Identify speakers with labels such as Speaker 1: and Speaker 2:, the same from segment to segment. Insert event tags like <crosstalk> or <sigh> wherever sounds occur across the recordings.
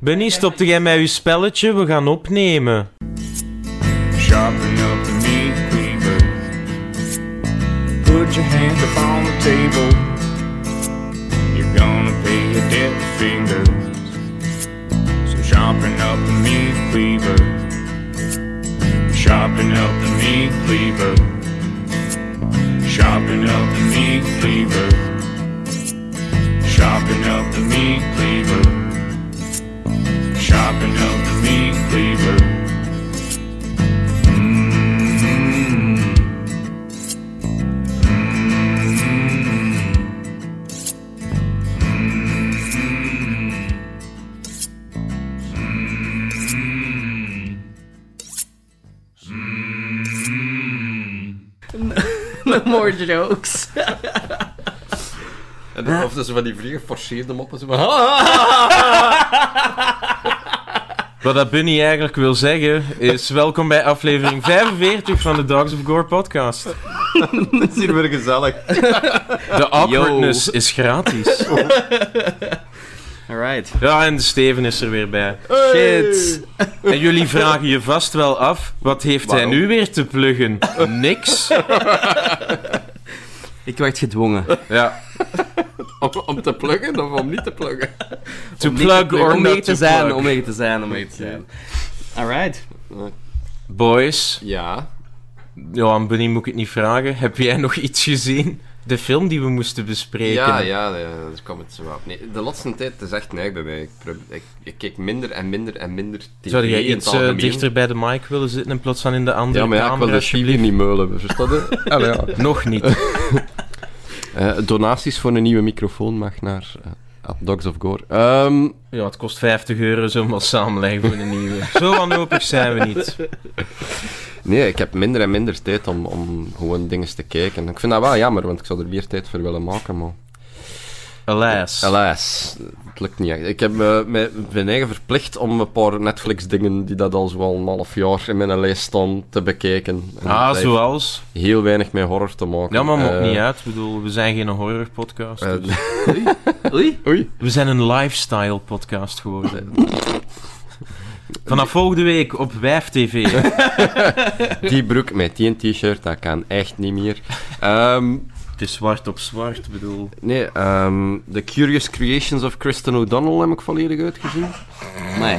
Speaker 1: Bunny, stopte jij met je spelletje? We gaan opnemen.
Speaker 2: Sharpen up the meat cleaver. Put your hand up on the table. You're gonna pay your dead fingers. So sharpen up the meat cleaver. Sharpen up the meat cleaver. Sharpen up the meat cleaver. Sharpen up the meat cleaver. Sharpen up the meat cleaver.
Speaker 3: No more jokes.
Speaker 4: En dan- of dus van die vrij geforceerde
Speaker 1: <laughs>
Speaker 4: moppen.
Speaker 1: Ah,
Speaker 4: Zo van,
Speaker 1: Wat dat Bunny eigenlijk wil zeggen is: welkom bij aflevering 45 van de Dogs of Gore podcast.
Speaker 5: Het is hier weer gezellig.
Speaker 1: De awkwardness is gratis.
Speaker 3: Alright.
Speaker 1: Ja, en Steven is er weer bij.
Speaker 3: Shit.
Speaker 1: En jullie vragen je vast wel af: wat heeft hij
Speaker 5: Waarom?
Speaker 1: nu weer te pluggen? Niks.
Speaker 3: Ik werd gedwongen.
Speaker 1: Ja.
Speaker 4: <laughs> om, om te pluggen of om niet te
Speaker 1: <laughs>
Speaker 4: pluggen.
Speaker 1: To
Speaker 3: Om niet te
Speaker 1: plug
Speaker 3: pluggen.
Speaker 1: or
Speaker 3: om
Speaker 1: not
Speaker 3: mee te
Speaker 1: to
Speaker 3: zijn,
Speaker 1: plug.
Speaker 3: om mee te zijn, om
Speaker 4: Mee
Speaker 3: mee te
Speaker 4: te
Speaker 3: zijn. Alright.
Speaker 1: Boys,
Speaker 4: Ja.
Speaker 1: ja, aan Bunny moet ik het niet vragen. Heb jij nog iets gezien? De film die we moesten bespreken.
Speaker 4: Ja, ja, ja, daar kwam het zo op. Nee, de laatste tijd is echt neig bij mij. Ik, prob- ik, ik keek minder en minder en minder tv
Speaker 1: Zou jij
Speaker 4: in het
Speaker 1: iets eh,
Speaker 4: algemeen.
Speaker 1: dichter bij de mic willen zitten in plaats van in de andere
Speaker 4: Ja, maar ja, ik
Speaker 1: camera?
Speaker 4: wil de Chili niet meulen, verstaat je? Allee, ja.
Speaker 1: <laughs> Nog niet.
Speaker 4: Eh, donaties voor een nieuwe microfoon mag naar eh, at Dogs of Gore. Ehm,
Speaker 1: Ja, het kost 50 euro zomaar samenleggen voor een nieuwe. Zo wanhopig zijn we niet.
Speaker 4: nee, ik heb minder en minder tijd om, om gewoon dingen te kijken. Ik vind dat wel jammer, want ik zou er meer tijd voor willen maken, maar...
Speaker 1: Helaas.
Speaker 4: Helaas, het lukt niet echt. Ik heb eh, mij mijn eigen verplicht om een paar Netflix-dingen die dat al zo'n half jaar in mijn lijst staan, te bekijken. En
Speaker 1: Ah,
Speaker 4: dat heeft
Speaker 1: zoals.
Speaker 4: Heel weinig met horror te maken.
Speaker 1: Ja, maar maakt
Speaker 4: Eh,
Speaker 1: niet uit. Ik bedoel, we zijn geen horrorpodcast.
Speaker 4: eh,
Speaker 1: dus.
Speaker 4: <laughs>
Speaker 3: Oei.
Speaker 4: Oei.
Speaker 1: We zijn een lifestyle-podcast geworden. Vanaf volgende week op Wijf TV.
Speaker 4: Die broek met die t-shirt, dat kan echt niet meer. Ehm,
Speaker 1: Het is zwart op zwart, bedoel.
Speaker 4: nee, ehm, The Curious Creations of Kristen O'Donnell heb ik volledig uitgezien.
Speaker 3: Nee.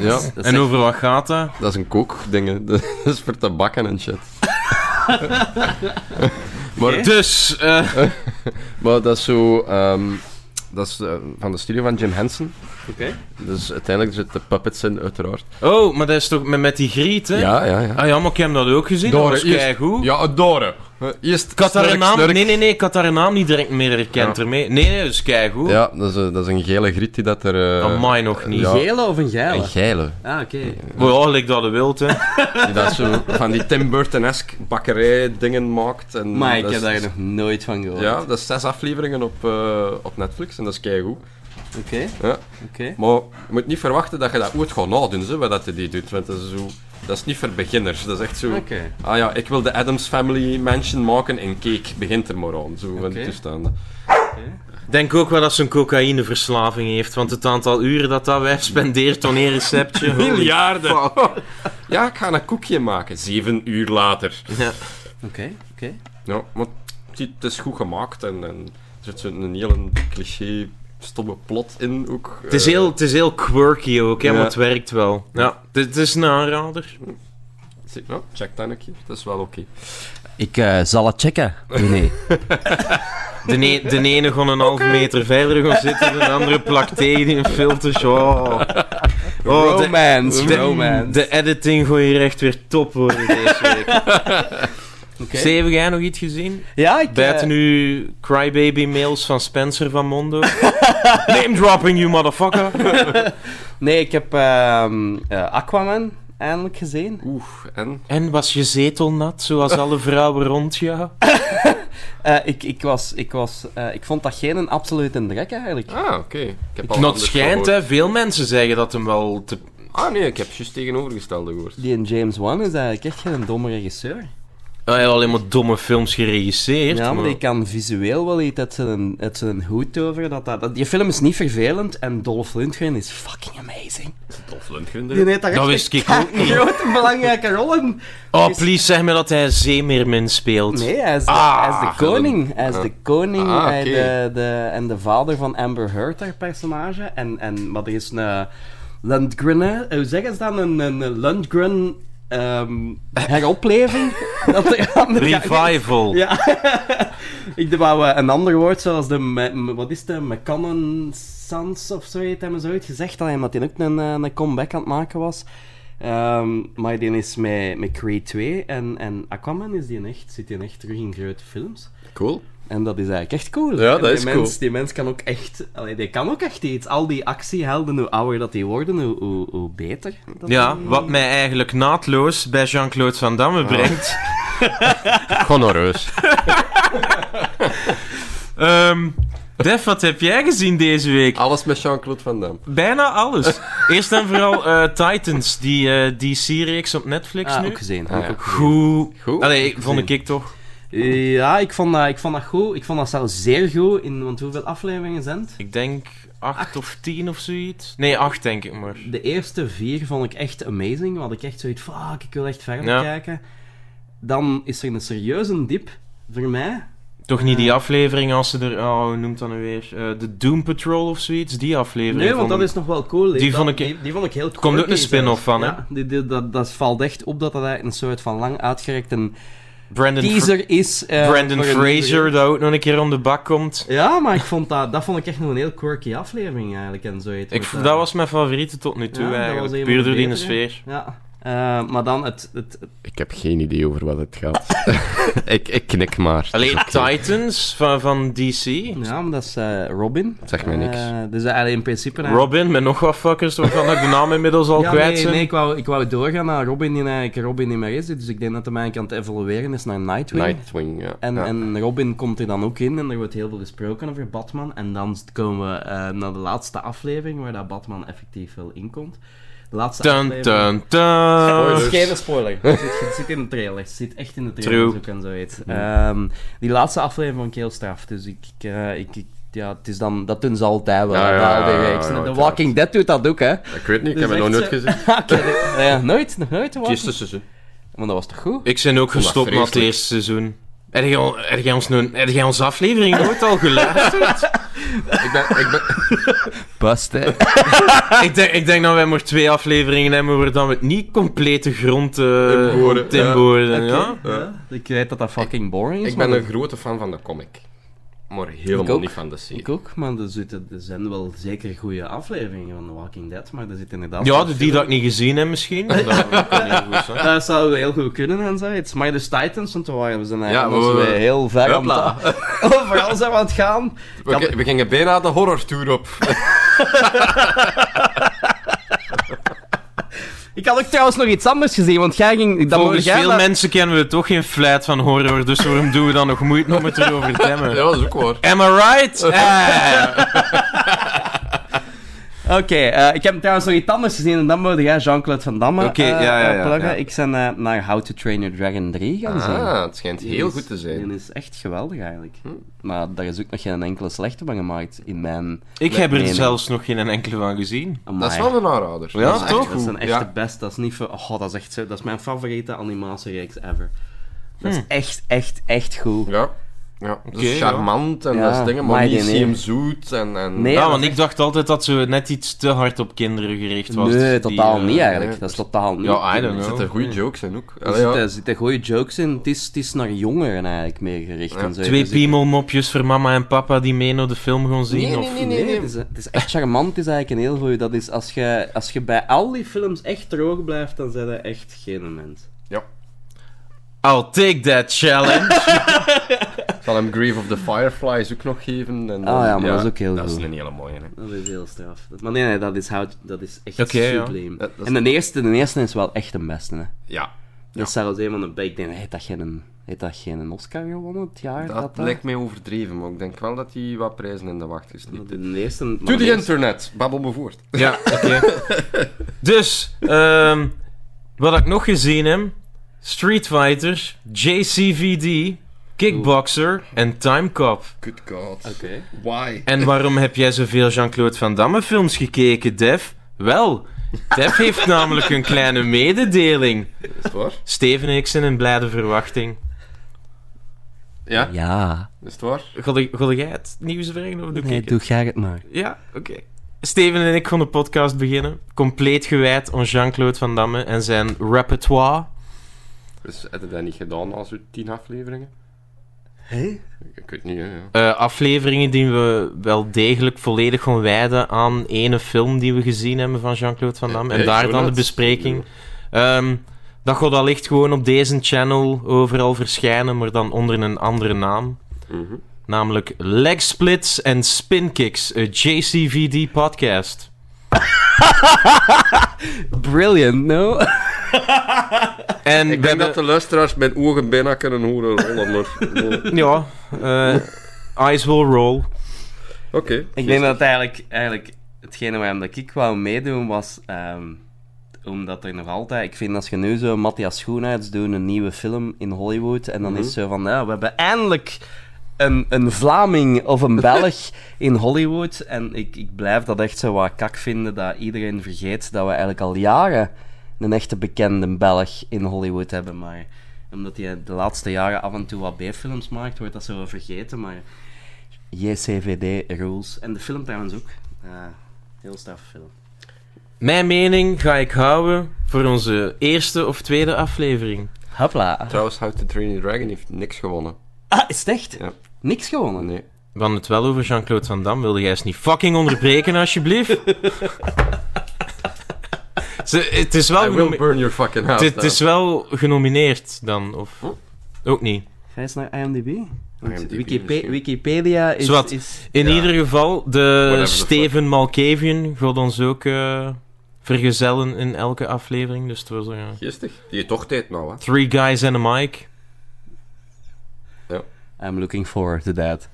Speaker 4: Ja,
Speaker 3: Dat
Speaker 1: En over wat gaat dat?
Speaker 4: dat is een kookding. hè. <laughs> Dat is voor te bakken en shit. <laughs> maar
Speaker 1: Dus, eh,
Speaker 4: Maar dat is zo... ehm, dat is eh, van de studio van Jim Henson.
Speaker 3: Oké.
Speaker 4: Dus uiteindelijk zitten de puppets in, uiteraard.
Speaker 1: oh, maar dat is toch met, met die griet, hè?
Speaker 4: Ja, ja, ja.
Speaker 1: Ah ja, maar ik heb dat ook gezien.
Speaker 4: Door,
Speaker 1: dat was
Speaker 4: eerst-
Speaker 1: keigoed.
Speaker 4: Ja, eh, Dore. Eerst
Speaker 1: Ik had haar
Speaker 4: snurk,
Speaker 1: naam...
Speaker 4: snurk.
Speaker 1: Nee, nee, nee, ik had haar naam niet direct meer herkend
Speaker 4: Ja.
Speaker 1: ermee. Nee, nee, dat is keigoed.
Speaker 4: Ja, dat is, eh, dat is een gele griet die dat er... eh
Speaker 1: Amai, nog niet.
Speaker 4: ja.
Speaker 3: Een gele of een geile?
Speaker 4: Een geile.
Speaker 3: Ah, oké.
Speaker 1: Maar ja, gelijk dat de wild, hè.
Speaker 4: Die dat zo van die Tim Burton-esque bakkerij-dingen maakt. En
Speaker 3: Maar ik
Speaker 4: dat
Speaker 3: heb
Speaker 4: is-
Speaker 3: daar nog nooit van gehoord.
Speaker 4: Ja, dat is zes afleveringen op, eh, op Netflix en dat is keigoed.
Speaker 3: Oké,
Speaker 4: Ja.
Speaker 3: oké.
Speaker 4: Maar je moet niet verwachten dat je dat ooit gaat nadoen, zo, wat dat je die doet. Want dat is, zo, dat is niet voor beginners. Dat is echt zo...
Speaker 3: Oké.
Speaker 4: Ah ja, ik wil de Adams Family Mansion maken in cake. Begint er maar aan, zo van
Speaker 3: Oké.
Speaker 4: die toestanden.
Speaker 1: Denk ook wel dat ze een cocaïneverslaving heeft, want het aantal uren dat dat wijf spendeert aan één receptje...
Speaker 3: <laughs>
Speaker 1: holy
Speaker 4: Miljarden! <laughs> ja, ik ga een koekje maken. Zeven uur later.
Speaker 3: Oké, oké.
Speaker 4: Ja, want het is- het is goed gemaakt en, en er zit zo'n een hele cliché stomme plot in ook.
Speaker 1: Het is,
Speaker 4: Eh,
Speaker 1: heel, het is heel quirky ook, hè,
Speaker 4: Ja.
Speaker 1: maar het werkt wel. Ja, het, het is een aanrader.
Speaker 4: zie- ja, check dat een keer. Het is wel oké.
Speaker 5: Ik eh, zal het checken. Nee.
Speaker 1: De, ne-
Speaker 3: <laughs>
Speaker 1: de ene gewoon een halve meter verder gaan zitten, de andere plakt tegen in filters. Oh. <laughs> Oh, de,
Speaker 3: romance,
Speaker 1: de-
Speaker 3: romance.
Speaker 1: de editing gooi je echt weer top worden deze week.
Speaker 3: <laughs> Oké.
Speaker 1: Steven, jij nog iets gezien?
Speaker 3: Ja, ik...
Speaker 1: Buiten
Speaker 3: eh,
Speaker 1: nu crybaby mails van Spencer van
Speaker 3: <laughs>
Speaker 1: Mondo. Name dropping, you motherfucker.
Speaker 3: Nee, ik heb ehm, eh, Aquaman eindelijk gezien.
Speaker 4: Oeh, en?
Speaker 1: En was je zetel nat, zoals alle vrouwen rond jou?
Speaker 3: Eh, ik, ik, was, ik, was, eh, ik vond dat geen een absolute drek eigenlijk.
Speaker 4: Ah, oké. Ik heb al
Speaker 1: Not
Speaker 4: anders
Speaker 1: schijnt,
Speaker 4: gehoord.
Speaker 1: hè. Veel mensen zeggen dat hem wel te...
Speaker 4: Ah nee, ik heb juist tegenovergestelde gehoord.
Speaker 3: Die en James Wan is eigenlijk echt geen domme regisseur.
Speaker 1: Hij heeft alleen maar domme films geregisseerd.
Speaker 3: Ja, maar
Speaker 1: maar-
Speaker 3: die kan visueel wel iets uit zijn, uit zijn hoed over. Dat, dat, dat- die film is niet vervelend en Dolph Lundgren is fucking amazing.
Speaker 6: Dolph
Speaker 3: Die
Speaker 6: Lundgren.
Speaker 3: heeft daar
Speaker 1: Dat
Speaker 3: echt
Speaker 1: wist
Speaker 3: een
Speaker 1: ik ook niet.
Speaker 3: grote belangrijke rol in.
Speaker 1: Oh, please zeg me dat hij Zeemeermin speelt.
Speaker 3: Nee, hij is de,
Speaker 1: Ah,
Speaker 3: hij is de koning. Hij is de koning
Speaker 4: Ah,
Speaker 3: hij
Speaker 4: oké.
Speaker 3: de, de, en de vader van Amber Heard, haar personage. En, en maar er is een eh, Lundgren... hè? Hoe zeggen ze dan? Een, een Lundgren...
Speaker 1: <laughs>
Speaker 3: ehm, heropleving? dat er aan de gang is.
Speaker 1: Revival.
Speaker 3: Ja. ik wou eh, een ander woord, zoals de... me- me- wat is de? McCannon Sans of zo heet hij me zo ooit gezegd. Alleen dat hij ook een, eh, een comeback aan het maken was. Ehm, maar die is met, met Creed 2 en, en Aquaman is die echt, zit die echt terug in grote films.
Speaker 4: Cool.
Speaker 3: En dat is eigenlijk echt cool.
Speaker 4: Ja,
Speaker 3: En
Speaker 4: dat
Speaker 3: die
Speaker 4: is
Speaker 3: mens,
Speaker 4: cool.
Speaker 3: Die mens kan ook echt... Allee, die kan ook echt iets. Al die actiehelden, hoe ouder dat die worden, hoe, hoe, hoe beter. dat
Speaker 1: Ja,
Speaker 3: die-
Speaker 1: wat mij eigenlijk naadloos bij Jean-Claude Van
Speaker 3: Ah.
Speaker 1: Damme brengt.
Speaker 4: Gonorreus.
Speaker 1: Ehm, Def, wat heb jij gezien deze week?
Speaker 3: Ah.
Speaker 4: Alles met Jean-Claude Van Damme.
Speaker 1: Bijna
Speaker 3: <laughs>
Speaker 1: alles. Eerst en vooral eh, Titans, die eh DC-reeks op Netflix
Speaker 3: Ah,
Speaker 1: nu.
Speaker 3: ook gezien.
Speaker 4: Ah, ja.
Speaker 3: Ook
Speaker 1: Goed.
Speaker 4: Goed.
Speaker 1: Allee, ik vond ik toch.
Speaker 3: Ja, ik vond, dat, ik vond dat goed. Ik vond dat zelfs zeer goed. In, want hoeveel afleveringen zijn het?
Speaker 1: Ik denk acht, of tien of zoiets. Nee, acht denk ik maar.
Speaker 3: De eerste vier vond ik echt amazing. Had ik echt zoiets van, fuck, ik wil echt verder
Speaker 1: Ja.
Speaker 3: kijken. Dan is er een serieuze dip voor mij.
Speaker 1: Toch niet die aflevering als ze er... Oh, hoe noemt dat nou weer? Eh, de Doom Patrol of zoiets? Die aflevering.
Speaker 3: Nee, want
Speaker 1: vond
Speaker 3: dat
Speaker 1: ik-
Speaker 3: is nog wel cool.
Speaker 1: die
Speaker 3: Dat-
Speaker 1: vond ik-
Speaker 3: die, die vond ik heel cool.
Speaker 1: komt ook een spin-off van, hè?
Speaker 3: Ja, die- die- dat, dat valt echt op dat dat eigenlijk een soort van lang uitgerekt een
Speaker 1: Brandon, Fra-
Speaker 3: teaser is. eh,
Speaker 1: Brandon
Speaker 3: voor een
Speaker 1: Fraser,
Speaker 3: nieuwe-
Speaker 1: dat ook nog een keer om de bak komt.
Speaker 3: Ja, maar ik vond dat, dat vond ik echt nog een heel quirky aflevering eigenlijk. En zo
Speaker 1: Ik, v- dat was mijn favoriete tot nu toe
Speaker 3: Ja, dat was een
Speaker 1: eigenlijk.
Speaker 3: van de
Speaker 1: Puur door die
Speaker 3: betere.
Speaker 1: sfeer.
Speaker 3: Ja. Eh, maar dan het, het,
Speaker 4: Ik heb geen idee over wat het gaat. <laughs> ik, ik knik maar.
Speaker 1: Alleen
Speaker 4: Dat is oké.
Speaker 1: Titans van, van DC.
Speaker 3: Ja, maar dat is eh, Robin.
Speaker 4: Zeg mij niks.
Speaker 3: Eh, dus eigenlijk in principe...
Speaker 1: Robin, met nog wat fuckers waarvan ik de naam inmiddels al
Speaker 3: ja,
Speaker 1: kwijt
Speaker 3: nee,
Speaker 1: zijn.
Speaker 3: nee, ik wou, ik wou doorgaan naar Robin die eigenlijk Robin niet meer is. Dus ik denk dat hij eigenlijk aan het evolueren is naar Nightwing.
Speaker 4: Nightwing, ja.
Speaker 3: En,
Speaker 4: Ja.
Speaker 3: en Robin komt er dan ook in en er wordt heel veel gesproken over Batman. En dan komen we eh, naar de laatste aflevering waar dat Batman effectief wel inkomt. De laatste
Speaker 1: Dun,
Speaker 3: aflevering... Oh,
Speaker 1: dun, dun.
Speaker 3: Het is geen spoiler. Het zit, het zit in de trailer. Het zit echt in de trailer.
Speaker 1: True.
Speaker 3: Ook en zo weet.
Speaker 4: Mm.
Speaker 3: Ehm, die laatste aflevering van Keel Straf. Dus ik, ik, eh, ik, ik- ja, het is dan, dat doen ze altijd wel.
Speaker 4: Ja,
Speaker 3: dat
Speaker 4: ja,
Speaker 3: al die
Speaker 4: ja, ja,
Speaker 3: reeks.
Speaker 4: ja,
Speaker 3: de
Speaker 4: uiteraard.
Speaker 3: Walking Dead doet dat ook, hè?
Speaker 4: Ik weet niet, ik
Speaker 3: Dus
Speaker 4: heb het nog
Speaker 3: echt
Speaker 4: nooit
Speaker 3: zo-
Speaker 4: gezien.
Speaker 3: Oké, <laughs> eh, nooit, nog nooit. de
Speaker 6: Het
Speaker 3: Walking-
Speaker 6: eerste seizoen.
Speaker 3: Maar dat was toch goed?
Speaker 1: Ik ben ook gestopt na het
Speaker 4: vreselijk.
Speaker 1: eerste seizoen. Heb jij al- heb jij ons nu- heb jij onze aflevering nooit al <laughs> geluisterd?
Speaker 4: Ik ben, ik ben,
Speaker 3: <laughs>
Speaker 5: Bust, hè.
Speaker 1: ik, denk, ik denk dat wij maar twee afleveringen hebben waar dan we het niet complete grond eh
Speaker 4: Inboren, ja.
Speaker 1: inboren, <laughs> ja.
Speaker 3: Ja, ik weet dat dat fucking boring is.
Speaker 4: ik ben
Speaker 3: maar
Speaker 4: een grote fan van de comic. Maar
Speaker 3: Ik
Speaker 4: helemaal
Speaker 3: ook.
Speaker 4: niet van de serie.
Speaker 3: Ik ook, maar er, zitten, er zijn wel zeker goede afleveringen van The Walking Dead, maar er zit inderdaad...
Speaker 1: Ja, de- die dat ik niet gezien heb misschien. Dat kan niet goed zijn.
Speaker 3: Dat Eh, zou heel goed kunnen en zoiets. Maar de Titans, want we waren- we zijn eigenlijk
Speaker 4: we-
Speaker 3: ons
Speaker 4: we-
Speaker 3: weer heel ver aan
Speaker 4: Hopla.
Speaker 3: het- <laughs> Overal zijn we aan het gaan.
Speaker 4: We, ge- we gingen bijna de horror tour op.
Speaker 3: Ik had ook trouwens nog iets anders gezien, want jij ging... Dat
Speaker 1: Volgens
Speaker 3: mocht jij
Speaker 1: veel
Speaker 3: naar-
Speaker 1: mensen kennen we toch geen fluit van horror, dus waarom doen we dan nog moeite om het erover te hebben?
Speaker 4: Ja, dat is ook waar.
Speaker 1: Am I right? Eh.
Speaker 3: Oké, eh, ik heb trouwens nog iets anders gezien en dan mocht jij Jean-Claude Van Damme
Speaker 1: Oké,
Speaker 3: eh,
Speaker 1: ja, ja, ja,
Speaker 3: eh, pluggen.
Speaker 1: ja.
Speaker 3: Ik ben eh, naar How to Train Your Dragon 3 gaan zien.
Speaker 4: Ah, het schijnt
Speaker 3: Die
Speaker 4: heel
Speaker 3: is-
Speaker 4: goed te zijn. Hm.
Speaker 3: Die is echt geweldig eigenlijk. Maar daar is ook nog geen enkele slechte van gemaakt in mijn...
Speaker 1: Ik heb er
Speaker 3: Nee, nee.
Speaker 1: zelfs nog geen enkele van gezien.
Speaker 4: Dat is wel een aanrader.
Speaker 1: Ja,
Speaker 4: Dat is echt
Speaker 1: toch?
Speaker 4: goed.
Speaker 3: Dat is een echte
Speaker 4: Ja.
Speaker 3: best. Dat is niet voor. Oh, dat is echt zo. Dat is mijn favoriete animatiereeks ever. Dat
Speaker 4: Hm.
Speaker 3: is echt, echt, echt goed.
Speaker 4: Ja. Ja, dat is
Speaker 1: Oké, ja.
Speaker 4: charmant en
Speaker 3: Ja,
Speaker 4: dat is dingen, maar
Speaker 3: maar
Speaker 4: niet
Speaker 3: die
Speaker 4: zie hem
Speaker 3: nee.
Speaker 4: zoet en... en...
Speaker 3: Nee,
Speaker 1: Ja,
Speaker 3: dat
Speaker 1: want
Speaker 3: is
Speaker 1: ik dacht altijd dat ze net iets te hard op kinderen gericht was.
Speaker 3: nee,
Speaker 1: Die,
Speaker 3: totaal
Speaker 1: eh,
Speaker 3: niet eigenlijk.
Speaker 4: nee.
Speaker 3: Dat is totaal niet.
Speaker 1: Ja, I
Speaker 4: Er
Speaker 1: don't
Speaker 4: zitten
Speaker 1: know.
Speaker 4: goede jokes in ook.
Speaker 3: er
Speaker 4: Allee, ah, ja.
Speaker 3: zitten, er zitten goede jokes in. Het is, het is naar jongeren eigenlijk meer gericht. en zo.
Speaker 1: Twee
Speaker 3: Dus ik-
Speaker 1: piemelmopjes voor mama en papa die mee naar de film gaan zien.
Speaker 4: Nee,
Speaker 1: of...
Speaker 4: nee, nee,
Speaker 3: Nee,
Speaker 4: nee,
Speaker 3: het, is, het is echt charmant. Het is eigenlijk een heel goeie. Dat is als je, als je bij al die films echt droog blijft, dan zijn je echt geen mens.
Speaker 1: I'll take that <laughs> challenge.
Speaker 4: Ik zal hem Grave of the Fireflies ook nog geven. En dan-
Speaker 3: Ah ja, maar dat is ook heel
Speaker 4: Dat
Speaker 3: goed.
Speaker 4: is een hele mooie. Hè.
Speaker 3: Dat is heel straf. Dat- Maar nee, nee dat, is hout, dat is echt
Speaker 1: Oké, ja.
Speaker 3: subliem.
Speaker 4: Dat- dat is-
Speaker 3: En de eerste, de eerste is wel echt de beste. Hè.
Speaker 4: Ja,
Speaker 3: Dat is zelfs een van de bij. Ik denk, heeft dat geen, heeft dat geen Oscar gewonnen het jaar?
Speaker 4: dat,
Speaker 3: dat
Speaker 4: lijkt mij overdreven, maar ik denk wel dat hij wat prijzen in de wacht is.
Speaker 3: dat- De eerste... maar
Speaker 4: To
Speaker 3: de
Speaker 4: the
Speaker 3: eerste-
Speaker 4: internet, babbel me voort.
Speaker 1: <laughs> ja, oké. Dus, ehm, wat ik nog gezien heb, Street Fighters, JCVD, Kickboxer en Time Cop.
Speaker 6: Good god.
Speaker 3: Oké.
Speaker 6: Why?
Speaker 1: En waarom heb jij zoveel Jean-Claude Van Damme films gekeken, Def? Wel, Def <laughs> heeft namelijk een kleine mededeling.
Speaker 6: Is het waar?
Speaker 1: Steven en ik zijn in blijde verwachting.
Speaker 4: Ja,
Speaker 5: Ja.
Speaker 4: is het waar?
Speaker 1: Wil jij het nieuws brengen of doe ik
Speaker 3: Nee,
Speaker 1: het?
Speaker 3: doe graag het maar.
Speaker 1: Ja, oké. Steven en ik gaan de podcast beginnen. Compleet gewijd aan Jean-Claude Van Damme en zijn repertoire.
Speaker 4: Dus heb je dat niet gedaan als u tien afleveringen?
Speaker 3: Hé?
Speaker 4: Ik, ik weet niet, hè, ja.
Speaker 1: Eh, afleveringen die we wel degelijk volledig gaan wijden aan ene film die we gezien hebben van Jean-Claude Van Damme.
Speaker 4: Eh,
Speaker 1: En
Speaker 4: eh,
Speaker 1: daar
Speaker 4: zo
Speaker 1: dan de
Speaker 4: laat?
Speaker 1: bespreking. Ehm, dat gaat allicht gewoon op deze channel overal verschijnen, maar dan onder een andere naam.
Speaker 4: Mhm.
Speaker 1: Namelijk Leg Splits en Spin Kicks, een JCVD podcast.
Speaker 3: Brilliant, no? <laughs>
Speaker 1: En we
Speaker 4: Ik
Speaker 3: eh,
Speaker 4: denk dat
Speaker 1: hebben-
Speaker 4: de luisteraars mijn ogen bijna kunnen horen rollen,
Speaker 3: <laughs>
Speaker 4: maar...
Speaker 1: Ja,
Speaker 4: <laughs>
Speaker 1: eh, Eyes Will Roll.
Speaker 4: Oké.
Speaker 3: Ik denk dat eigenlijk, eigenlijk hetgene waarom dat ik wou meedoen was. ehm, omdat er nog altijd. Ik vind als je nu zo Matthias Schoenaerts doet een nieuwe film in Hollywood. En dan is het zo van. Nou, we hebben eindelijk een, een Vlaming of een Belg in Hollywood. En ik, ik blijf dat echt zo wat kak vinden. Dat iedereen vergeet dat we eigenlijk al jaren een echte bekende Belg in Hollywood hebben. Maar omdat hij de laatste jaren af en toe wat B-films maakt, wordt dat zo wel vergeten. Maar JCVD Rules. En de film trouwens ook. Eh, heel straffe film.
Speaker 1: Mijn mening ga ik houden voor onze eerste of tweede aflevering.
Speaker 3: Hopla.
Speaker 4: Trouwens, How to Train Your Dragon heeft niks gewonnen.
Speaker 3: Ah, is het echt?
Speaker 4: Ja.
Speaker 3: Niks gewonnen.
Speaker 4: Nee.
Speaker 1: We hadden het wel over Jean-Claude Van Damme. Wilde jij eens niet fucking onderbreken, alsjeblieft? <laughs> Ze, het, is wel
Speaker 4: I will
Speaker 1: genomi-
Speaker 4: burn your fucking house
Speaker 1: het, het is wel genomineerd dan, of... Ook niet.
Speaker 3: Ga eens naar IMDb. Want
Speaker 4: IMDb
Speaker 3: Wikipe-
Speaker 4: misschien.
Speaker 3: Wikipedia is...
Speaker 1: Zwat.
Speaker 3: is...
Speaker 1: In
Speaker 4: Ja.
Speaker 1: ieder geval, de
Speaker 4: Whatever the
Speaker 1: Steven Malkavian gaat ons ook eh, vergezellen in elke aflevering. Dus het was... eh,
Speaker 4: Geestig. Die heeft toch tijd nou, hè?
Speaker 1: three guys and a mic.
Speaker 3: I'm looking forward to that.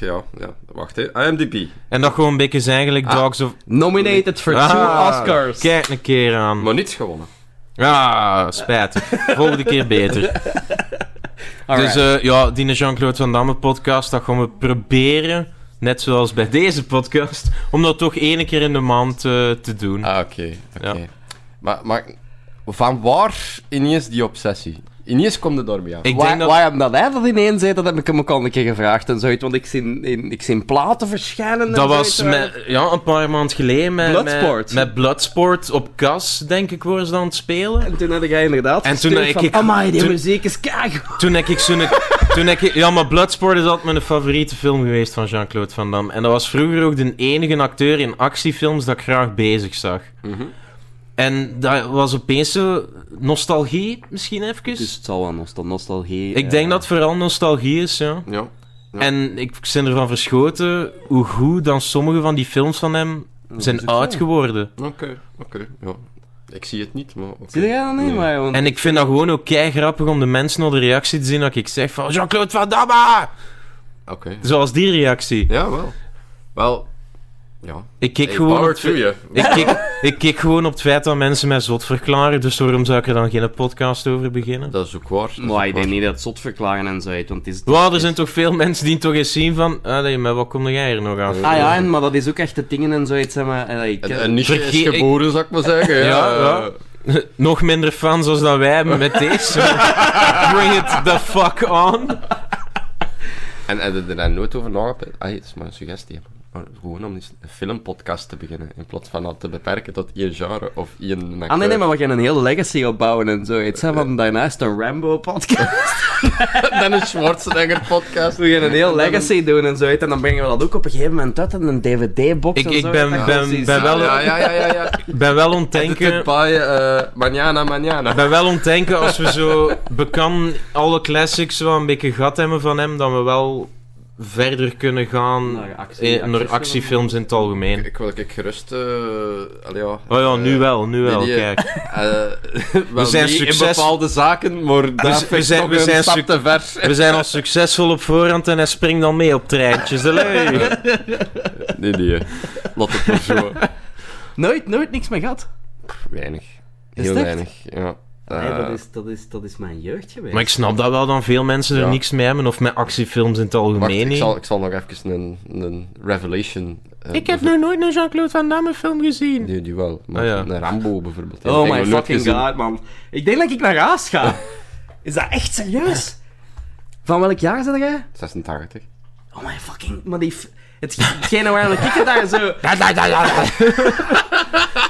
Speaker 4: Ja, ja. Wacht, hè. IMDb.
Speaker 1: En dat gewoon een beetje zijn eigenlijk Dogs of...
Speaker 3: Nominated for two
Speaker 1: Ah,
Speaker 3: Oscars.
Speaker 1: Kijk een keer aan.
Speaker 4: Maar niets gewonnen.
Speaker 1: Ah, spijtig. Volgende keer beter.
Speaker 3: <laughs> Alright.
Speaker 1: Dus eh, ja, die Jean-Claude Van Damme podcast, dat gaan we proberen, net zoals bij deze podcast, om dat toch één keer in de maand eh, te doen.
Speaker 4: Ah, oké. oké.
Speaker 1: Ja.
Speaker 4: Maar, maar van waar ineens die obsessie? Ineens komt het daarmee aan.
Speaker 1: ik
Speaker 3: Waar-
Speaker 1: denk dat...
Speaker 3: Waarom dat hij dat ineens zei, dat heb ik hem ook al een keer gevraagd en zoiets. Want ik zie, in, ik zie platen verschijnen en
Speaker 1: Dat was
Speaker 3: zoiets,
Speaker 1: met, ja, een paar maanden geleden met
Speaker 3: Bloodsport.
Speaker 1: Met, met Bloodsport op kas, denk ik, worden ze dan aan het spelen.
Speaker 3: En toen had jij inderdaad
Speaker 1: En toen
Speaker 3: gestuurd
Speaker 1: heb ik-
Speaker 3: van, Amai, die
Speaker 1: toen-
Speaker 3: muziek is keigoed.
Speaker 1: Toen heb ik zo'n... Toen heb ik, ja, maar Bloodsport is altijd mijn favoriete film geweest van Jean-Claude Van Damme. En dat was vroeger ook de enige acteur in actiefilms dat ik graag bezig zag.
Speaker 4: Mhm.
Speaker 1: En dat was opeens zo nostalgie, misschien even.
Speaker 3: Dus het zal wel nostal nostalgie...
Speaker 1: ik
Speaker 3: eh,
Speaker 1: denk dat het vooral nostalgie is, ja.
Speaker 4: Ja. Ja.
Speaker 1: En ik ben ervan verschoten hoe goed dan sommige van die films van hem
Speaker 3: dat is
Speaker 1: zijn
Speaker 3: ook zo.
Speaker 1: oud geworden.
Speaker 4: Oké, oké. Ja. Ik zie het niet, maar... oké.
Speaker 3: Zie jij dat niet?
Speaker 4: Nee.
Speaker 3: Maar gewoon-
Speaker 1: En ik vind dat gewoon ook kei grappig om de mensen naar de reactie te zien dat ik zeg van Jean-Claude Van Damme!
Speaker 4: Oké.
Speaker 1: Zoals die reactie.
Speaker 4: Ja, wel. Wel... Ja.
Speaker 1: Ik kijk
Speaker 4: Hey,
Speaker 1: gewoon...
Speaker 4: power
Speaker 1: op het
Speaker 4: to
Speaker 1: fe-
Speaker 4: you.
Speaker 1: Ik kijk, ik kijk gewoon op het feit dat mensen mij zot verklaren, dus waarom zou ik er dan geen podcast over beginnen?
Speaker 4: Dat is ook waar. dat is
Speaker 3: Maar
Speaker 4: ook
Speaker 3: ik
Speaker 4: waar.
Speaker 3: denk niet dat het zot verklaren en zo uit, want het is...
Speaker 1: Wauw, er zijn toch veel mensen die toch eens zien van... Ah, nee, maar wat kom jij er nog aan?
Speaker 3: Ah ja, en, maar dat is ook echt de dingen en zoiets, zeg maar. eh, ik,
Speaker 4: Een, een niche
Speaker 1: Vergeet- ik-
Speaker 4: is geboren, zou ik maar zeggen. Ja,
Speaker 1: Ja, ja. Nog minder fans als dan wij hebben met
Speaker 4: <laughs>
Speaker 1: deze. Bring it the fuck on.
Speaker 4: En hebben er daar nooit over nagedacht? Ah, het is maar een suggestie. hè. Maar gewoon om eens een filmpodcast te beginnen, in plaats van dat te beperken tot één genre of één...
Speaker 3: Ah nee, nee, maar we gaan een hele legacy opbouwen en zoiets, hè, van daarnaast een
Speaker 4: <laughs>
Speaker 3: Rambo-podcast.
Speaker 4: <laughs> Dan een Schwarzenegger-podcast.
Speaker 3: We gaan <laughs> een heel legacy doen en zoiets, en dan brengen we dat ook op een gegeven moment uit in een DVD-box
Speaker 1: Ik-
Speaker 3: en
Speaker 1: ik
Speaker 3: zo.
Speaker 1: ben-
Speaker 3: Dat
Speaker 1: ben-
Speaker 3: is iets-
Speaker 1: ben wel-
Speaker 4: Ja, ja, ja, ja.
Speaker 1: <laughs>
Speaker 4: ja.
Speaker 1: Ben wel
Speaker 4: Denken...
Speaker 1: ontdenken...
Speaker 4: Bij, eh manana, manana.
Speaker 1: Ben wel ontdenken als we zo bekan alle classics wel een beetje gat hebben van hem, dat we wel verder kunnen gaan
Speaker 3: Naar
Speaker 1: naar,
Speaker 3: actie-
Speaker 1: naar
Speaker 3: actiefilms.
Speaker 1: actiefilms in het algemeen.
Speaker 4: Ik wil ik gerust... eh allee, ja,
Speaker 1: Oh ja, nu
Speaker 4: eh,
Speaker 1: wel, nu wel,
Speaker 4: die, eh,
Speaker 1: kijk.
Speaker 4: eh, <laughs> wel
Speaker 1: zijn
Speaker 4: niet
Speaker 1: succes-
Speaker 4: in bepaalde zaken, maar daar vind ik
Speaker 1: zijn-
Speaker 4: nog
Speaker 1: we
Speaker 4: een
Speaker 1: zijn
Speaker 4: stap
Speaker 1: suc-
Speaker 4: te ver.
Speaker 1: We zijn al succesvol op voorhand en hij springt dan mee op treintjes.
Speaker 4: <laughs>
Speaker 1: Allee.
Speaker 4: Nee, nee. eh, Laat het maar zo.
Speaker 1: <laughs>
Speaker 3: Nooit, nooit niks meer gehad.
Speaker 4: Weinig.
Speaker 3: het
Speaker 4: Heel
Speaker 3: echt?
Speaker 4: weinig, ja.
Speaker 1: Ah,
Speaker 3: Nee, dat,
Speaker 4: Eh,
Speaker 3: is, dat, is, dat is mijn jeugd geweest.
Speaker 1: Maar ik snap dat wel dan veel mensen er
Speaker 4: Ja.
Speaker 1: niks mee hebben, of met actiefilms in het algemeen.
Speaker 4: Wacht, ik
Speaker 1: niet.
Speaker 4: zal, ik zal nog even een, een revelation... eh,
Speaker 1: Ik heb
Speaker 4: bevo-
Speaker 1: nog nooit een Jean-Claude Van Damme film gezien.
Speaker 4: Die, die wel, maar
Speaker 1: Ah, ja.
Speaker 4: een Rambo bijvoorbeeld. die heb
Speaker 3: Oh
Speaker 4: ik
Speaker 3: my
Speaker 4: nog nooit
Speaker 3: fucking
Speaker 4: gezien.
Speaker 3: god, man. Ik denk dat ik naar huis ga.
Speaker 4: <laughs>
Speaker 3: Is dat echt serieus? Van welk jaar zit jij?
Speaker 4: 86.
Speaker 3: Oh my fucking... Maar die... f- Het, hetgene waarom ik het daar zo...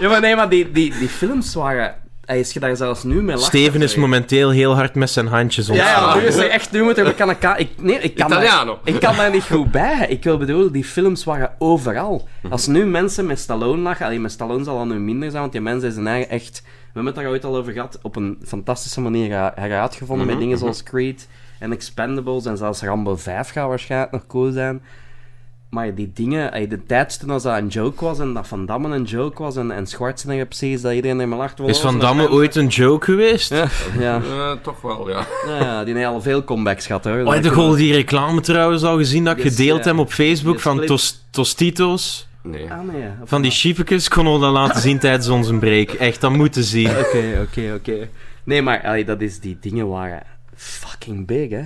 Speaker 3: Ja, maar nee, maar die, die, die films waren... Als je daar zelfs nu mee lacht...
Speaker 1: Steven
Speaker 3: dan
Speaker 1: is
Speaker 3: zou je-
Speaker 1: momenteel heel hard met zijn handjes
Speaker 3: Ja, ja, nu
Speaker 1: ontslaan.
Speaker 3: is hij echt... Nu moet hij... Ik kan, elkaar- ik, nee, ik kan
Speaker 4: Italiano.
Speaker 3: Daar, ik kan daar niet goed bij. Ik wil bedoelen, die films waren overal. Als nu mensen met Stallone lachen... Allee, met Stallone zal dat nu minder zijn, want die mensen is zijn eigen echt... We hebben het daar ooit al over gehad. Op een fantastische manier her- heruitgevonden met dingen zoals Creed en Expendables. En zelfs Rambo 5 gaat waarschijnlijk nog cool zijn. Maar die dingen, ey, de tijd toen als dat een joke was en dat Van Damme een joke was en, en Schwarzenegger precies, dat iedereen ermee lacht.
Speaker 1: Is Van Damme ooit een joke geweest?
Speaker 3: Ja, ja.
Speaker 4: Eh, toch wel, ja.
Speaker 3: Nou ja, die heeft al veel comebacks gehad hoor.
Speaker 1: Oh, heb je al die reclame trouwens al gezien dat ik
Speaker 3: Yes,
Speaker 1: gedeeld
Speaker 3: ja.
Speaker 1: heb op Facebook
Speaker 3: Yes,
Speaker 1: van
Speaker 3: clip.
Speaker 1: tos- Tostitos?
Speaker 4: Nee.
Speaker 1: Oh.
Speaker 3: Ah nee. ja.
Speaker 1: Van die chiepekes kon we dat laten zien tijdens onze break. Echt, dat moeten zien.
Speaker 3: Oké, oké, oké. Nee, maar ey, dat is die dingen waren fucking big hè.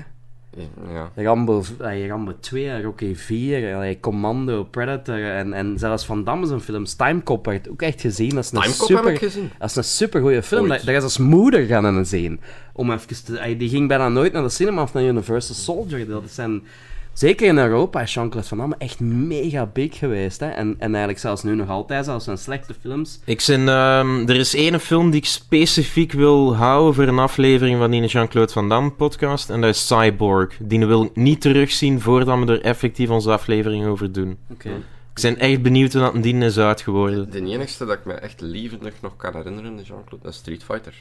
Speaker 4: Ja.
Speaker 3: Rambo, v- ey, Rambo 2, en Rocky 4, ey, Commando, Predator en, en zelfs Van Damme zijn films. Timecop werd ook echt gezien als een
Speaker 4: Timecop
Speaker 3: super...
Speaker 4: heb ik gezien.
Speaker 3: Dat is een supergoeie film.
Speaker 4: Ooit.
Speaker 3: Daar, daar is als moeder gaan aan zien. Om even te, ey, die ging bijna nooit naar de cinema of naar Universal Soldier. Dat zijn, zeker in Europa, is Jean-Claude Van Damme echt mega big geweest. Hè? En, en eigenlijk zelfs nu nog altijd, zelfs zijn slechte films.
Speaker 1: Ik zin, ehm, er is één film die ik specifiek wil houden voor een aflevering van die Jean-Claude Van Damme podcast. En dat is Cyborg. Die wil ik niet terugzien voordat we er effectief onze aflevering over doen.
Speaker 3: Oké.
Speaker 1: Ik ben echt benieuwd hoe dat een dien is uitgeworden.
Speaker 4: De enigste dat ik me echt levendig nog kan herinneren, is Jean-Claude, dat is Street Fighter.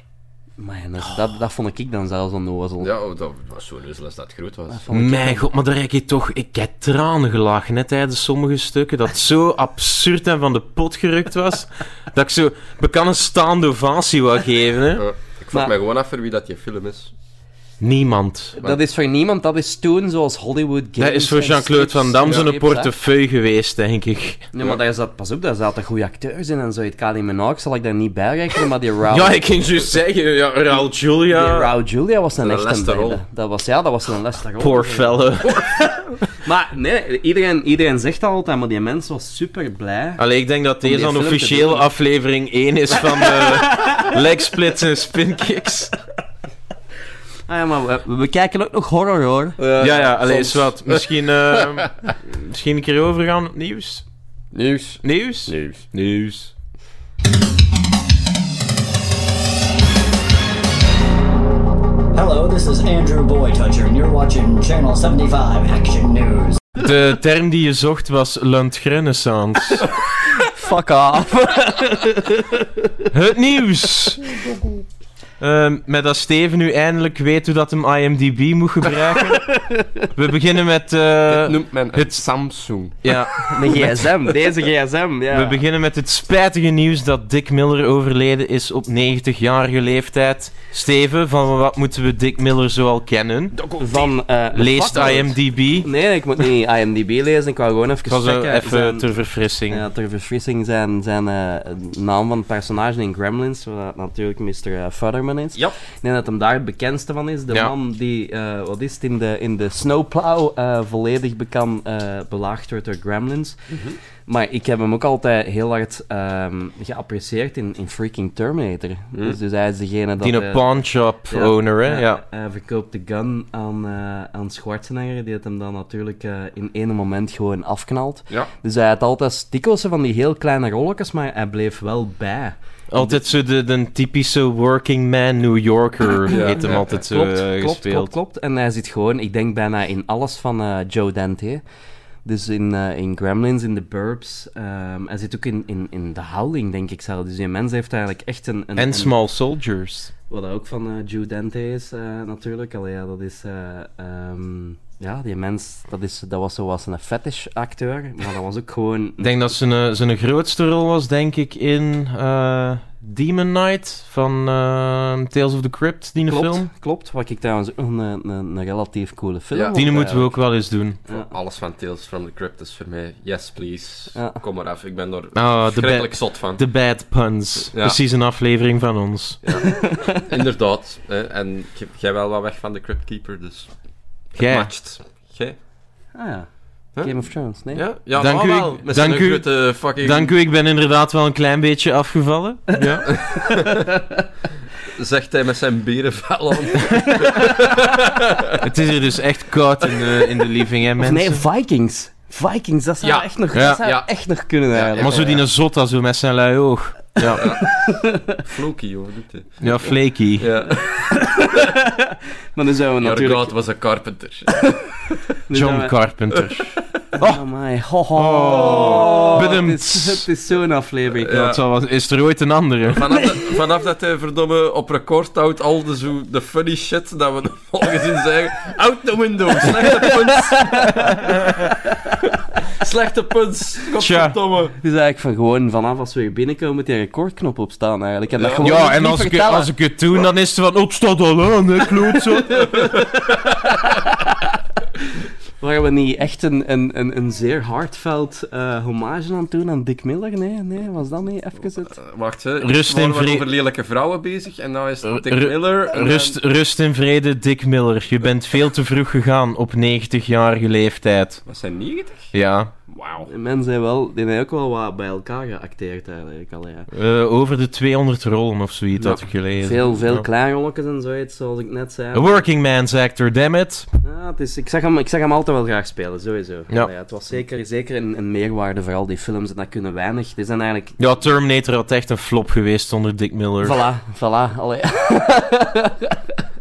Speaker 3: Maar dat, dat, dat vond ik dan zelfs onnozel.
Speaker 4: Ja, oh, dat was zo leuzel als dat groot
Speaker 1: Ah,
Speaker 4: was.
Speaker 3: Vond ik-
Speaker 1: Mijn god, maar daar heb je toch... Ik heb tranen gelachen, net tijdens sommige stukken. Dat zo absurd en van de pot gerukt was. dat ik zo... Ik kan een staande ovatie wou geven, hè.
Speaker 4: Eh, ik
Speaker 3: Maar-
Speaker 4: vraag me gewoon af voor wie dat je film is.
Speaker 1: Niemand.
Speaker 3: Dat is voor niemand, dat is toen zoals Hollywood Games.
Speaker 1: Dat is voor
Speaker 3: en
Speaker 1: Jean-Claude
Speaker 3: strips-
Speaker 1: Van Damme
Speaker 3: en
Speaker 1: zo'n
Speaker 3: strips, hè.
Speaker 1: portefeuille geweest, denk ik.
Speaker 3: Nee, maar daar zat, pas op, daar zaten goede acteurs in en zo. Het Kali Minogue zal ik daar niet bij rekenen, maar die Raul,
Speaker 1: Ja, ik ging juist zeggen, ja, Raul
Speaker 3: die
Speaker 1: Julia.
Speaker 3: Raul Julia was een
Speaker 4: De
Speaker 3: echte
Speaker 4: Lesterol.
Speaker 3: blijde. Dat was, ja, dat was een Lesterol.
Speaker 1: Poor fellow.
Speaker 3: Maar nee, iedereen, iedereen zegt dat altijd, maar die mens was super blij.
Speaker 1: <laughs> Allee, ik denk dat
Speaker 3: die
Speaker 1: deze dan
Speaker 3: film te
Speaker 1: officieel
Speaker 3: doen.
Speaker 1: aflevering 1 is van <laughs> de legsplits en spinkicks.
Speaker 3: Ah ja, maar we, we kijken ook nog horror hoor.
Speaker 1: ja, ja, allee, is
Speaker 4: Eh, soms.
Speaker 1: wat. Misschien, eh, misschien een keer overgaan op het nieuws.
Speaker 4: Nieuws.
Speaker 1: Nieuws?
Speaker 4: Nieuws.
Speaker 1: Nieuws.
Speaker 6: Hello, this is Andrew Boytoucher, and you're watching Channel 75 Action News.
Speaker 1: De term die je zocht was Lundgrenaissance.
Speaker 3: Fuck off.
Speaker 1: <laughs> het nieuws! Ehm, met dat Steven nu eindelijk weet hoe dat hem IMDb moet gebruiken. We beginnen met... eh,
Speaker 4: Noemt men het
Speaker 1: het-
Speaker 4: Samsung.
Speaker 1: ja,
Speaker 3: Een gsm, deze gsm, ja.
Speaker 1: We beginnen met het spijtige nieuws dat Dick Miller overleden is op 90-jarige leeftijd. Steven, van wat moeten we Dick Miller zoal kennen?
Speaker 3: Van, eh,
Speaker 1: Leest
Speaker 3: fuck,
Speaker 1: IMDb.
Speaker 3: Nee, ik moet niet IMDb lezen, ik wou gewoon even
Speaker 1: Ik was eh,
Speaker 3: checken.
Speaker 1: even
Speaker 3: Zijn-
Speaker 1: ter verfrissing.
Speaker 3: Ja, ter verfrissing zijn, zijn eh, naam van het personage in Gremlins, waar dat natuurlijk Mr. eh, Futterman is.
Speaker 4: Ja.
Speaker 3: Ik denk dat hem daar het bekendste van is. De
Speaker 1: Ja.
Speaker 3: man die, eh, wat is het, in de, in de snowplow eh, volledig bekan, eh, belaagd wordt door Gremlins. Maar ik heb hem ook altijd heel hard ehm, geapprecieerd in, in freaking Terminator. Dus, dus hij is degene dat...
Speaker 1: Die
Speaker 3: eh,
Speaker 1: een pawnshop
Speaker 3: ja, eh,
Speaker 1: owner, hè? Ja.
Speaker 3: Hij verkoopt de gun aan, eh, aan Schwarzenegger, die het hem dan natuurlijk eh, in één moment gewoon afknalt.
Speaker 4: Ja.
Speaker 3: Dus hij had altijd dikwijls van die heel kleine rolletjes, maar hij bleef wel bij.
Speaker 1: Altijd zo de, de typische working man New Yorker
Speaker 4: Ja,
Speaker 1: heeft hem
Speaker 4: ja,
Speaker 1: altijd zo
Speaker 3: klopt,
Speaker 1: eh,
Speaker 3: klopt,
Speaker 1: gespeeld.
Speaker 3: klopt, klopt. En hij zit gewoon, ik denk bijna in alles van eh, Joe Dante. Dus in, eh, in Gremlins, in The Burbs. ehm, hij zit ook in, in, in The Howling, denk ik zelf. Dus die mens heeft eigenlijk echt een... een
Speaker 1: En
Speaker 3: een-
Speaker 1: Small Soldiers.
Speaker 3: Wat ook van eh Joe Dante is, eh, natuurlijk. Allee, ja, dat is... eh, ehm, ja, die mens, dat, is, dat was zoals een
Speaker 1: <laughs>
Speaker 3: fetish-acteur. Maar dat was ook gewoon...
Speaker 1: Ik denk dat zijn, eh, zijn grootste rol was, denk ik, in eh, Demon Knight van eh, Tales of the Crypt, die
Speaker 3: klopt,
Speaker 1: film.
Speaker 3: klopt. Wat ik trouwens ook een, een, een relatief coole film
Speaker 4: Ja.
Speaker 3: vond
Speaker 1: Die moeten we
Speaker 3: eigenlijk.
Speaker 1: ook wel eens doen.
Speaker 3: Ja.
Speaker 4: Alles van Tales from the Crypt is voor mij yes please.
Speaker 3: Ja.
Speaker 4: Kom maar af, ik ben er
Speaker 1: Oh, de,
Speaker 4: verschrikkelijk
Speaker 1: ba-
Speaker 4: zot van.
Speaker 1: de Bad Puns.
Speaker 4: Ja.
Speaker 1: Precies een aflevering van ons.
Speaker 4: Inderdaad. Hè. En ik heb- jij wel wat weg van de Crypt Keeper, dus het
Speaker 1: Jij.
Speaker 4: matcht. Jij?
Speaker 3: Ah ja.
Speaker 4: Huh?
Speaker 3: Game of Thrones, nee?
Speaker 4: Ja? ja
Speaker 1: Dank
Speaker 4: maar
Speaker 1: u,
Speaker 4: wel,
Speaker 1: ik-
Speaker 4: met
Speaker 1: dank
Speaker 4: zo'n
Speaker 1: u.
Speaker 4: grote fucking...
Speaker 1: Dank u, ik ben inderdaad wel een klein beetje
Speaker 3: <laughs>
Speaker 1: afgevallen. Ja.
Speaker 4: Zegt hij met zijn berenvel aan. <laughs>
Speaker 1: Het is hier dus echt koud in de, in de living, hè,
Speaker 3: Of
Speaker 1: mensen.
Speaker 3: nee, Vikings. Vikings, dat zou
Speaker 4: Ja.
Speaker 3: echt nog,
Speaker 1: Ja.
Speaker 3: dat zou
Speaker 4: Ja.
Speaker 3: echt nog kunnen eigenlijk.
Speaker 1: maar zo die een zot als we met zijn lui oog. Ja,
Speaker 4: Floki, joh, wat doet hij?
Speaker 1: ja flaky.
Speaker 4: <laughs> Ja.
Speaker 3: Maar dan zijn we
Speaker 4: Your
Speaker 3: natuurlijk...
Speaker 4: God was a carpenter.
Speaker 3: nu zijn
Speaker 1: John
Speaker 3: we-
Speaker 1: Carpenter.
Speaker 3: Oh, my. Ho, ho.
Speaker 1: Oh.
Speaker 3: het,
Speaker 1: Bedemt.
Speaker 3: is, het is zo'n aflevering.
Speaker 1: Ja, het zal wel- is er ooit een andere?
Speaker 4: Vanaf, dat, vanaf dat hij verdomme op record houdt al de, zo, de funny shit dat we <laughs> volgens in zeggen. Out the window, slechte punts. slechte punts, godverdomme.
Speaker 3: Het is Dus eigenlijk van gewoon vanaf als we hier binnenkomen met die recordknop op staan eigenlijk. En dat
Speaker 4: Ja.
Speaker 3: gewoon
Speaker 1: Ja,
Speaker 3: niet
Speaker 1: en als ik,
Speaker 3: vertellen.
Speaker 1: als ik het doe, dan is het van... Oh, het staat al aan, hè,
Speaker 3: <laughs>
Speaker 1: klootzak.
Speaker 3: Waren we niet echt een, een, een, een zeer hardveld eh, hommage aan het doen aan Dick Miller? Nee, nee, was dat niet even het...
Speaker 4: Eh, Wacht, hè.
Speaker 1: Rust
Speaker 4: we
Speaker 1: in
Speaker 4: waren
Speaker 1: vrede.
Speaker 4: over lelijke vrouwen bezig en nou is het Dick
Speaker 1: Ru-
Speaker 4: Miller. en
Speaker 1: Rust, rust in vrede, Dick Miller. Je bent veel te vroeg gegaan op 90-jarige leeftijd.
Speaker 4: dan- Wat zijn 90?
Speaker 1: Ja,
Speaker 4: Wauw.
Speaker 3: Mensen zijn wel, die zijn ook wel wat bij elkaar geacteerd eigenlijk al, ja.
Speaker 1: eh, over de 200 rollen of zoiets
Speaker 4: Ja.
Speaker 1: had ik gelezen.
Speaker 3: Veel, veel
Speaker 1: Ja.
Speaker 3: kleinrolletjes en zoiets, zoals ik net zei.
Speaker 1: A working man's actor, damn it.
Speaker 3: Ja, het is, ik, zag hem, ik zag hem altijd wel graag spelen, sowieso.
Speaker 1: Ja.
Speaker 3: Ja. het was zeker, zeker een, een meerwaarde voor al die films en dat kunnen weinig. Die zijn eigenlijk...
Speaker 1: Ja, Terminator had echt een flop geweest zonder Dick Miller.
Speaker 3: Voilà, voilà. Allee.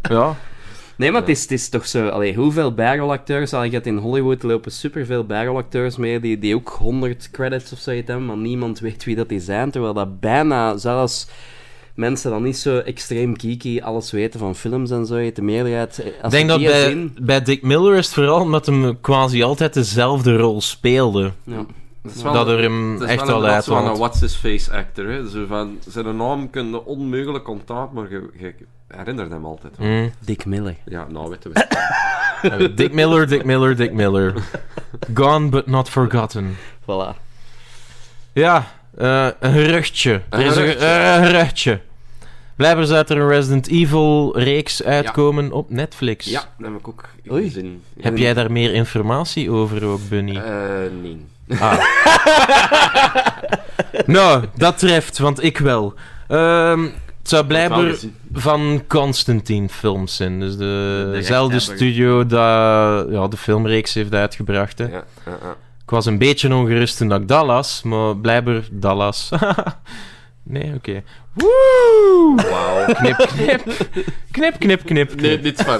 Speaker 1: Ja.
Speaker 3: Nee, maar het is, het is toch zo... Allee, hoeveel bijrolacteurs... Allee, je hebt in Hollywood lopen superveel bijrolacteurs mee die, die ook 100 credits of zoiets hebben, maar niemand weet wie dat die zijn. Terwijl dat bijna zelfs... Mensen dan niet zo extreem geeky alles weten van films en zo. De meerderheid... eh,
Speaker 1: Ik
Speaker 3: Als
Speaker 1: denk
Speaker 3: ze
Speaker 1: dat
Speaker 3: die
Speaker 1: bij,
Speaker 3: zien-
Speaker 1: bij Dick Miller is het vooral omdat hem quasi altijd dezelfde rol speelde.
Speaker 3: Ja.
Speaker 4: Dat, is
Speaker 1: Dat er hem
Speaker 4: het is
Speaker 1: echt
Speaker 4: wel
Speaker 1: wel
Speaker 4: inderdaad
Speaker 1: uit
Speaker 4: zo van een
Speaker 1: had.
Speaker 4: what's-his-face actor. Hè. Zo van, zijn naam kun je onmogelijk onthouden, maar je, je herinnert hem altijd.
Speaker 1: Mm.
Speaker 3: Dick Miller.
Speaker 4: Ja, nou weten we het.
Speaker 1: Hm? Dick Miller, Dick Miller, Dick Miller. Gone but not forgotten.
Speaker 3: Voilà.
Speaker 1: Ja, eh, een geruchtje.
Speaker 4: Een
Speaker 1: er is een,
Speaker 4: geruchtje.
Speaker 1: eh, een geruchtje. Blijkbaar zou er een Resident Evil reeks uitkomen op Netflix.
Speaker 4: Ja, dat heb ik ook
Speaker 3: Oei.
Speaker 4: gezien. Ja.
Speaker 1: Heb jij daar meer informatie over ook, Bunny?
Speaker 4: Eh, nee.
Speaker 1: Nou, dat treft, want ik wel. Ehm, het zou
Speaker 4: Wel
Speaker 1: blijkbaar
Speaker 4: gezien.
Speaker 1: van Constantine films zijn. Dus de-
Speaker 4: De
Speaker 1: dezelfde
Speaker 4: rechthebber.
Speaker 1: studio dat ja, de filmreeks heeft uitgebracht. Hè.
Speaker 4: Ja, ja, ja.
Speaker 1: Ik was een beetje ongerust toen dat ik Dallas, maar blijkbaar Dallas. <laughs> nee, oké. Woe!
Speaker 4: Wauw.
Speaker 1: Knip, knip. Knip, knip, knip.
Speaker 4: Nee,
Speaker 1: knip.
Speaker 4: niet <laughs> van.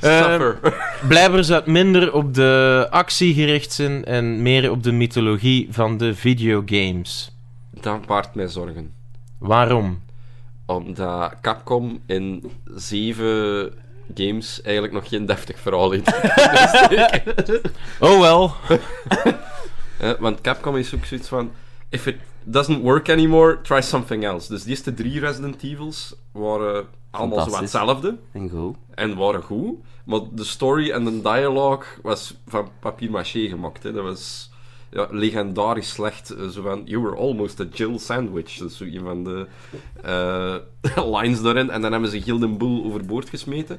Speaker 4: Ehm, Suffer.
Speaker 1: Ehm, Blijkbaar zou het minder op de actie gericht zijn en meer op de mythologie van de videogames.
Speaker 4: Dat baart mij zorgen.
Speaker 1: Waarom?
Speaker 4: Omdat Capcom in zeven games eigenlijk nog geen deftig verhaal heeft. <laughs>
Speaker 1: Oh wel.
Speaker 4: Eh, want Capcom is ook zoiets van... If it doesn't work anymore, try something else. Dus die eerste drie Resident Evils waren allemaal zo wat
Speaker 3: Fantastisch.
Speaker 4: hetzelfde.
Speaker 3: En goed.
Speaker 4: En waren goed. Maar de story en de dialogue was van papier-mâché gemaakt. Hè. Dat was ja, legendarisch slecht. Eh, Zo van, you were almost a Jill sandwich. Dat is zo een van de eh, <laughs> lines daarin. En dan hebben ze Gilden Boel overboord gesmeten.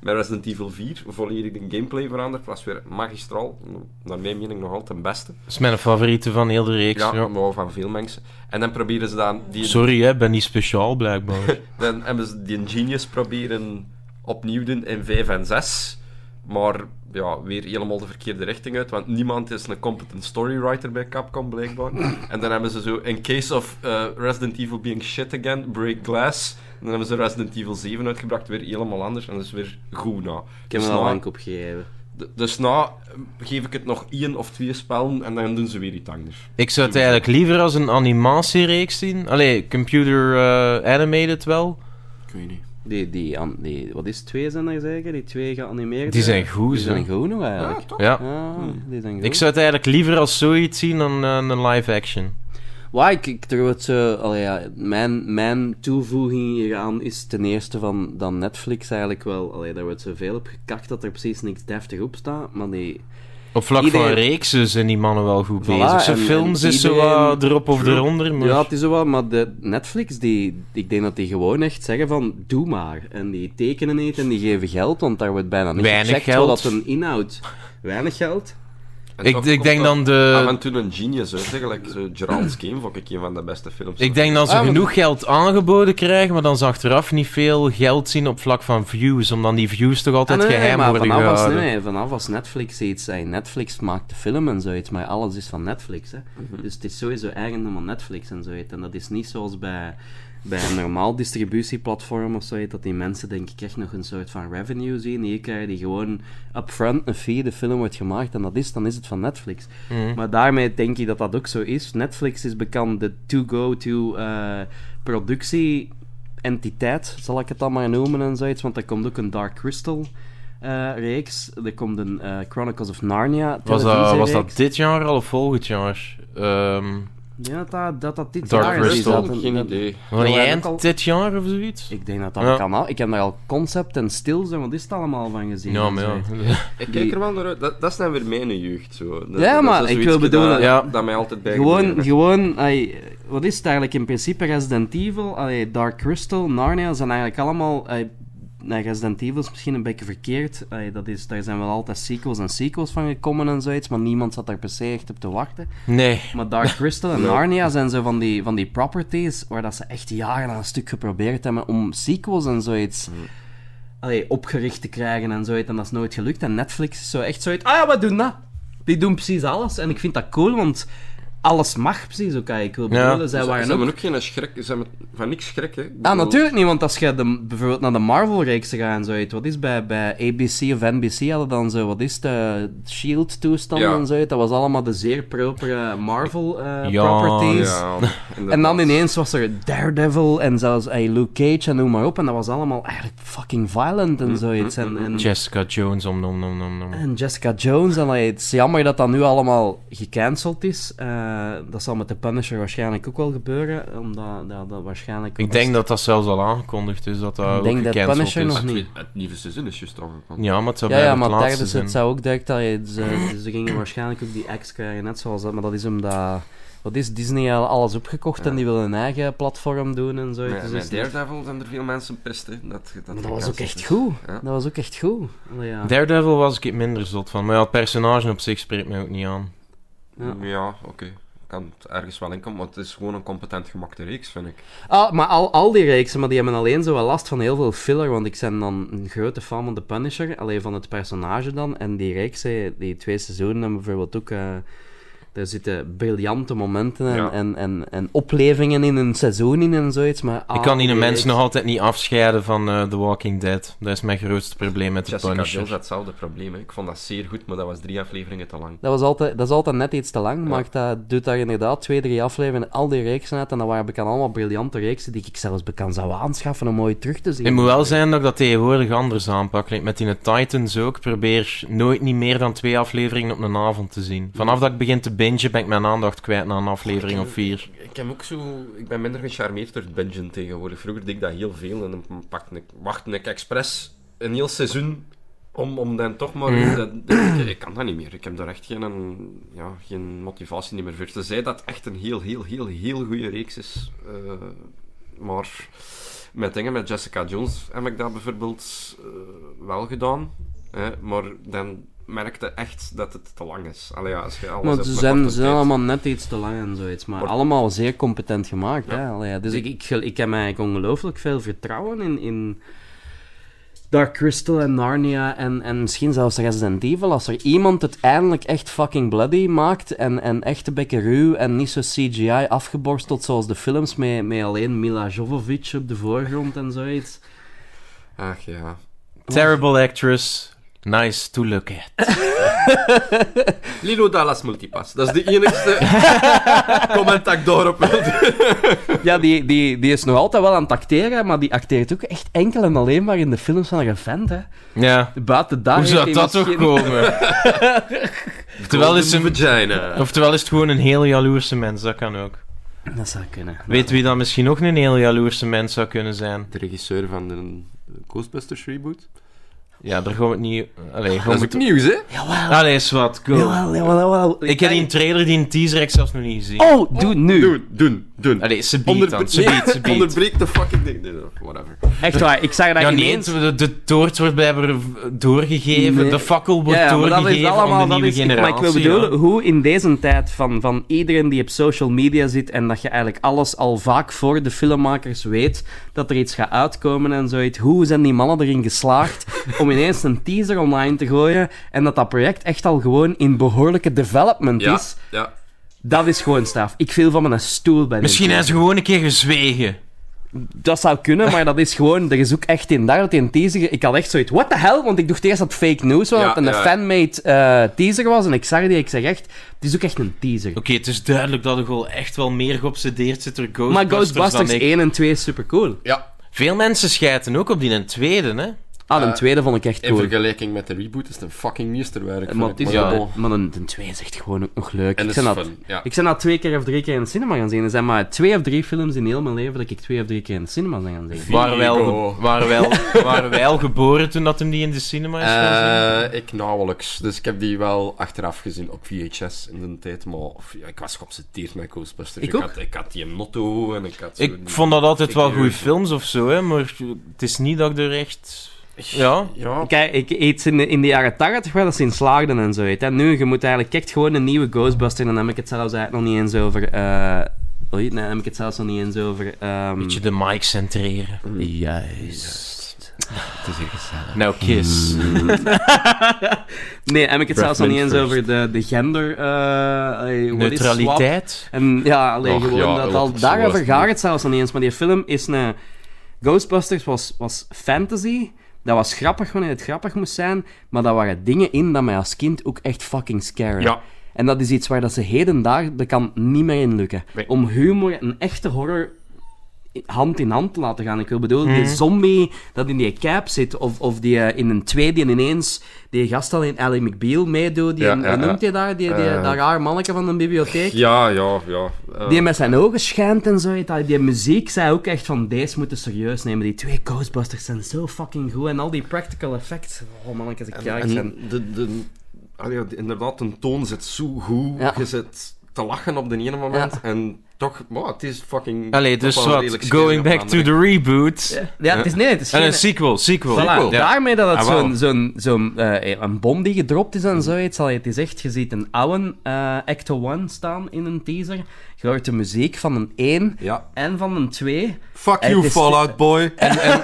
Speaker 4: Bij Resident Evil 4 volledig de gameplay veranderd. Was weer magistraal. Naar mijn mening nog altijd de beste.
Speaker 1: Dat is mijn favoriete van heel de reeks.
Speaker 4: Ja,
Speaker 1: ja.
Speaker 4: maar van veel mensen. En dan proberen ze dan... Die,
Speaker 1: Sorry, hè, ben niet speciaal
Speaker 4: <laughs>
Speaker 1: blijkbaar.
Speaker 4: dan hebben ze die Genius proberen opnieuw doen in 5 en 6. Maar ja, weer helemaal de verkeerde richting uit, want niemand is een competent storywriter bij Capcom blijkbaar. En dan hebben ze zo, in case of eh, Resident Evil being shit again, break glass. En dan hebben ze Resident Evil 7 uitgebracht, weer helemaal anders. En dat is weer goed na.
Speaker 3: Ik heb
Speaker 4: Dus
Speaker 3: hem al
Speaker 4: na-
Speaker 3: lang opgegeven.
Speaker 4: d- Dus na eh, geef ik het nog één of twee spellen en dan doen ze weer iets anders.
Speaker 1: ik zou het eigenlijk liever als een animatiereeks zien. Allee, computer eh, animated wel.
Speaker 4: Ik weet niet.
Speaker 3: Die, die, an- die, wat is het, twee zijn er zeker? Die twee geanimeerd.
Speaker 1: Die zijn goed,
Speaker 3: Die
Speaker 1: zo.
Speaker 3: zijn goed nog eigenlijk.
Speaker 4: Ja, toch?
Speaker 1: Ja.
Speaker 3: Ah, die zijn goed.
Speaker 1: Ik zou het eigenlijk liever als zoiets zien dan eh, een live action.
Speaker 3: Waar ik, ik trouw het zo... allee, ja, mijn, mijn toevoeging hieraan is ten eerste van dat Netflix eigenlijk wel... Allee, daar wordt zoveel op gekakt dat er precies niks deftig op staat, maar die...
Speaker 1: Op vlak van
Speaker 3: Iedereen-
Speaker 1: reeksen zijn die mannen wel goed
Speaker 3: Voilà,
Speaker 1: bezig. Ze
Speaker 3: en-
Speaker 1: films
Speaker 3: en
Speaker 1: is zo
Speaker 3: iedereen-
Speaker 1: wat erop of eronder, maar...
Speaker 3: Ja, het is zo wat, maar de Netflix, die, ik denk dat die gewoon echt zeggen van, doe maar. En die tekenen niet en die geven geld, want daar wordt bijna niet
Speaker 1: Weinig
Speaker 3: gecheckt
Speaker 1: geld.
Speaker 3: wat dat een inhoud. Weinig geld.
Speaker 4: En
Speaker 1: Ik-
Speaker 4: toch Ah,
Speaker 1: ik
Speaker 4: komt
Speaker 1: denk
Speaker 4: dat
Speaker 1: dan de-
Speaker 3: Eh,
Speaker 4: Af en toe een genius uit, eigenlijk. Zo Gerald's Game vond ik een van de beste films.
Speaker 1: Ik denk dat ze
Speaker 3: Ah, want-
Speaker 1: genoeg geld aangeboden krijgen, maar dan ze achteraf niet veel geld zien op vlak van views, omdat die views toch altijd
Speaker 3: Ah, nee, nee,
Speaker 1: geheim
Speaker 3: maar
Speaker 1: worden
Speaker 3: vanaf als,
Speaker 1: gehouden.
Speaker 3: nee, nee, vanaf als Netflix iets... Hey, Netflix maakt de film en zoiets, maar alles is van Netflix. Hè.
Speaker 1: Mhm.
Speaker 3: Dus het is sowieso eigendom van Netflix en zoiets. En dat is niet zoals bij, bij een normaal distributieplatform of zoiets, dat die mensen denk ik echt nog een soort van revenue zien. Hier krijgen die gewoon upfront een fee, de film wordt gemaakt en dat is, dan is het van Netflix.
Speaker 1: Mhm.
Speaker 3: Maar daarmee denk ik dat dat ook zo is. Netflix is bekend de to-go-to eh, productie entiteit, zal ik het dan maar noemen en zoiets. Want er komt ook een Dark Crystal eh, reeks. Er komt een eh, Chronicles of Narnia
Speaker 1: Was dat, was dat
Speaker 3: televisiereeks.
Speaker 1: dit jaar al of volgend jaar? Ehm
Speaker 3: Ik denk dat dat, dat, dat dit
Speaker 1: Dark
Speaker 3: jaar is.
Speaker 1: Crystal,
Speaker 3: Dat-
Speaker 4: geen
Speaker 3: dat-
Speaker 4: idee.
Speaker 1: was niet
Speaker 3: dat-
Speaker 1: eind
Speaker 3: dat-
Speaker 1: dit jaar of zoiets?
Speaker 3: Ik denk dat dat
Speaker 1: Ja.
Speaker 3: kan al. Ik heb daar al concept en stils en wat is het allemaal van gezien.
Speaker 1: Ja,
Speaker 3: en
Speaker 1: maar
Speaker 3: zoiets.
Speaker 1: ja.
Speaker 4: Ik
Speaker 3: Die-
Speaker 4: kijk er wel naar uit. Dat, dat zijn weer mijn jeugd. Zo. Dat-
Speaker 3: Ja,
Speaker 4: dat
Speaker 3: maar
Speaker 4: is
Speaker 3: ik
Speaker 4: zoiets
Speaker 3: wil bedoelen-
Speaker 4: Dat,
Speaker 1: Ja.
Speaker 4: dat mij altijd bij
Speaker 3: Gewoon, gewoon ai, wat is het eigenlijk in principe? Resident Evil, ai, Dark Crystal, Narnia zijn eigenlijk allemaal. ai, nou, Resident Evil is misschien een beetje verkeerd. Ai, dat is, daar zijn wel altijd sequels en sequels van gekomen en zoiets, maar niemand zat daar per se echt op te wachten.
Speaker 1: <laughs> Nee.
Speaker 3: Maar Dark Crystal en Narnia zijn zo van die, van die properties waar dat ze echt jaren aan een stuk geprobeerd hebben om sequels en zoiets allee, opgericht te krijgen en zoiets. En dat is nooit gelukt. En Netflix is zo echt zoiets. Ah ja, we doen dat. Die doen precies alles. En ik vind dat cool, want alles mag precies ook. allee, Ik wil bedoelen, zij
Speaker 4: Ze,
Speaker 3: waren
Speaker 4: ze hebben
Speaker 3: ook...
Speaker 4: ook geen schrik. Ze hebben van niks schrik, hè. Ik
Speaker 3: Ah,
Speaker 4: bedoel-
Speaker 3: natuurlijk niet, want als je de, bijvoorbeeld naar de Marvel-reeks gaat en zoiets, wat is bij, bij ABC of NBC hadden dan zo, wat is eh, de Shield-toestand
Speaker 4: Ja.
Speaker 3: E en zoiets, dat was allemaal de zeer propere
Speaker 1: Ja,
Speaker 3: Marvel-properties. <laughs>
Speaker 4: Ja,
Speaker 3: En dan
Speaker 4: inderdaad.
Speaker 3: ineens was er Daredevil en zelfs hey, Luke Cage en noem maar op. En dat was allemaal eigenlijk fucking violent en zoiets. En, en,
Speaker 1: Jessica Jones, om, om, om, om, om.
Speaker 3: en Jessica Jones. En hey, het is jammer dat dat nu allemaal gecanceld is. Eh, dat zal met de Punisher waarschijnlijk ook wel gebeuren. Omdat dat, dat waarschijnlijk...
Speaker 1: Ik denk dat dat zelfs al aangekondigd is, dat dat
Speaker 3: Ik denk
Speaker 1: ook
Speaker 3: dat
Speaker 1: gecanceld
Speaker 3: Punisher
Speaker 1: is.
Speaker 3: nog
Speaker 4: Het,
Speaker 3: niet.
Speaker 4: tweede- het nieuwe seizoen is juist aangekomen.
Speaker 1: Ja, maar het zou
Speaker 3: Ja, ja,
Speaker 1: bijna
Speaker 3: maar
Speaker 1: het laatste
Speaker 3: tijdens
Speaker 1: zijn.
Speaker 3: het zou ook direct... dat je- ze, ze gingen waarschijnlijk ook die X krijgen, net zoals dat. Maar dat is omdat... Wat is Disney al alles opgekocht en die willen een eigen platform doen en zo.
Speaker 4: Met,
Speaker 3: Dus
Speaker 4: met
Speaker 3: is-
Speaker 4: Daredevil zijn er veel mensen pest, hè. Dat, dat, dus-
Speaker 3: Maar dat was ook echt goed.
Speaker 4: Ja.
Speaker 3: Dat was ook echt goed. Allee, ja.
Speaker 1: Daredevil was ik minder zot van, maar ja, het personage op zich spreekt mij ook niet aan.
Speaker 3: Ja.
Speaker 4: Ja, oké. Kan het ergens wel inkomen, maar het is gewoon een competent gemakte reeks, vind ik.
Speaker 3: Ah, maar al, al die reeksen, maar die hebben alleen zo wel last van heel veel filler, want ik ben dan een grote fan van The Punisher, alleen van het personage dan. En die reeksen, die twee seizoenen hebben bijvoorbeeld ook... eh, daar zitten briljante momenten en,
Speaker 4: Ja.
Speaker 3: en, en, en oplevingen in een seizoen in en zoiets, maar...
Speaker 1: ik
Speaker 3: al
Speaker 1: kan die
Speaker 3: die
Speaker 1: de mensen nog
Speaker 3: reeksen-
Speaker 1: altijd niet afscheiden van eh, The Walking Dead. Dat is mijn grootste probleem met de
Speaker 4: Jessica Jones
Speaker 1: Punisher.
Speaker 4: had hetzelfde probleem. hè. Ik vond dat zeer goed, maar dat was drie afleveringen te lang.
Speaker 3: Dat, was altijd, dat is altijd net iets te lang, maar dat doet daar inderdaad twee, drie afleveringen al die reeksen uit. En dat waren bekend allemaal briljante reeksen die ik zelfs bekend zou aanschaffen om mooi terug te zien.
Speaker 1: Het moet wel zijn dat ik dat tegenwoordig anders aanpak. Like met die Titans ook. Probeer nooit niet meer dan twee afleveringen op een avond te zien. Vanaf dat ik begin te bingen, ben ik mijn aandacht kwijt na een aflevering of vier.
Speaker 4: Ik, heb ook zo, ik ben minder gecharmeerd door het bingen tegenwoordig. Vroeger deed ik dat heel veel en dan pakte ik, wachtte ik expres een heel seizoen om, om dan toch maar...
Speaker 3: Mm.
Speaker 4: dat- dat- ik, ik kan dat niet meer. Ik heb daar echt geen, ja, geen motivatie niet meer voor. Tenzij dat echt een heel, heel, heel, heel goede reeks is. eh, maar met dingen, met Jessica Jones heb ik dat bijvoorbeeld eh, wel gedaan. Hè, maar dan merkte echt dat het te lang is. Allee, ja, als je alles
Speaker 3: Maar
Speaker 4: hebt
Speaker 3: ze
Speaker 4: met
Speaker 3: zijn,
Speaker 4: korte
Speaker 3: ze zijn
Speaker 4: tijd.
Speaker 3: allemaal net iets te lang en zoiets. Maar allemaal zeer competent gemaakt. Hè? Allee, ja, dus ik, ik, gel- ik heb eigenlijk ongelooflijk veel vertrouwen in, in Dark Crystal en Narnia. En, en misschien zelfs Resident Evil. Als er iemand het eindelijk echt fucking bloody maakt. En, en echt een beetje ruw. En niet zo CGI afgeborsteld zoals de films. Met, met alleen Mila Jovovich op de voorgrond en zoiets.
Speaker 4: Ach ja.
Speaker 1: Terrible actress. Nice to look at.
Speaker 4: Lilo Dallas Multipass. Dat is de <laughs> enigste comment dat ik daarop wil doen.
Speaker 3: Ja, die, die, die is nog altijd wel aan het acteren. Maar die acteert ook echt enkel en alleen maar in de films van een vent. Hè.
Speaker 1: Ja.
Speaker 3: Buiten daar
Speaker 1: Hoe
Speaker 3: heeft
Speaker 1: zou
Speaker 3: hij
Speaker 1: dat toch
Speaker 3: misschien-
Speaker 4: <laughs>
Speaker 1: komen? Oftewel is,
Speaker 4: een
Speaker 1: hem-
Speaker 4: vagina.
Speaker 1: oftewel is het gewoon een heel jaloerse mens, dat kan ook.
Speaker 3: Dat zou kunnen.
Speaker 1: Weet wie dan misschien nog een heel jaloerse mens zou kunnen zijn?
Speaker 4: De regisseur van de Ghostbusters reboot.
Speaker 1: Ja, daar gaan we het niet... Allee, gaan
Speaker 4: Dat is
Speaker 1: we
Speaker 4: het
Speaker 1: het...
Speaker 4: nieuws, hè?
Speaker 3: Jawel.
Speaker 1: Allee, zwart, go.
Speaker 3: Jawel, jawel, jawel.
Speaker 1: Ah, Ik heb die trailer, die teaser, ik zelfs nog niet gezien.
Speaker 3: Oh, doe nu.
Speaker 4: Doen, doen, doen.
Speaker 1: Allee, ze biedt
Speaker 4: Onderbre-
Speaker 1: dan, ze
Speaker 4: nee,
Speaker 1: biedt,
Speaker 3: <laughs>
Speaker 4: <laughs>
Speaker 1: ze biedt.
Speaker 4: Onderbreek de fucking ding. Nee, whatever.
Speaker 3: Echt waar, ik zag dat
Speaker 1: Ja, nee,
Speaker 3: ineens.
Speaker 1: de, de toort wordt blijkbaar doorgegeven,
Speaker 3: Nee.
Speaker 1: de fakkel wordt
Speaker 3: Ja, ja, maar dat is
Speaker 1: doorgegeven
Speaker 3: allemaal,
Speaker 1: aan de
Speaker 3: dat
Speaker 1: nieuwe
Speaker 3: is,
Speaker 1: generatie.
Speaker 3: maar ik wil
Speaker 1: ja.
Speaker 3: bedoelen, hoe in deze tijd van, van iedereen die op social media zit en dat je eigenlijk alles al vaak voor de filmmakers weet, dat er iets gaat uitkomen en zoiets, hoe zijn die mannen erin
Speaker 1: <laughs>
Speaker 3: geslaagd om ineens een teaser online te gooien en dat dat project echt al gewoon in behoorlijke development
Speaker 4: Ja,
Speaker 3: is,
Speaker 4: ja.
Speaker 3: dat is gewoon straf. Ik viel van mijn stoel bij dit.
Speaker 1: Misschien hebben ze gewoon een keer gezwegen.
Speaker 3: Dat zou kunnen, maar dat is gewoon... Er is ook echt in daar, dat in teaser... Ik had echt zoiets... What the hell? Want ik dacht eerst dat het fake news was,
Speaker 4: Ja,
Speaker 3: dat het een
Speaker 4: ja.
Speaker 3: fanmade eh, teaser was. En ik zag die, ik zeg echt... Het is ook echt een teaser.
Speaker 1: Oké, het is duidelijk dat er wel echt wel meer geobsedeerd zit door
Speaker 3: Maar
Speaker 1: Ghostbusters,
Speaker 3: Ghostbusters e-
Speaker 1: dan ik.
Speaker 3: 1 en 2 is super cool.
Speaker 4: ja.
Speaker 1: Veel mensen schijten ook op die een tweede, hè?
Speaker 3: Ah, de
Speaker 4: Eh,
Speaker 3: tweede vond ik echt
Speaker 4: In
Speaker 3: cool. Eh,
Speaker 4: vergelijking met de reboot is het een fucking meesterwerk.
Speaker 3: Maar,
Speaker 4: vind
Speaker 3: het
Speaker 4: ik.
Speaker 3: is
Speaker 1: Ja.
Speaker 3: wel- maar de, de tweede is echt gewoon ook nog leuk.
Speaker 4: En
Speaker 3: ik
Speaker 4: het
Speaker 3: ben
Speaker 4: is
Speaker 3: dat,
Speaker 4: fun. Ja.
Speaker 3: ik ben dat twee keer of drie keer in de cinema gaan zien. Er zijn maar twee of drie films in heel mijn leven dat ik twee of drie keer in de cinema ben gaan zien.
Speaker 1: Waren wij, al
Speaker 4: Vigo.
Speaker 1: ge- waren, wij al- <laughs> waren wij al geboren toen dat hem die in de cinema is? gaan zien?
Speaker 4: Eh, ik nauwelijks. Dus ik heb die wel achteraf gezien op VHS in de tijd. Maar of, ja, ik was geobsedeerd met Ghostbusters.
Speaker 3: Ik ook.
Speaker 4: had, ik had die motto en ik had zo
Speaker 1: ik
Speaker 4: die-
Speaker 1: vond dat altijd
Speaker 4: Ik
Speaker 1: wel
Speaker 4: weet
Speaker 1: goede
Speaker 4: het.
Speaker 1: films of zo, hè? Maar het is niet dat ik er echt... Ja.
Speaker 4: Ja,
Speaker 3: Kijk, ik iets in de, in de jaren 80 wel eens in slaagden en zo. weet je. En nu, je moet eigenlijk echt gewoon een nieuwe Ghostbuster. En dan heb ik het zelfs eigenlijk nog niet eens over. eh, oei, nee, dan heb ik het zelfs nog niet eens over. ehm,
Speaker 1: Beetje de mic centreren.
Speaker 5: Juist. Mm. Het is hier gezellig. Mm.
Speaker 1: Nou, kiss.
Speaker 3: nee, heb ik het zelfs nog niet eens
Speaker 5: first.
Speaker 3: over de, de gender. eh, allee, wat is swap?
Speaker 1: Neutraliteit.
Speaker 3: En ja, alleen
Speaker 4: Och,
Speaker 3: gewoon
Speaker 4: ja,
Speaker 3: dat
Speaker 4: dat
Speaker 3: al.
Speaker 4: is
Speaker 3: Daarover
Speaker 4: worst,
Speaker 3: gaat
Speaker 4: nee.
Speaker 3: het zelfs nog niet eens. Maar die film is een. Ghostbusters was, was fantasy. Dat was grappig wanneer het grappig moest zijn. Maar daar waren dingen in dat mij als kind ook echt fucking scary.
Speaker 4: Ja.
Speaker 3: En dat is iets waar dat ze heden daar dat kan niet meer in lukken.
Speaker 4: Nee.
Speaker 3: Om humor en echte horror i- hand in hand te laten gaan. Ik wil bedoelen, die zombie dat in die cap zit, of, of die eh, in een tweede en ineens die gast al in Ally McBeal meedoet, die
Speaker 4: Ja,
Speaker 3: een-
Speaker 4: ja,
Speaker 3: hoe
Speaker 4: ja.
Speaker 3: noemt hij daar, die, die,
Speaker 4: Eh.
Speaker 3: dat raar manneke van de bibliotheek.
Speaker 4: ja, ja. ja. Eh,
Speaker 3: Die met zijn ogen schijnt en zo. dat- Die muziek zei ook echt van, deze moeten serieus nemen. Die twee Ghostbusters zijn zo fucking goed. En al die practical effects. Oh man, ik als ik kijk. zijn.
Speaker 4: En de, de, allee, ja, de- inderdaad, de toon zit zo goed.
Speaker 3: Ja.
Speaker 4: Je zit te lachen op de ene moment. En toch, wow, het is fucking...
Speaker 1: Allee,
Speaker 4: toch
Speaker 1: dus
Speaker 4: wel
Speaker 1: wat,
Speaker 4: redelijk scary
Speaker 1: going
Speaker 4: op een
Speaker 1: back to
Speaker 4: andere-
Speaker 1: the reboot.
Speaker 3: Ja, het is, nee, het is
Speaker 1: En
Speaker 3: geen-
Speaker 1: een sequel, sequel.
Speaker 3: Voilà,
Speaker 1: sequel. Ja.
Speaker 3: daarmee dat het
Speaker 4: Ah, wel.
Speaker 3: zo'n, zo'n, zo'n eh, een bom die gedropt is en zoiets. Allee, het is echt, je ziet een oude eh Acto 1 staan in een teaser. Je hoort de muziek van een 1
Speaker 4: Ja.
Speaker 3: en van een 2.
Speaker 4: Fuck
Speaker 3: Het
Speaker 4: you,
Speaker 3: is-
Speaker 4: Fallout Boy.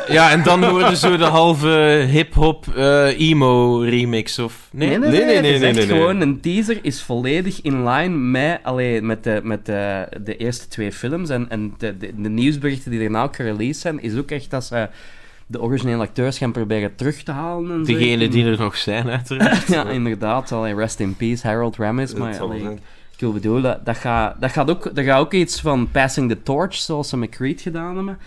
Speaker 1: Ja, en dan worden zo de halve hip-hop eh, emo remix of. Nee,
Speaker 3: Nee, nee, nee.
Speaker 4: Nee, nee,
Speaker 3: het
Speaker 4: nee,
Speaker 3: is
Speaker 4: nee,
Speaker 3: echt
Speaker 4: nee, nee.
Speaker 3: gewoon een teaser is volledig in line met, allee, met, de, met de, de eerste twee films. En, en de, de, de nieuwsberichten die daarna ook gereleased zijn, is ook echt dat ze de originele acteurs gaan proberen terug te halen. En zoiets.
Speaker 1: Degene die er nog zijn, uiteraard.
Speaker 3: <laughs> Ja, inderdaad. Allee, rest in peace, Harold Ramis.
Speaker 4: <laughs> Dat
Speaker 3: Maar
Speaker 4: zal wel
Speaker 3: allee,
Speaker 4: zijn.
Speaker 3: ik wil bedoelen, dat, dat, gaat, dat, gaat ook, dat gaat ook iets van passing the torch, zoals ze met Creed gedaan hebben.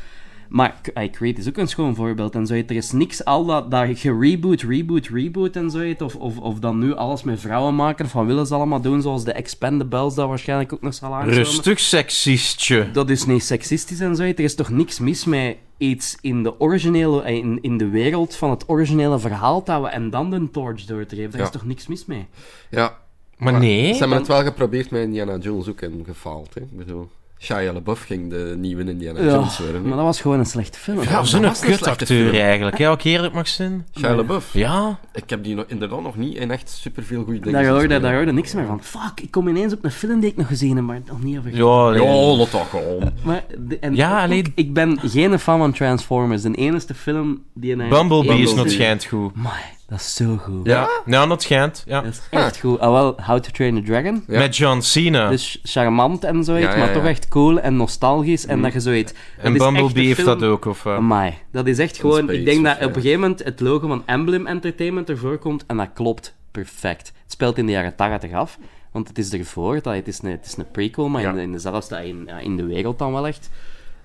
Speaker 3: Maar allee, Creed is ook een schoon voorbeeld. En zo, er is niks al dat, dat gereboot, reboot, reboot en zo. Of, of, of dan nu alles met vrouwen maken, of wat willen ze allemaal doen, zoals de Expendables, dat waarschijnlijk ook nog zal aankomen.
Speaker 1: Rustig seksistje.
Speaker 3: Dat is niet seksistisch en zo. Er is toch niks mis met iets in de originele, eh, in, in de wereld van het originele verhaal dat we en dan de torch door te geven. Daar
Speaker 4: Ja.
Speaker 3: is toch niks mis mee?
Speaker 4: Ja,
Speaker 1: Maar nee.
Speaker 4: Ze hebben het wel geprobeerd met Indiana Jones ook en gefaald. Hè? Ik bedoel, Shia LaBeouf ging de nieuwe Indiana Jones worden.
Speaker 3: maar
Speaker 4: hè.
Speaker 3: dat was gewoon een slechte film.
Speaker 1: Ja,
Speaker 4: dat
Speaker 1: zo'n
Speaker 4: was een slechte
Speaker 1: kutacteur
Speaker 4: film.
Speaker 1: eigenlijk. Ja, ook eerlijk mag zijn.
Speaker 4: Shia LaBeouf.
Speaker 1: Ja.
Speaker 4: Ik heb die nog- inderdaad nog niet in echt superveel goede dingen
Speaker 3: Daar
Speaker 4: zien
Speaker 3: hoorde,
Speaker 1: dus
Speaker 4: spelen.
Speaker 3: daar hoorde niks meer van. Fuck, ik kom ineens op een film die ik nog gezien heb, maar nog niet over.
Speaker 1: Ja, nee.
Speaker 4: Ja, oh, dat toch gewoon.
Speaker 3: Maar de- en
Speaker 1: Ja,
Speaker 3: ook-
Speaker 1: alleen-
Speaker 3: ik ben geen fan van Transformers. De enige film die... een-
Speaker 1: Bumblebee, is
Speaker 4: Bumblebee.
Speaker 1: nog schijnt goed.
Speaker 3: Amai, dat is zo goed.
Speaker 1: Ja, nou, dat schijnt. Ja.
Speaker 3: Dat is echt goed. Ah wel, How to Train a Dragon.
Speaker 4: Ja.
Speaker 1: Met John Cena.
Speaker 3: Dus charmant en zoiets,
Speaker 4: Ja, ja,
Speaker 3: maar toch
Speaker 4: ja.
Speaker 3: echt cool en nostalgisch. En dat je zoiets...
Speaker 1: en Bumblebee heeft dat ook. Of, eh,
Speaker 3: Amai, dat is echt gewoon...
Speaker 4: Space
Speaker 3: Ik denk dat op
Speaker 4: of,
Speaker 3: een
Speaker 4: ja.
Speaker 3: gegeven moment het logo van Emblem Entertainment ervoor komt en dat klopt perfect. Het speelt in de jaren 80 af, want het is ervoor. dat- Het is een, het is een prequel, maar
Speaker 4: Ja.
Speaker 3: in, de, in dezelfde... In, ja, in de wereld dan wel echt.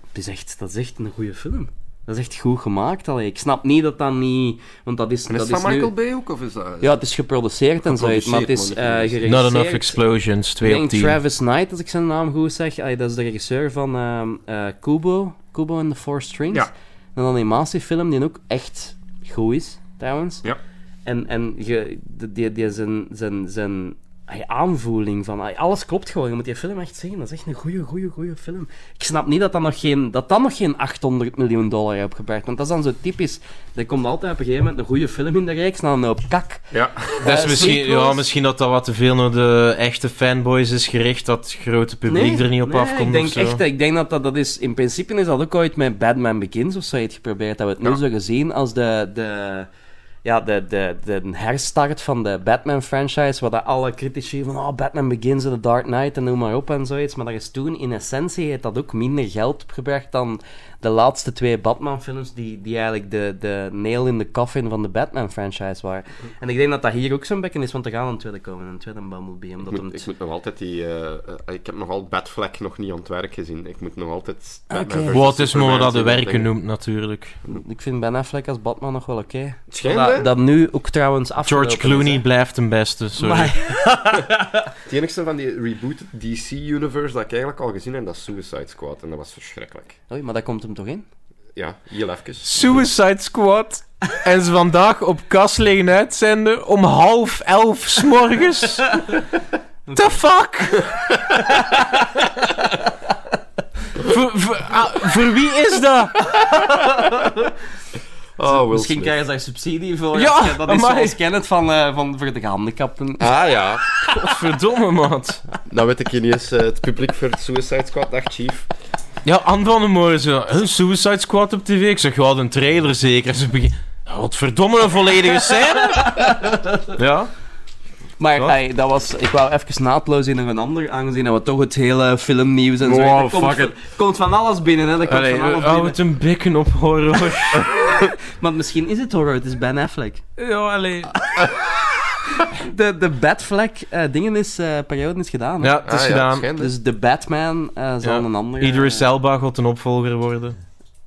Speaker 3: Het is echt... Dat is echt een goede film. Dat is echt goed gemaakt. Allee, ik snap niet dat dat niet... Want dat is,
Speaker 7: En is
Speaker 3: dat
Speaker 7: dat
Speaker 3: is nu-
Speaker 7: Michael Bay ook, of is dat...
Speaker 3: Ja, het is geproduceerd en zoiets, maar het is eh
Speaker 7: Geproduceerd, maar
Speaker 3: geregisseerd...
Speaker 7: niet
Speaker 1: Not Enough Explosions, 2 op
Speaker 3: Ik denk
Speaker 1: 10.
Speaker 3: Travis Knight, als ik zijn naam goed zeg. Allee, dat is de regisseur van ehm, eh, Kubo. Kubo and the Four Strings.
Speaker 7: Ja.
Speaker 3: Een animatiefilm die ook echt goed is, trouwens.
Speaker 7: Ja.
Speaker 3: En, en je, die, die, die zijn, zijn, zijn allee, aanvoeling van... allee, alles klopt gewoon. Je moet die film echt zien. Dat is echt een goede, goede, goede film. Ik snap niet dat dat nog geen, dat dat nog geen 800 miljoen dollar heeft opgebracht. Want dat is dan zo typisch. Er komt altijd op een gegeven moment een goede film in de reeks, dan een hoop kak.
Speaker 7: Ja.
Speaker 4: <laughs>
Speaker 1: Dat is
Speaker 3: Eh,
Speaker 1: misschien,
Speaker 3: sequels.
Speaker 1: ja, misschien dat dat wat te veel naar de echte fanboys is gericht, dat het grote publiek er niet op
Speaker 3: nee,
Speaker 1: afkomt
Speaker 3: Ik denk,
Speaker 1: of zo.
Speaker 3: Echt, ik denk dat dat, dat is... In principe is dat ook ooit met Batman Begins of zo heeft geprobeerd. Dat we het nu zo gezien als de... de ja, de, de, de herstart van de Batman-franchise, waar dat alle critici van oh, Batman Begins en The Dark Knight en noem maar op en zoiets. Maar dat is toen, in essentie, heeft dat ook minder geld opgebracht dan de laatste twee Batman-films, die, die eigenlijk de, de nail in the coffin van de Batman-franchise waren. En ik denk dat dat hier ook zo'n bekken is, want er gaan een tweede komen, een tweede Bumblebee, omdat
Speaker 4: Ik
Speaker 3: hem...
Speaker 4: moet, ik moet nog altijd die... eh, eh, ik heb nog altijd Batfleck nog niet aan het werk gezien. Ik moet nog altijd... Batman versus
Speaker 1: Wat is maar
Speaker 4: Superman
Speaker 1: wat dat de
Speaker 4: zien,
Speaker 1: werken
Speaker 4: denk ik.
Speaker 1: noemt, natuurlijk.
Speaker 3: Ik vind Ben Affleck als Batman nog wel oké.
Speaker 4: Het schijnt, hè?
Speaker 3: Dat, dat nu ook trouwens afgelopen
Speaker 1: George Clooney
Speaker 3: is, hè.
Speaker 1: blijft een beste, sorry.
Speaker 3: Maar,
Speaker 4: Het enigste van die reboot DC-universe dat ik eigenlijk al gezien heb, dat is Suicide Squad. En dat was verschrikkelijk.
Speaker 3: oei, maar dat komt hem toch in?
Speaker 4: Ja, heel even.
Speaker 1: Suicide Squad. En ze vandaag op kas liggen uitzenden om half elf <laughs> s'morgens. The fuck? voor, voor, ah, voor wie is dat?
Speaker 4: Oh, Will
Speaker 3: Misschien
Speaker 4: Smith.
Speaker 3: krijgen ze daar subsidie voor.
Speaker 1: Ja,
Speaker 3: dat is
Speaker 1: amai.
Speaker 3: zoals Kenneth van, eh, van voor de gehandicapten.
Speaker 4: Ah ja,
Speaker 1: Verdomme, maat.
Speaker 4: nou weet ik hier niet eens. eh, het publiek voor het Suicide Squad, dag Chief.
Speaker 1: Ja, Anne van de Moor zo. Huh, Suicide Squad op tv? Ik zeg, ja, een trailer zeker. En ze beginnen... Wat verdomme, een volledige scène. ja.
Speaker 3: Maar
Speaker 1: Wat?
Speaker 3: ey, dat was, ik wou even naadloos in nog een ander, aangezien dat we toch het hele filmnieuws en zo...
Speaker 1: Wow,
Speaker 3: er komt,
Speaker 1: fuck it.
Speaker 3: er komt van alles binnen, hè. Er komt
Speaker 1: Allee, oh,
Speaker 3: van alles
Speaker 1: hou
Speaker 3: binnen.
Speaker 1: het een bekken op, horror.
Speaker 3: Want misschien is het horror, het is Ben Affleck.
Speaker 1: ja, allee.
Speaker 3: De, de Batfleck eh, dingen is, eh periode is gedaan. hè.
Speaker 1: Ja, het is
Speaker 4: Ah, ja,
Speaker 1: gedaan.
Speaker 4: schijnt, hè.
Speaker 3: Dus de Batman eh, zal
Speaker 1: Ja.
Speaker 3: een andere... eh,
Speaker 1: Idris Elba gaat een opvolger worden.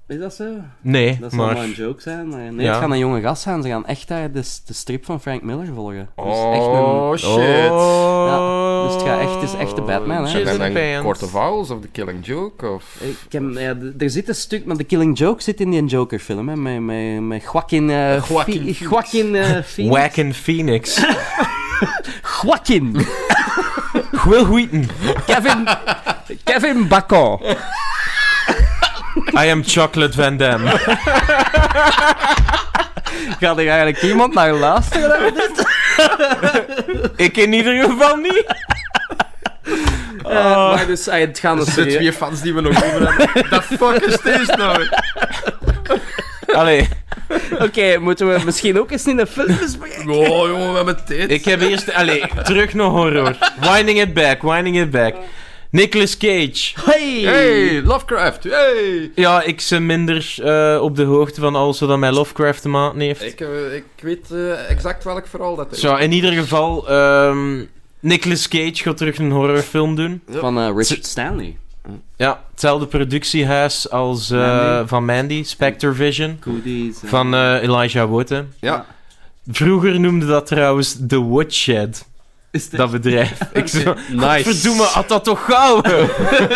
Speaker 3: Is dat zo?
Speaker 1: Nee,
Speaker 3: Dat zal
Speaker 1: maar...
Speaker 3: maar een joke zijn. maar nee,
Speaker 1: Ja.
Speaker 3: het gaan een jonge gast zijn. Ze gaan echt daar de, de strip van Frank Miller volgen. Dus echt een...
Speaker 4: Oh shit.
Speaker 1: Oh.
Speaker 4: Oh,
Speaker 3: Ja, dus het, gaat echt, het is echt de Batman, hè.
Speaker 4: Zijn
Speaker 1: Jizz
Speaker 4: dat
Speaker 1: in
Speaker 4: dan
Speaker 1: the pants.
Speaker 4: Court of Owls of The Killing Joke? <laughs> Of...
Speaker 3: Ik heb, ja, d- er zit een stuk, maar de Killing Joke zit in die Joker-film, hè. Met, met, met Joaquin... eh
Speaker 4: Joaquin
Speaker 3: Phi-
Speaker 4: Phoenix.
Speaker 3: Joaquin... eh, Phoenix.
Speaker 1: Wacken
Speaker 3: <laughs>
Speaker 1: Phoenix.
Speaker 3: Joaquin!
Speaker 1: Will Wheaton.
Speaker 3: <laughs> Kevin... Kevin Bacon.
Speaker 1: I am Chocolate Van Damme.
Speaker 3: Gaat er eigenlijk iemand naar luisteren? naar dit?
Speaker 1: Ik in ieder geval niet.
Speaker 3: Eh, maar dus, ey, het gaan een
Speaker 4: De twee fans die we nog over hebben. Dat fuck is deze nou?
Speaker 1: Allee,
Speaker 3: Oké, moeten we misschien ook eens in de film bespreken?
Speaker 4: Oh jongen, we hebben tijd.
Speaker 1: ik heb eerst... Allee, terug naar horror. Winding it back, winding it back. Nicolas Cage.
Speaker 3: Hey!
Speaker 4: Hey, Lovecraft. Hey.
Speaker 1: Ja, ik ben minder eh, op de hoogte van alles wat mijn Lovecraft te maken heeft.
Speaker 4: Ik, eh, ik weet eh, exact welk verhaal dat is.
Speaker 1: Zo, in ieder geval... ehm Nicolas Cage gaat terug een horrorfilm doen.
Speaker 3: Van eh, Richard Stanley.
Speaker 1: Ja, hetzelfde productiehuis als eh,
Speaker 3: Mandy.
Speaker 1: van Mandy, Spectre Vision.
Speaker 3: Coodies. eh.
Speaker 1: Van eh, Elijah Wood, hè.
Speaker 4: Ja.
Speaker 1: Vroeger noemde dat trouwens The Woodshed,
Speaker 3: Is dit-
Speaker 1: dat bedrijf. Ik zo...
Speaker 4: Nice.
Speaker 1: Verdoemen, had dat toch gauw! <laughs>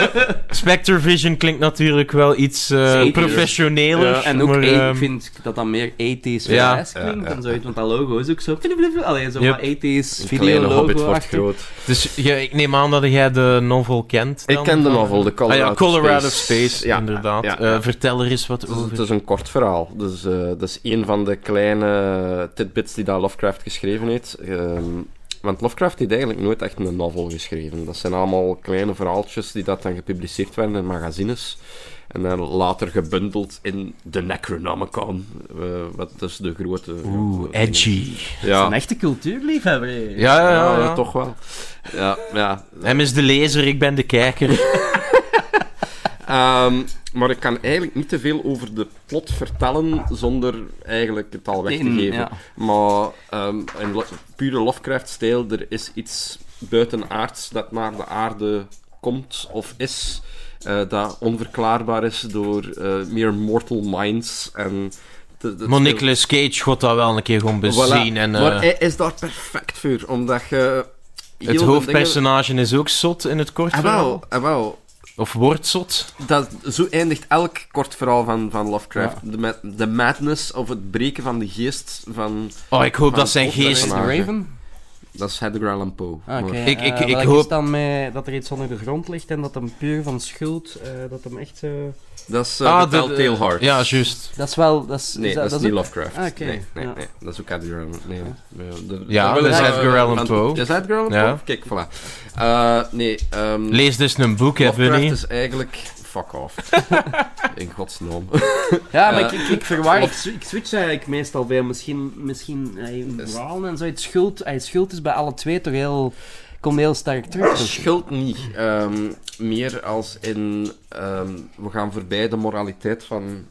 Speaker 1: Spectre Vision klinkt natuurlijk wel iets eh,
Speaker 3: Zeker.
Speaker 1: professioneler.
Speaker 3: En ook,
Speaker 1: maar,
Speaker 3: één-
Speaker 1: ehm,
Speaker 3: ik vind dat dat meer 80s
Speaker 1: Ja.
Speaker 3: VHS klinkt
Speaker 4: Ja, ja.
Speaker 3: en zoiets, want dat logo is ook zo... <laughs> Allee, zo
Speaker 1: Yep.
Speaker 3: wat 80s
Speaker 4: Een kleine hobbit
Speaker 3: videologo
Speaker 4: wordt
Speaker 3: achter.
Speaker 4: groot.
Speaker 1: Dus ja, ik neem aan dat jij de novel kent.
Speaker 4: Ik
Speaker 1: dan?
Speaker 4: ken de novel, de
Speaker 1: Ah
Speaker 4: Colorado,
Speaker 1: ja, Colorado
Speaker 4: Space.
Speaker 1: Space,
Speaker 4: Ja,
Speaker 1: inderdaad.
Speaker 4: ja,
Speaker 1: Eh
Speaker 4: ja.
Speaker 1: vertel er eens wat
Speaker 4: Het is, het
Speaker 1: over.
Speaker 4: is een kort verhaal. Dus, eh, dat is een van de kleine tidbits die dat Lovecraft geschreven heeft. Ehm, want Lovecraft heeft eigenlijk nooit echt een novel geschreven. Dat zijn allemaal kleine verhaaltjes die dat dan gepubliceerd werden in magazines. En dan later gebundeld in The Necronomicon. eh, wat dus de grote...
Speaker 1: Oeh, edgy.
Speaker 4: Ja,
Speaker 3: Een echte cultuurliefhebber, hé.
Speaker 1: Ja, ja, ja.
Speaker 4: ja,
Speaker 1: ja.
Speaker 4: toch wel. Ja, ja.
Speaker 1: Hem is de lezer, ik ben de kijker.
Speaker 4: Ehm, maar ik kan eigenlijk niet te veel over de plot vertellen zonder eigenlijk het al weg te
Speaker 3: In,
Speaker 4: geven.
Speaker 3: ja.
Speaker 4: Maar ehm, in lo- pure Lovecraft-stijl, er is iets buitenaards dat naar de aarde komt of is. eh, dat onverklaarbaar is door eh, meer mortal minds en... de- de-
Speaker 1: Maar Nicolas Cage gaat dat wel een keer gewoon bezien.
Speaker 4: Voilà.
Speaker 1: En, eh,
Speaker 4: Maar hij is daar perfect voor, omdat je... heel
Speaker 1: het
Speaker 4: de
Speaker 1: hoofdpersonage is ook zot in het kort
Speaker 4: Dingen... Ah,
Speaker 1: verhaal.
Speaker 4: wel, ah, wel.
Speaker 1: Of wordt zot.
Speaker 4: Dat, zo eindigt elk kort verhaal van, van Lovecraft. De, ma- de madness of het breken van de geest van...
Speaker 1: Oh, ik hoop
Speaker 4: Van
Speaker 1: dat zijn
Speaker 4: Oppenheimer.
Speaker 1: geest...
Speaker 4: Maar-
Speaker 3: Raven?
Speaker 4: Dat is Edgar Allan Poe.
Speaker 3: Ah, Oké.
Speaker 4: Maar-
Speaker 1: Ik-
Speaker 3: eh,
Speaker 1: ik- ik
Speaker 3: welk
Speaker 1: hoop-
Speaker 3: is dan met, dat er iets onder de grond ligt en dat hem puur van schuld, eh, dat hem echt... eh,
Speaker 4: Dat is
Speaker 1: Ah,
Speaker 4: ah,
Speaker 1: de- de-
Speaker 4: Telltale Heart.
Speaker 1: Ja, juist.
Speaker 3: Dat is wel... Dat is,
Speaker 4: Nee,
Speaker 3: is
Speaker 4: dat, is
Speaker 3: ook-
Speaker 4: niet Lovecraft.
Speaker 3: Ah, oké.
Speaker 4: Nee, nee,
Speaker 3: Ja.
Speaker 4: nee, dat is ook Edgar Allan nee. De-
Speaker 1: Ja,
Speaker 4: wil
Speaker 1: dat
Speaker 4: ik
Speaker 1: is
Speaker 4: wel-
Speaker 1: Edgar Allan
Speaker 4: van-
Speaker 1: Poe.
Speaker 4: Is Edgar Allan
Speaker 1: Ja.
Speaker 4: Poe? Kijk, voilà. Eh, nee, ehm,
Speaker 1: Lees dus een boek, hè,
Speaker 4: Lovecraft
Speaker 1: Bunny.
Speaker 4: is eigenlijk... Fuck
Speaker 3: <laughs>
Speaker 4: off. In godsnaam.
Speaker 3: Ja, maar
Speaker 4: Eh,
Speaker 3: ik, ik, ik verwaar... Ik, swi- ik switch eigenlijk meestal veel. Misschien... misschien eh,
Speaker 4: Is-
Speaker 3: Brown en zo. Het schuld, eh, schuld is bij alle twee toch heel... Komt heel sterk terug.
Speaker 4: Schuld niet. Ehm, meer als in... ehm, we gaan voorbij de moraliteit van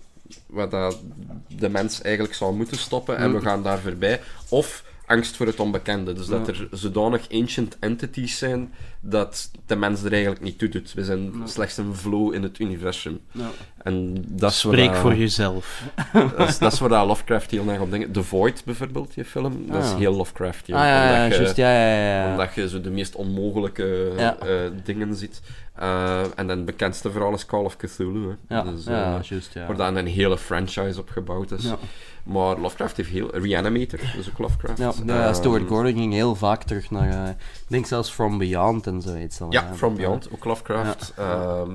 Speaker 4: wat dat de mens eigenlijk zou moeten stoppen. En we
Speaker 3: Mm.
Speaker 4: gaan daar voorbij. Of angst voor het onbekende. Dus dat er zodanig ancient entities zijn dat de mens er eigenlijk niet toe doet. We zijn slechts een flow in het universum.
Speaker 3: Ja.
Speaker 4: En dat is waar
Speaker 1: Spreek
Speaker 4: dat-
Speaker 1: voor jezelf.
Speaker 4: <laughs> Oh, Dat is, dat is waar dat Lovecraft heel erg op denkt. The Void bijvoorbeeld, je film. Dat is
Speaker 3: Ah.
Speaker 4: heel Lovecraft.
Speaker 3: Ah ja, ja,
Speaker 4: omdat je-
Speaker 3: juist, ja, ja, ja, ja.
Speaker 4: omdat je zo de meest onmogelijke
Speaker 3: Eh, Ja.
Speaker 4: eh, dingen ziet. Eh, en dan het bekendste verhaal is Call of Cthulhu. Hè.
Speaker 3: Ja,
Speaker 4: Dus, eh,
Speaker 3: ja, juist, ja.
Speaker 4: Waar dan een hele franchise op gebouwd is.
Speaker 3: Ja.
Speaker 4: Maar Lovecraft heeft heel... Reanimator, dat is ook Lovecraft.
Speaker 3: Ja, de, eh, Stuart
Speaker 4: Ehm,
Speaker 3: Gordon ging heel vaak terug naar, eh, ik denk zelfs From Beyond en zoiets. al,
Speaker 4: Ja,
Speaker 3: hè.
Speaker 4: From Beyond, ook Lovecraft. Ehm,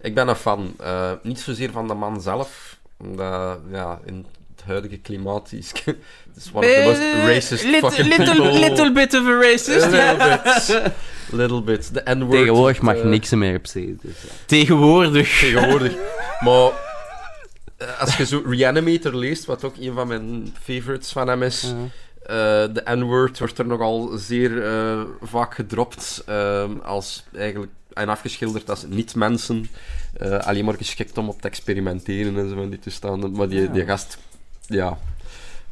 Speaker 4: ik ben een fan. Eh, niet zozeer van de man zelf. Omdat, ja, in het huidige klimaat is... <laughs> het is one of the most
Speaker 1: Eh,
Speaker 4: racist fucking people.
Speaker 1: bit of a racist.
Speaker 4: A little bit. Little bit. De N-word.
Speaker 3: Tegenwoordig mag
Speaker 4: eh,
Speaker 3: niks meer op zee. Dus, ja.
Speaker 1: Tegenwoordig.
Speaker 4: tegenwoordig. Maar eh, als je zo Reanimator leest, wat ook een van mijn favorites van hem is, eh, de N-word wordt er nogal zeer eh, vaak gedropt ehm, als eigenlijk, en afgeschilderd als niet-mensen. eh, alleen maar geschikt om op te experimenteren en zo van die toestanden. Maar die, die gast, ja...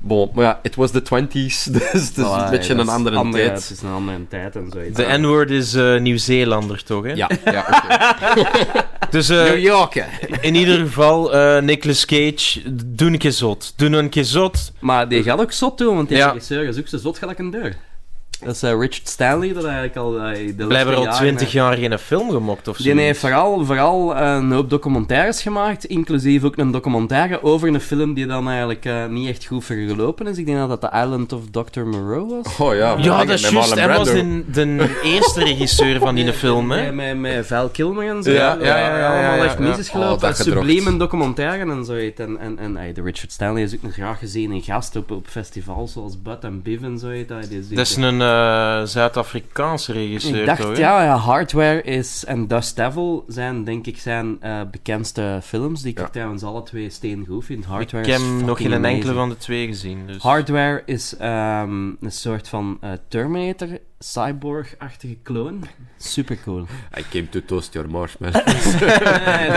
Speaker 4: Bon, maar ja, it was the 20s, <laughs> dus het is
Speaker 3: Voilà,
Speaker 4: een beetje
Speaker 3: dat
Speaker 4: een
Speaker 3: is
Speaker 4: andere, tijd.
Speaker 3: Het is een andere tijd en zoiets.
Speaker 1: De N-word is eh, Nieuw-Zeelander, toch? Hè?
Speaker 4: Ja, ja, oké.
Speaker 1: Dus eh,
Speaker 4: New York, hè. Oh
Speaker 1: in ieder geval, eh Nicolas Cage, doe een keer zot. Doe een keer zot.
Speaker 3: Maar die gaat ook zot doen, want die
Speaker 1: Ja.
Speaker 3: regisseur is ook zo zot gelijk een deur. Dat is eh, Richard Stanley, dat eigenlijk al... eh, de laatste
Speaker 1: Blijven er al
Speaker 3: jaren,
Speaker 1: twintig
Speaker 3: eh,
Speaker 1: jaar geen film gemokt of zo.
Speaker 3: Die heeft vooral, vooral eh, een hoop documentaires gemaakt, inclusief ook een documentaire over een film die dan eigenlijk eh, niet echt goed vergelopen is. Ik denk dat dat The Island of Dr. Moreau was.
Speaker 4: Oh ja, maar
Speaker 1: Ja,
Speaker 4: hangen
Speaker 1: dat is
Speaker 4: met
Speaker 1: juist.
Speaker 4: Marlon
Speaker 1: Hij was
Speaker 4: Brando.
Speaker 1: de, de <laughs> eerste regisseur van die film, hè?
Speaker 3: Met, met, met Val Kilmer en zo.
Speaker 1: Ja, ja, ja, ja, ja,
Speaker 3: allemaal
Speaker 1: ja,
Speaker 3: echt
Speaker 1: ja.
Speaker 3: mis is gelopen.
Speaker 4: Oh, dat gedrocht.
Speaker 3: Sublieme documentaire en zo. heet. En, en, en ey, de Richard Stanley is ook nog graag gezien in gast op, op festivals zoals Bud en Biv en zo. heet dat. Die is-
Speaker 1: Dat is een eh, Zuid-Afrikaanse regisseur,
Speaker 3: ik dacht,
Speaker 1: toch? hè?
Speaker 3: ja, ja, Hardware is en Dust Devil zijn denk ik zijn eh, bekendste films. Die ik
Speaker 4: Ja.
Speaker 3: trouwens alle twee steengoed vind.
Speaker 1: Ik
Speaker 3: Hardware
Speaker 1: heb
Speaker 3: is
Speaker 1: hem nog
Speaker 3: fucking
Speaker 1: geen
Speaker 3: amazing.
Speaker 1: enkele van de twee gezien. Dus.
Speaker 3: Hardware is ehm, een soort van eh, Terminator, cyborg-achtige clone. Super cool.
Speaker 4: I came to toast your marshmallow.
Speaker 3: Nee, <laughs> dat,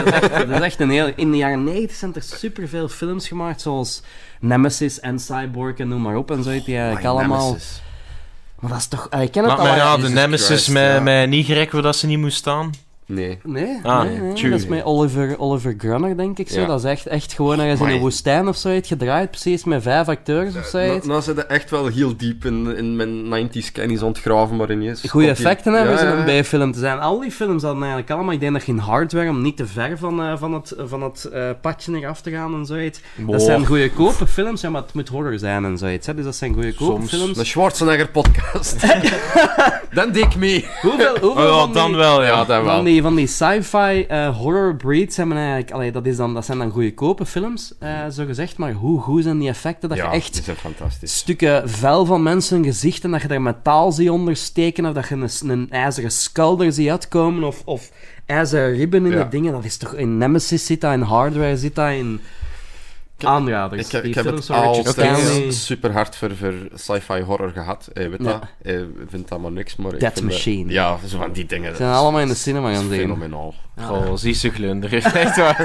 Speaker 3: is echt, dat is echt een heel... In de jaren 90 zijn er superveel films gemaakt, zoals Nemesis en Cyborg en noem maar op en zo. Die eigenlijk allemaal... Maar dat is toch... eh, Ik ken het
Speaker 1: Laat mij
Speaker 3: al...
Speaker 1: raden,
Speaker 4: Jesus
Speaker 1: Nemesis
Speaker 4: Christ,
Speaker 1: met,
Speaker 4: ja.
Speaker 1: met Nigrek, waar dat ze niet moest staan.
Speaker 4: Nee.
Speaker 3: Nee,
Speaker 1: Ah,
Speaker 3: nee, nee,
Speaker 1: tjue.
Speaker 3: dat is met Oliver, Oliver Grummer, denk ik zo.
Speaker 4: Ja.
Speaker 3: Dat is echt, echt gewoon ergens in een
Speaker 4: Amai.
Speaker 3: woestijn of zo gedraaid, precies, met vijf acteurs of zo.
Speaker 4: Nou, nou zit er echt wel heel diep in, in mijn 90s kennis ontgraven, maar ineens.
Speaker 3: Goede
Speaker 4: komt die-
Speaker 3: effecten hebben
Speaker 4: Ja,
Speaker 3: ze
Speaker 4: ja,
Speaker 3: een
Speaker 4: ja.
Speaker 3: bijfilm te zijn. Al die films hadden eigenlijk allemaal, ik denk dat geen hardware om niet te ver van, eh, van het, van het eh, padje eraf te gaan en zoiets.
Speaker 1: Boah.
Speaker 3: Dat zijn goede kopen films, ja, maar het moet horror zijn en zoiets. Hè? Dus dat zijn goede kopen
Speaker 1: Soms.
Speaker 3: films.
Speaker 4: De Schwarzenegger
Speaker 3: <laughs>
Speaker 4: podcast. Dan dik ik
Speaker 1: <laughs>
Speaker 4: mee.
Speaker 3: Hoeveel, hoeveel
Speaker 1: Oh,
Speaker 3: van,
Speaker 1: ja, dan
Speaker 3: die,
Speaker 1: wel, ja.
Speaker 4: dat
Speaker 3: van die, van die sci-fi eh, horror breeds hebben eigenlijk... Allee, dat, is dan, dat zijn dan goede kopen films, eh, zo gezegd. Maar hoe goed zijn die effecten dat
Speaker 4: ja,
Speaker 3: je echt
Speaker 4: Die zijn fantastisch.
Speaker 3: stukken vel van mensen hun gezicht en dat je daar metaal ziet ondersteken of dat je een, een ijzeren skulder ziet uitkomen of, of ijzeren ribben in
Speaker 4: Ja.
Speaker 3: de dingen. Dat is toch in Nemesis zit dat, in Hardware zit dat, in...
Speaker 4: heb-
Speaker 3: aanraders.
Speaker 4: Ik heb,
Speaker 3: Dus Die
Speaker 4: ik heb
Speaker 3: films
Speaker 4: het
Speaker 3: van Richard
Speaker 4: altijd
Speaker 3: Stanley.
Speaker 4: super hard voor, voor sci-fi horror gehad. Hij weet
Speaker 3: Ja.
Speaker 4: dat. Hij vindt dat maar niks. Maar ik
Speaker 3: Death
Speaker 4: vind dat-
Speaker 3: Machine.
Speaker 4: ja, zo van die dingen.
Speaker 3: zijn allemaal in de cinema gaan zien.
Speaker 4: Fenomenaal.
Speaker 1: Oh, zie ze glunder. <laughs> Echt waar.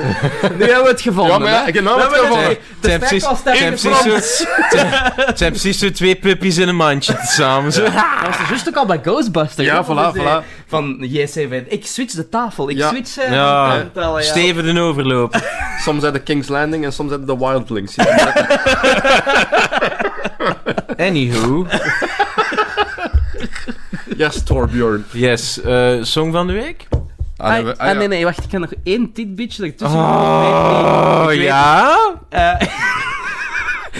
Speaker 3: Nu hebben we het gevonden.
Speaker 4: Ja, maar ja, ik heb nou
Speaker 3: hè?
Speaker 4: wat
Speaker 3: We hebben
Speaker 4: gevonden.
Speaker 3: het-
Speaker 1: Ze
Speaker 3: de
Speaker 1: hebben
Speaker 3: spek
Speaker 1: precies-
Speaker 3: was
Speaker 1: ze hebben
Speaker 3: tegen
Speaker 1: precies zo- ze- ze hebben precies zo twee puppies in een mandje samen. zo.
Speaker 3: Dat was juist ook al bij Ghostbusters.
Speaker 4: Ja,
Speaker 3: hè,
Speaker 4: voilà,
Speaker 3: dat is, eh,
Speaker 4: voilà.
Speaker 3: Van JCV. Ik switch de tafel. Ik
Speaker 4: Ja.
Speaker 3: switch... eh,
Speaker 1: Ja.
Speaker 3: de aantallen, ja.
Speaker 1: Steven de overloop.
Speaker 4: Soms uit de King's Landing en soms uit de Wildlings.
Speaker 3: <laughs>
Speaker 1: Anywho.
Speaker 4: yes, Torbjörn.
Speaker 1: Yes, eh, song van de week?
Speaker 4: Ah,
Speaker 3: Ah,
Speaker 4: we- ah,
Speaker 3: ah,
Speaker 4: ja. Ah.
Speaker 3: nee, nee, wacht. Ik heb nog één tidbitje ertussen.
Speaker 1: Oh,
Speaker 3: Ik weet niet.
Speaker 1: ja?
Speaker 3: Eh,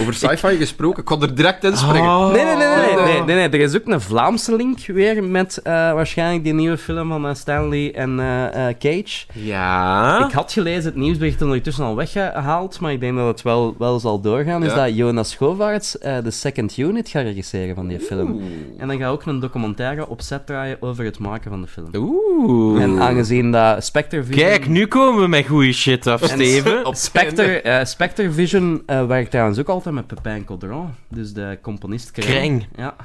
Speaker 4: Over sci-fi gesproken, ik kon er direct in springen.
Speaker 3: nee, nee, nee, nee,
Speaker 1: Oh.
Speaker 3: nee, nee, nee. Er is ook een Vlaamse link weer met eh, waarschijnlijk die nieuwe film van eh, Stanley en eh, eh, Cage.
Speaker 1: Ja?
Speaker 3: Ik had gelezen, het nieuwsbericht ondertussen al weggehaald, maar ik denk dat het wel, wel zal doorgaan. Is
Speaker 4: Ja.
Speaker 3: dat Jonas Govaerts eh, de second unit gaat regisseren van die film. En dan gaat ook een documentaire op set draaien over het maken van de film.
Speaker 1: Oeh.
Speaker 3: En aangezien dat Spectre Vision...
Speaker 1: Kijk, nu komen we met goede shit af, Steven.
Speaker 3: Spectre, eh, Spectre Vision eh, werkt trouwens ook altijd met Pepijn Codron, dus de componist Kreng.
Speaker 1: Kreng.
Speaker 3: Ja.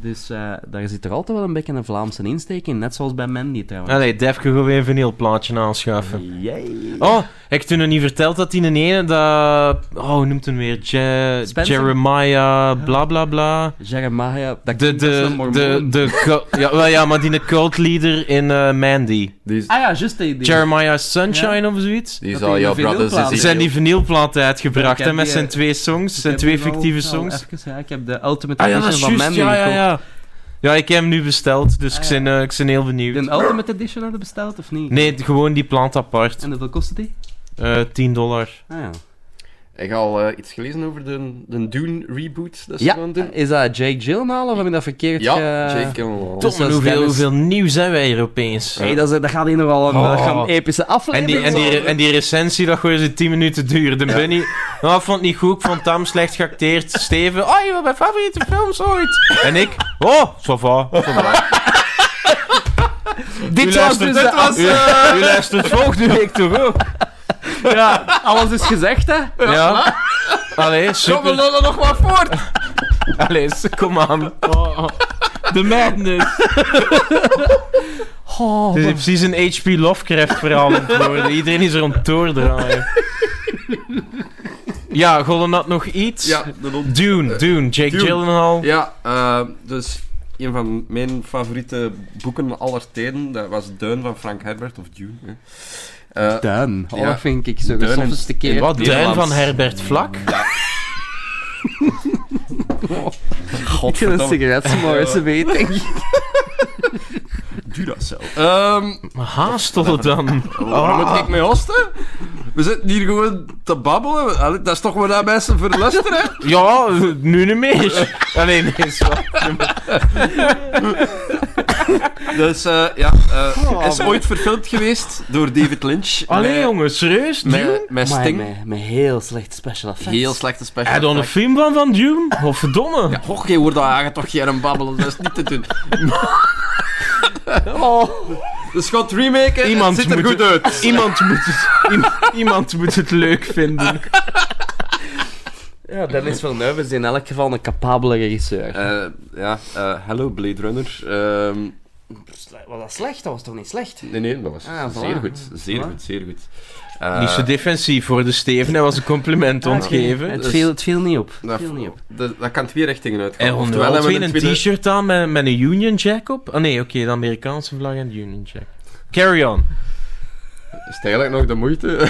Speaker 3: Dus eh, daar zit er altijd wel een beetje een Vlaamse insteek in, net zoals bij Mandy trouwens.
Speaker 1: Allee, Defke, gewoon weer een vinylplaatje aanschaffen. Oh, heb ik toen nog niet verteld dat die een ene, dat... Oh, hoe noemt hem weer? Je-
Speaker 3: Spencer?
Speaker 1: Jeremiah, bla bla bla.
Speaker 3: Jeremiah, dat
Speaker 1: De,
Speaker 3: klinkt als een
Speaker 1: de,
Speaker 3: mormoon.
Speaker 1: de, de,
Speaker 3: <laughs>
Speaker 1: cult- ja, wel ja, maar die een cult leader in eh, Mandy.
Speaker 4: Die is,
Speaker 3: Ah ja, juist die... die-
Speaker 1: Jeremiah Sunshine of zoiets.
Speaker 4: die is
Speaker 3: dat
Speaker 4: al
Speaker 3: die
Speaker 4: jouw
Speaker 3: een vinylplaat
Speaker 4: brothers.
Speaker 1: Ze
Speaker 4: Is
Speaker 1: zijn die vinylplaat uitgebracht,
Speaker 3: Ik
Speaker 1: hè,
Speaker 3: heb
Speaker 1: met
Speaker 3: die,
Speaker 1: zijn
Speaker 3: eh,
Speaker 1: twee songs, zijn
Speaker 3: Ik
Speaker 1: twee
Speaker 3: heb die al-
Speaker 1: fictieve
Speaker 3: al
Speaker 1: songs.
Speaker 3: even, ja, ik heb de Ultimate
Speaker 1: Ah ja, dat
Speaker 3: Edition
Speaker 1: is
Speaker 3: van
Speaker 1: juist,
Speaker 3: Mandy
Speaker 1: ja, ja,
Speaker 3: gekocht.
Speaker 1: ja. Ja, ik heb hem nu besteld, dus
Speaker 3: Ah,
Speaker 1: ik, ben, eh, ik ben heel benieuwd.
Speaker 3: De Ultimate Edition hadden besteld, of niet?
Speaker 1: Nee, gewoon die plant apart.
Speaker 3: En hoeveel kostte die?
Speaker 1: Eh 10 dollar.
Speaker 3: Ah ja.
Speaker 4: Ik had al eh, iets gelezen over de, de Dune reboot dat ze gaan
Speaker 3: Ja,
Speaker 4: doen.
Speaker 3: is dat Jake Gyllenhaal, of heb ik dat verkeerd
Speaker 4: Ja,
Speaker 3: ge-
Speaker 4: Jake Gyllenhaal.
Speaker 3: Dus dat is
Speaker 1: hoeveel,
Speaker 3: Dennis-
Speaker 1: hoeveel nieuw zijn wij hier opeens?
Speaker 3: Hey, dat, is, dat gaat hier nogal een, dat gaat een epische
Speaker 1: En
Speaker 3: aflevering
Speaker 1: die, en, die, en die recensie, dat gooien ze 10 minuten duur. De Bunny, nou, ik vond het niet goed, ik vond Tam slecht
Speaker 3: <laughs>
Speaker 1: geacteerd. Steven, oh, je bent mijn favoriete films ooit. En ik, oh, ça va.
Speaker 3: Dit
Speaker 1: U
Speaker 3: was
Speaker 1: luistert,
Speaker 3: dus de af-
Speaker 1: u, u luistert volgende week toch ook?
Speaker 3: Ja, alles is gezegd, hè?
Speaker 1: Ja. Allee,
Speaker 4: Kom, we
Speaker 1: super.
Speaker 4: lullen nog maar voort! Oh,
Speaker 1: Allee, kom aan.
Speaker 3: De
Speaker 1: <laughs>
Speaker 3: madness. Oh,
Speaker 4: Oh,
Speaker 1: Dit is precies een H.P. Lovecraft verhaal aan het worden. Iedereen is er om doordraaien. Ja, Golden had nog iets.
Speaker 4: Ja, de non-
Speaker 1: Dune, Dune, Jake
Speaker 4: Dune.
Speaker 1: Gyllenhaal.
Speaker 4: Ja, eh, dus een van mijn favoriete boeken aller tijden, dat was Duin van Frank Herbert, of Dune. hè. Eh,
Speaker 3: Duin. Oh,
Speaker 4: Ja.
Speaker 3: dat vind ik zo
Speaker 4: Duin en-
Speaker 3: gesofisticeerd.
Speaker 1: Wat duin
Speaker 4: Nederlands.
Speaker 1: van Herbert Vlak?
Speaker 4: <laughs>
Speaker 3: Ik vind een
Speaker 4: godverdomme.
Speaker 3: sigaret smoren, ze weet denk ik.
Speaker 4: Doe dat zelf. Ehm,
Speaker 1: Haastel
Speaker 4: <laughs>
Speaker 1: dan.
Speaker 3: Ah.
Speaker 4: Waarom moet ik mee hosten? We zitten hier gewoon te babbelen. Allee, Dat is toch waar dat mensen voor luisteren?
Speaker 1: Ja, nu niet meer. Allee, nee, is wel.
Speaker 4: Dus eh, ja, eh, is ooit verfilmd geweest door David Lynch.
Speaker 1: Oh, Allee,
Speaker 4: Met-
Speaker 1: jongen, serieus? Dune?
Speaker 4: Met, met
Speaker 3: Maar
Speaker 4: Sting.
Speaker 3: met, met heel slecht special effects.
Speaker 4: Heel slechte special.
Speaker 1: Hij dan een
Speaker 4: effects.
Speaker 1: film van van Dune? Of verdomme.
Speaker 4: Ja, och, je wordt daar toch hier aan babbelen. Dat is niet te
Speaker 1: <laughs>
Speaker 4: doen.
Speaker 3: Oh.
Speaker 4: Dus gaat remaken.
Speaker 1: Iemand
Speaker 4: het ziet er
Speaker 1: moet
Speaker 4: goed
Speaker 1: het-
Speaker 4: uit.
Speaker 1: Iemand moet, het, iem- iemand moet het leuk vinden.
Speaker 3: Ja, Dennis Villeneuve is in elk geval een capabele regisseur.
Speaker 4: Eh, ja, eh, hello Blade Runner. Ehm,
Speaker 3: Was dat slecht? Dat was toch niet slecht?
Speaker 4: nee, nee, dat was
Speaker 3: Ah, voilà.
Speaker 4: zeer goed. Zeer
Speaker 3: Voilà.
Speaker 4: goed, zeer goed. Eh,
Speaker 1: Niet zo defensief voor de Steven, hij was een
Speaker 3: Ah,
Speaker 1: compliment ontgeven.
Speaker 3: Het
Speaker 4: Dus-
Speaker 3: viel, het viel niet op. Het
Speaker 4: dat,
Speaker 3: viel niet op.
Speaker 4: dat, dat kan twee richtingen
Speaker 1: En
Speaker 4: uitgaan.
Speaker 1: onderwijl
Speaker 4: hebben we
Speaker 1: twee Eh, een
Speaker 4: tweede-
Speaker 1: t-shirt aan met, met een Union Jack op. Ah nee, oké, de Amerikaanse vlag en de Union Jack. Carry on.
Speaker 4: Is het eigenlijk nog de
Speaker 3: <laughs>
Speaker 4: moeite?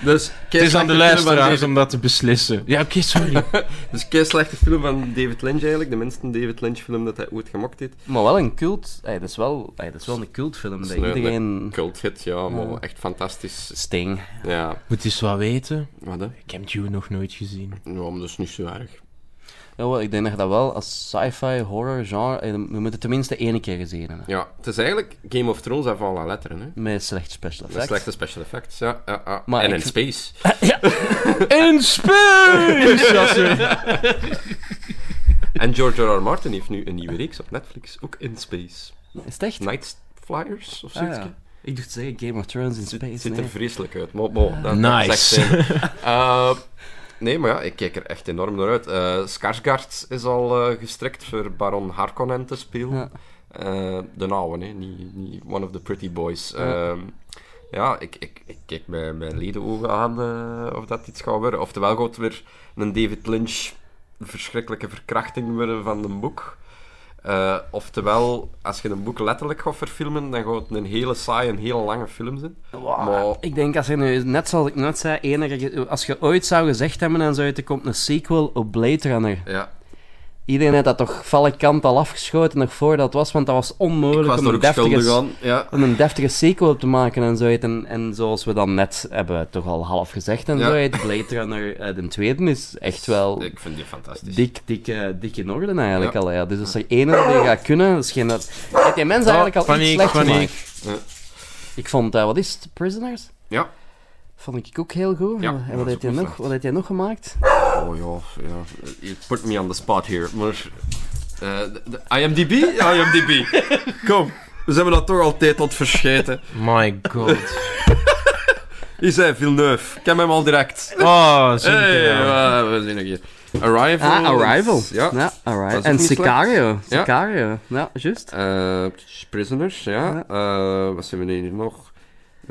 Speaker 4: dus,
Speaker 1: Het is aan de luisteraars
Speaker 3: <laughs>
Speaker 1: om dat te beslissen. Ja, oké, sorry. <laughs>
Speaker 4: Dus kei slechte film van David Lynch eigenlijk. De minste David Lynch film dat hij ooit gemaakt heeft.
Speaker 3: Maar wel een cult... Ey, dat, is wel, ey, dat is wel een cultfilm. Dat
Speaker 4: een-
Speaker 3: iedereen...
Speaker 4: Cult hit, ja, maar
Speaker 3: Ja.
Speaker 4: echt fantastisch.
Speaker 3: Sting.
Speaker 4: Ja,
Speaker 1: Moet eens wat weten.
Speaker 4: wat hè?
Speaker 1: Ik heb Dune nog nooit gezien.
Speaker 4: Ja, maar dat is niet zo erg.
Speaker 3: Ja, wel, ik denk dat je dat wel als sci-fi, horror, genre... eh, Je moet het tenminste één keer gezien hebben.
Speaker 4: Ja, het is eigenlijk Game of Thrones en van la letteren, hè.
Speaker 3: Met slecht special
Speaker 4: Met
Speaker 3: effects.
Speaker 4: slechte special effects, ja. ja, ja.
Speaker 3: Maar
Speaker 4: en
Speaker 3: ik
Speaker 4: in
Speaker 3: vind-
Speaker 4: space.
Speaker 3: <laughs>
Speaker 1: In space! Ja, sorry.
Speaker 4: en George R. R. Martin heeft nu een nieuwe reeks op Netflix, ook in space.
Speaker 3: Is het echt?
Speaker 4: Night Flyers of
Speaker 3: Ah,
Speaker 4: zoiets.
Speaker 3: ja.
Speaker 4: hè?
Speaker 3: Ik dacht zeggen Game of Thrones in Space.
Speaker 4: Het ziet er
Speaker 3: nee.
Speaker 4: vreselijk uit. Maar, bon, dat,
Speaker 1: Nice.
Speaker 4: dat zegt hij. Eh, nee, maar ja, ik kijk er echt enorm naar uit. Eh Skarsgård is al eh, gestrikt voor Baron Harkonnen te spelen.
Speaker 3: Ja.
Speaker 4: Eh, de nauwe, nee, niet, niet One of the Pretty Boys.
Speaker 3: Ja.
Speaker 4: Ehm, ja, ik, ik, ik kijk mijn, mijn ledenogen aan eh, of dat iets gaat worden. Oftewel gaat weer een David Lynch verschrikkelijke verkrachting worden van een boek. Eh, oftewel, als je een boek letterlijk gaat verfilmen, dan gaat het een hele saaie en hele lange film zijn.
Speaker 3: Wow,
Speaker 4: Maar-
Speaker 3: Ah, Ik denk, als je nu, net zoals ik net zei, enige, als je ooit zou gezegd hebben en zo uit, er komt een sequel op Blade Runner.
Speaker 4: Ja,
Speaker 3: Iedereen had dat toch valle kant al afgeschoten nog voordat het was, want dat was onmogelijk
Speaker 4: ik was
Speaker 3: om
Speaker 4: er
Speaker 3: een
Speaker 4: ook schuldig
Speaker 3: deftige,
Speaker 4: aan. Ja.
Speaker 3: om een deftige sequel op te maken en zo. uit. En, en zoals we dan net hebben toch al half gezegd en
Speaker 4: Ja.
Speaker 3: zo, uit, Blade Runner, eh, de tweede, is echt wel
Speaker 4: Ik vind die fantastisch.
Speaker 3: dik, dik, eh, dik in orde eigenlijk
Speaker 4: Ja.
Speaker 3: al. Ja. Dus als er één die gaat kunnen, dat is geen dat... Heb je
Speaker 4: Oh,
Speaker 3: mensen eigenlijk al
Speaker 1: paniek,
Speaker 3: iets slecht
Speaker 1: paniek.
Speaker 3: gemaakt?
Speaker 4: Ja.
Speaker 3: Ik vond, eh, wat is het, Prisoners?
Speaker 4: Ja.
Speaker 3: Vond ik ook heel goed.
Speaker 4: Ja,
Speaker 3: en
Speaker 4: dat
Speaker 3: wat
Speaker 4: is
Speaker 3: heeft, hij
Speaker 4: ook
Speaker 3: nog,
Speaker 4: slecht.
Speaker 3: wat heeft hij nog gemaakt?
Speaker 4: Oh ja, ja. You put me on the spot here. Maar. eh, de- de IMDb? IMDb. Kom, we zijn we dat toch altijd tot verscheten.
Speaker 1: My god.
Speaker 4: Hier zijn Villeneuve. Ken hem al direct.
Speaker 1: Oh, zie ik
Speaker 4: Hey,
Speaker 1: er nou.
Speaker 4: eh, we zien nog hier. Arrival.
Speaker 3: Ah, Arrival.
Speaker 4: Ja.
Speaker 3: Ja, Arrival.
Speaker 4: ook
Speaker 3: En
Speaker 4: niet slecht.
Speaker 3: Sicario.
Speaker 4: Ja.
Speaker 3: Sicario. Ja, juist.
Speaker 4: Eh, Prisoners, ja. Eh, wat zijn we hier nog?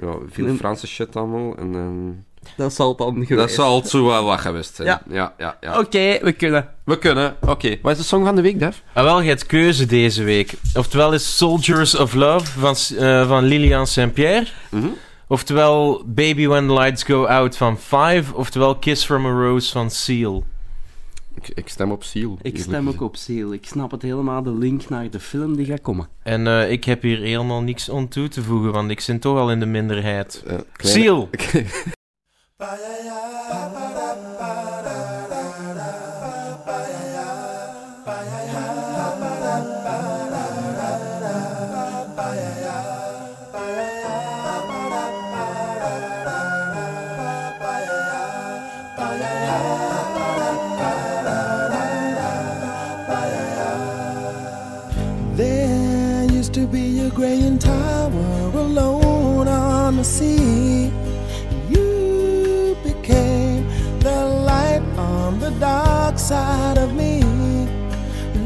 Speaker 4: Ja, veel
Speaker 3: Een-
Speaker 4: Franse shit allemaal. En, ehm,
Speaker 3: Dat zal dan geweest.
Speaker 4: dat zal het zo wel wat geweest zijn.
Speaker 3: Ja.
Speaker 4: ja, ja. ja.
Speaker 3: Oké, we kunnen.
Speaker 4: We kunnen. Oké. Wat is de song van de week, Def?
Speaker 1: Ah, wel, je hebt keuze deze week. Oftewel is Soldiers of Love van, S- eh, van Lilian Saint-Pierre.
Speaker 4: Mhm.
Speaker 1: Oftewel Baby When the Lights Go Out van Five. Oftewel Kiss from a Rose van Seal.
Speaker 4: Ik, ik stem op Seal.
Speaker 3: Ik stem ook op Seal. Ik snap het helemaal, de link naar de film die gaat komen.
Speaker 1: En eh, ik heb hier helemaal niks aan toe te voegen, want ik zit toch al in de minderheid.
Speaker 4: Eh, kleine- <laughs>
Speaker 1: Seal!
Speaker 8: There used to be a graying tower alone on the sea. You became the light on the dark side of me.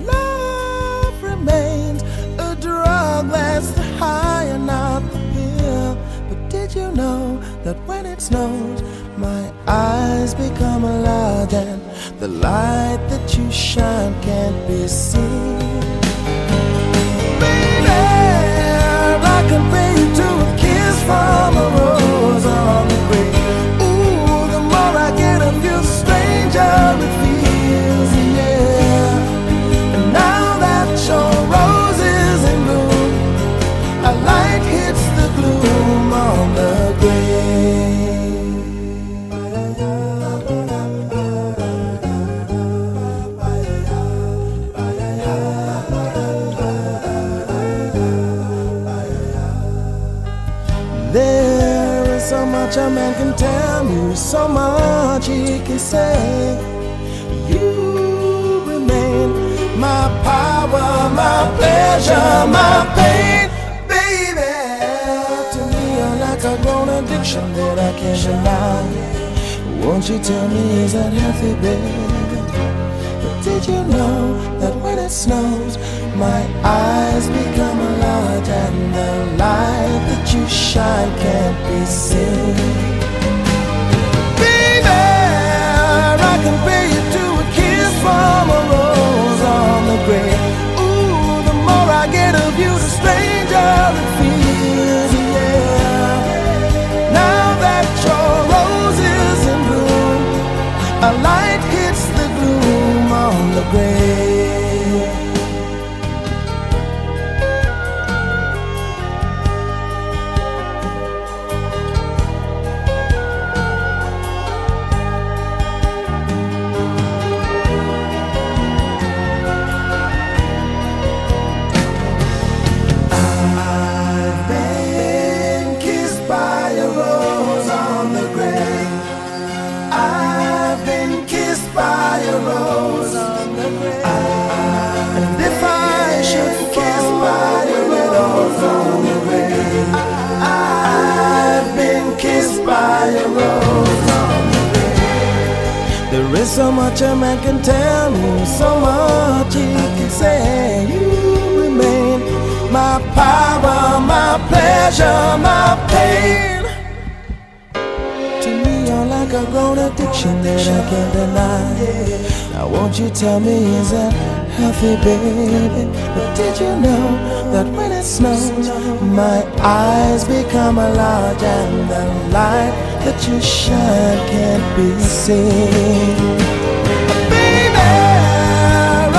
Speaker 8: Love remains a drug that's the high and not the pill. But did you know that when it snows, my eyes become large and the light that you shine can't be seen? I can pay you to a kiss from a rose on the grave. Ooh, the more I get of you, the stranger it feels, yeah. And now that your rose is in bloom, a light hits the gloom on the There is so much a man can tell you, so much he can say. You remain my power, my pleasure, my pain, baby. To me, you're like a grown addiction that I can't deny. Won't you tell me, is that healthy, baby? But did you know that when it snows, my eyes become large and the light that you shine can't be seen? Baby, I compare you to a kiss from a rose on the grave. Ooh, the more I get of you, the stranger it feels, yeah. Now that your rose is in bloom, a light hits the gloom on the grave. There's so much a man can tell you, so much he can say. You remain my power, my pleasure, my pain. To me, you're like a grown addiction that I can't deny. Now, won't you tell me, is that healthy, baby? But did you know that when it snows, my eyes become a large and the light that you shine can't be seen? Baby,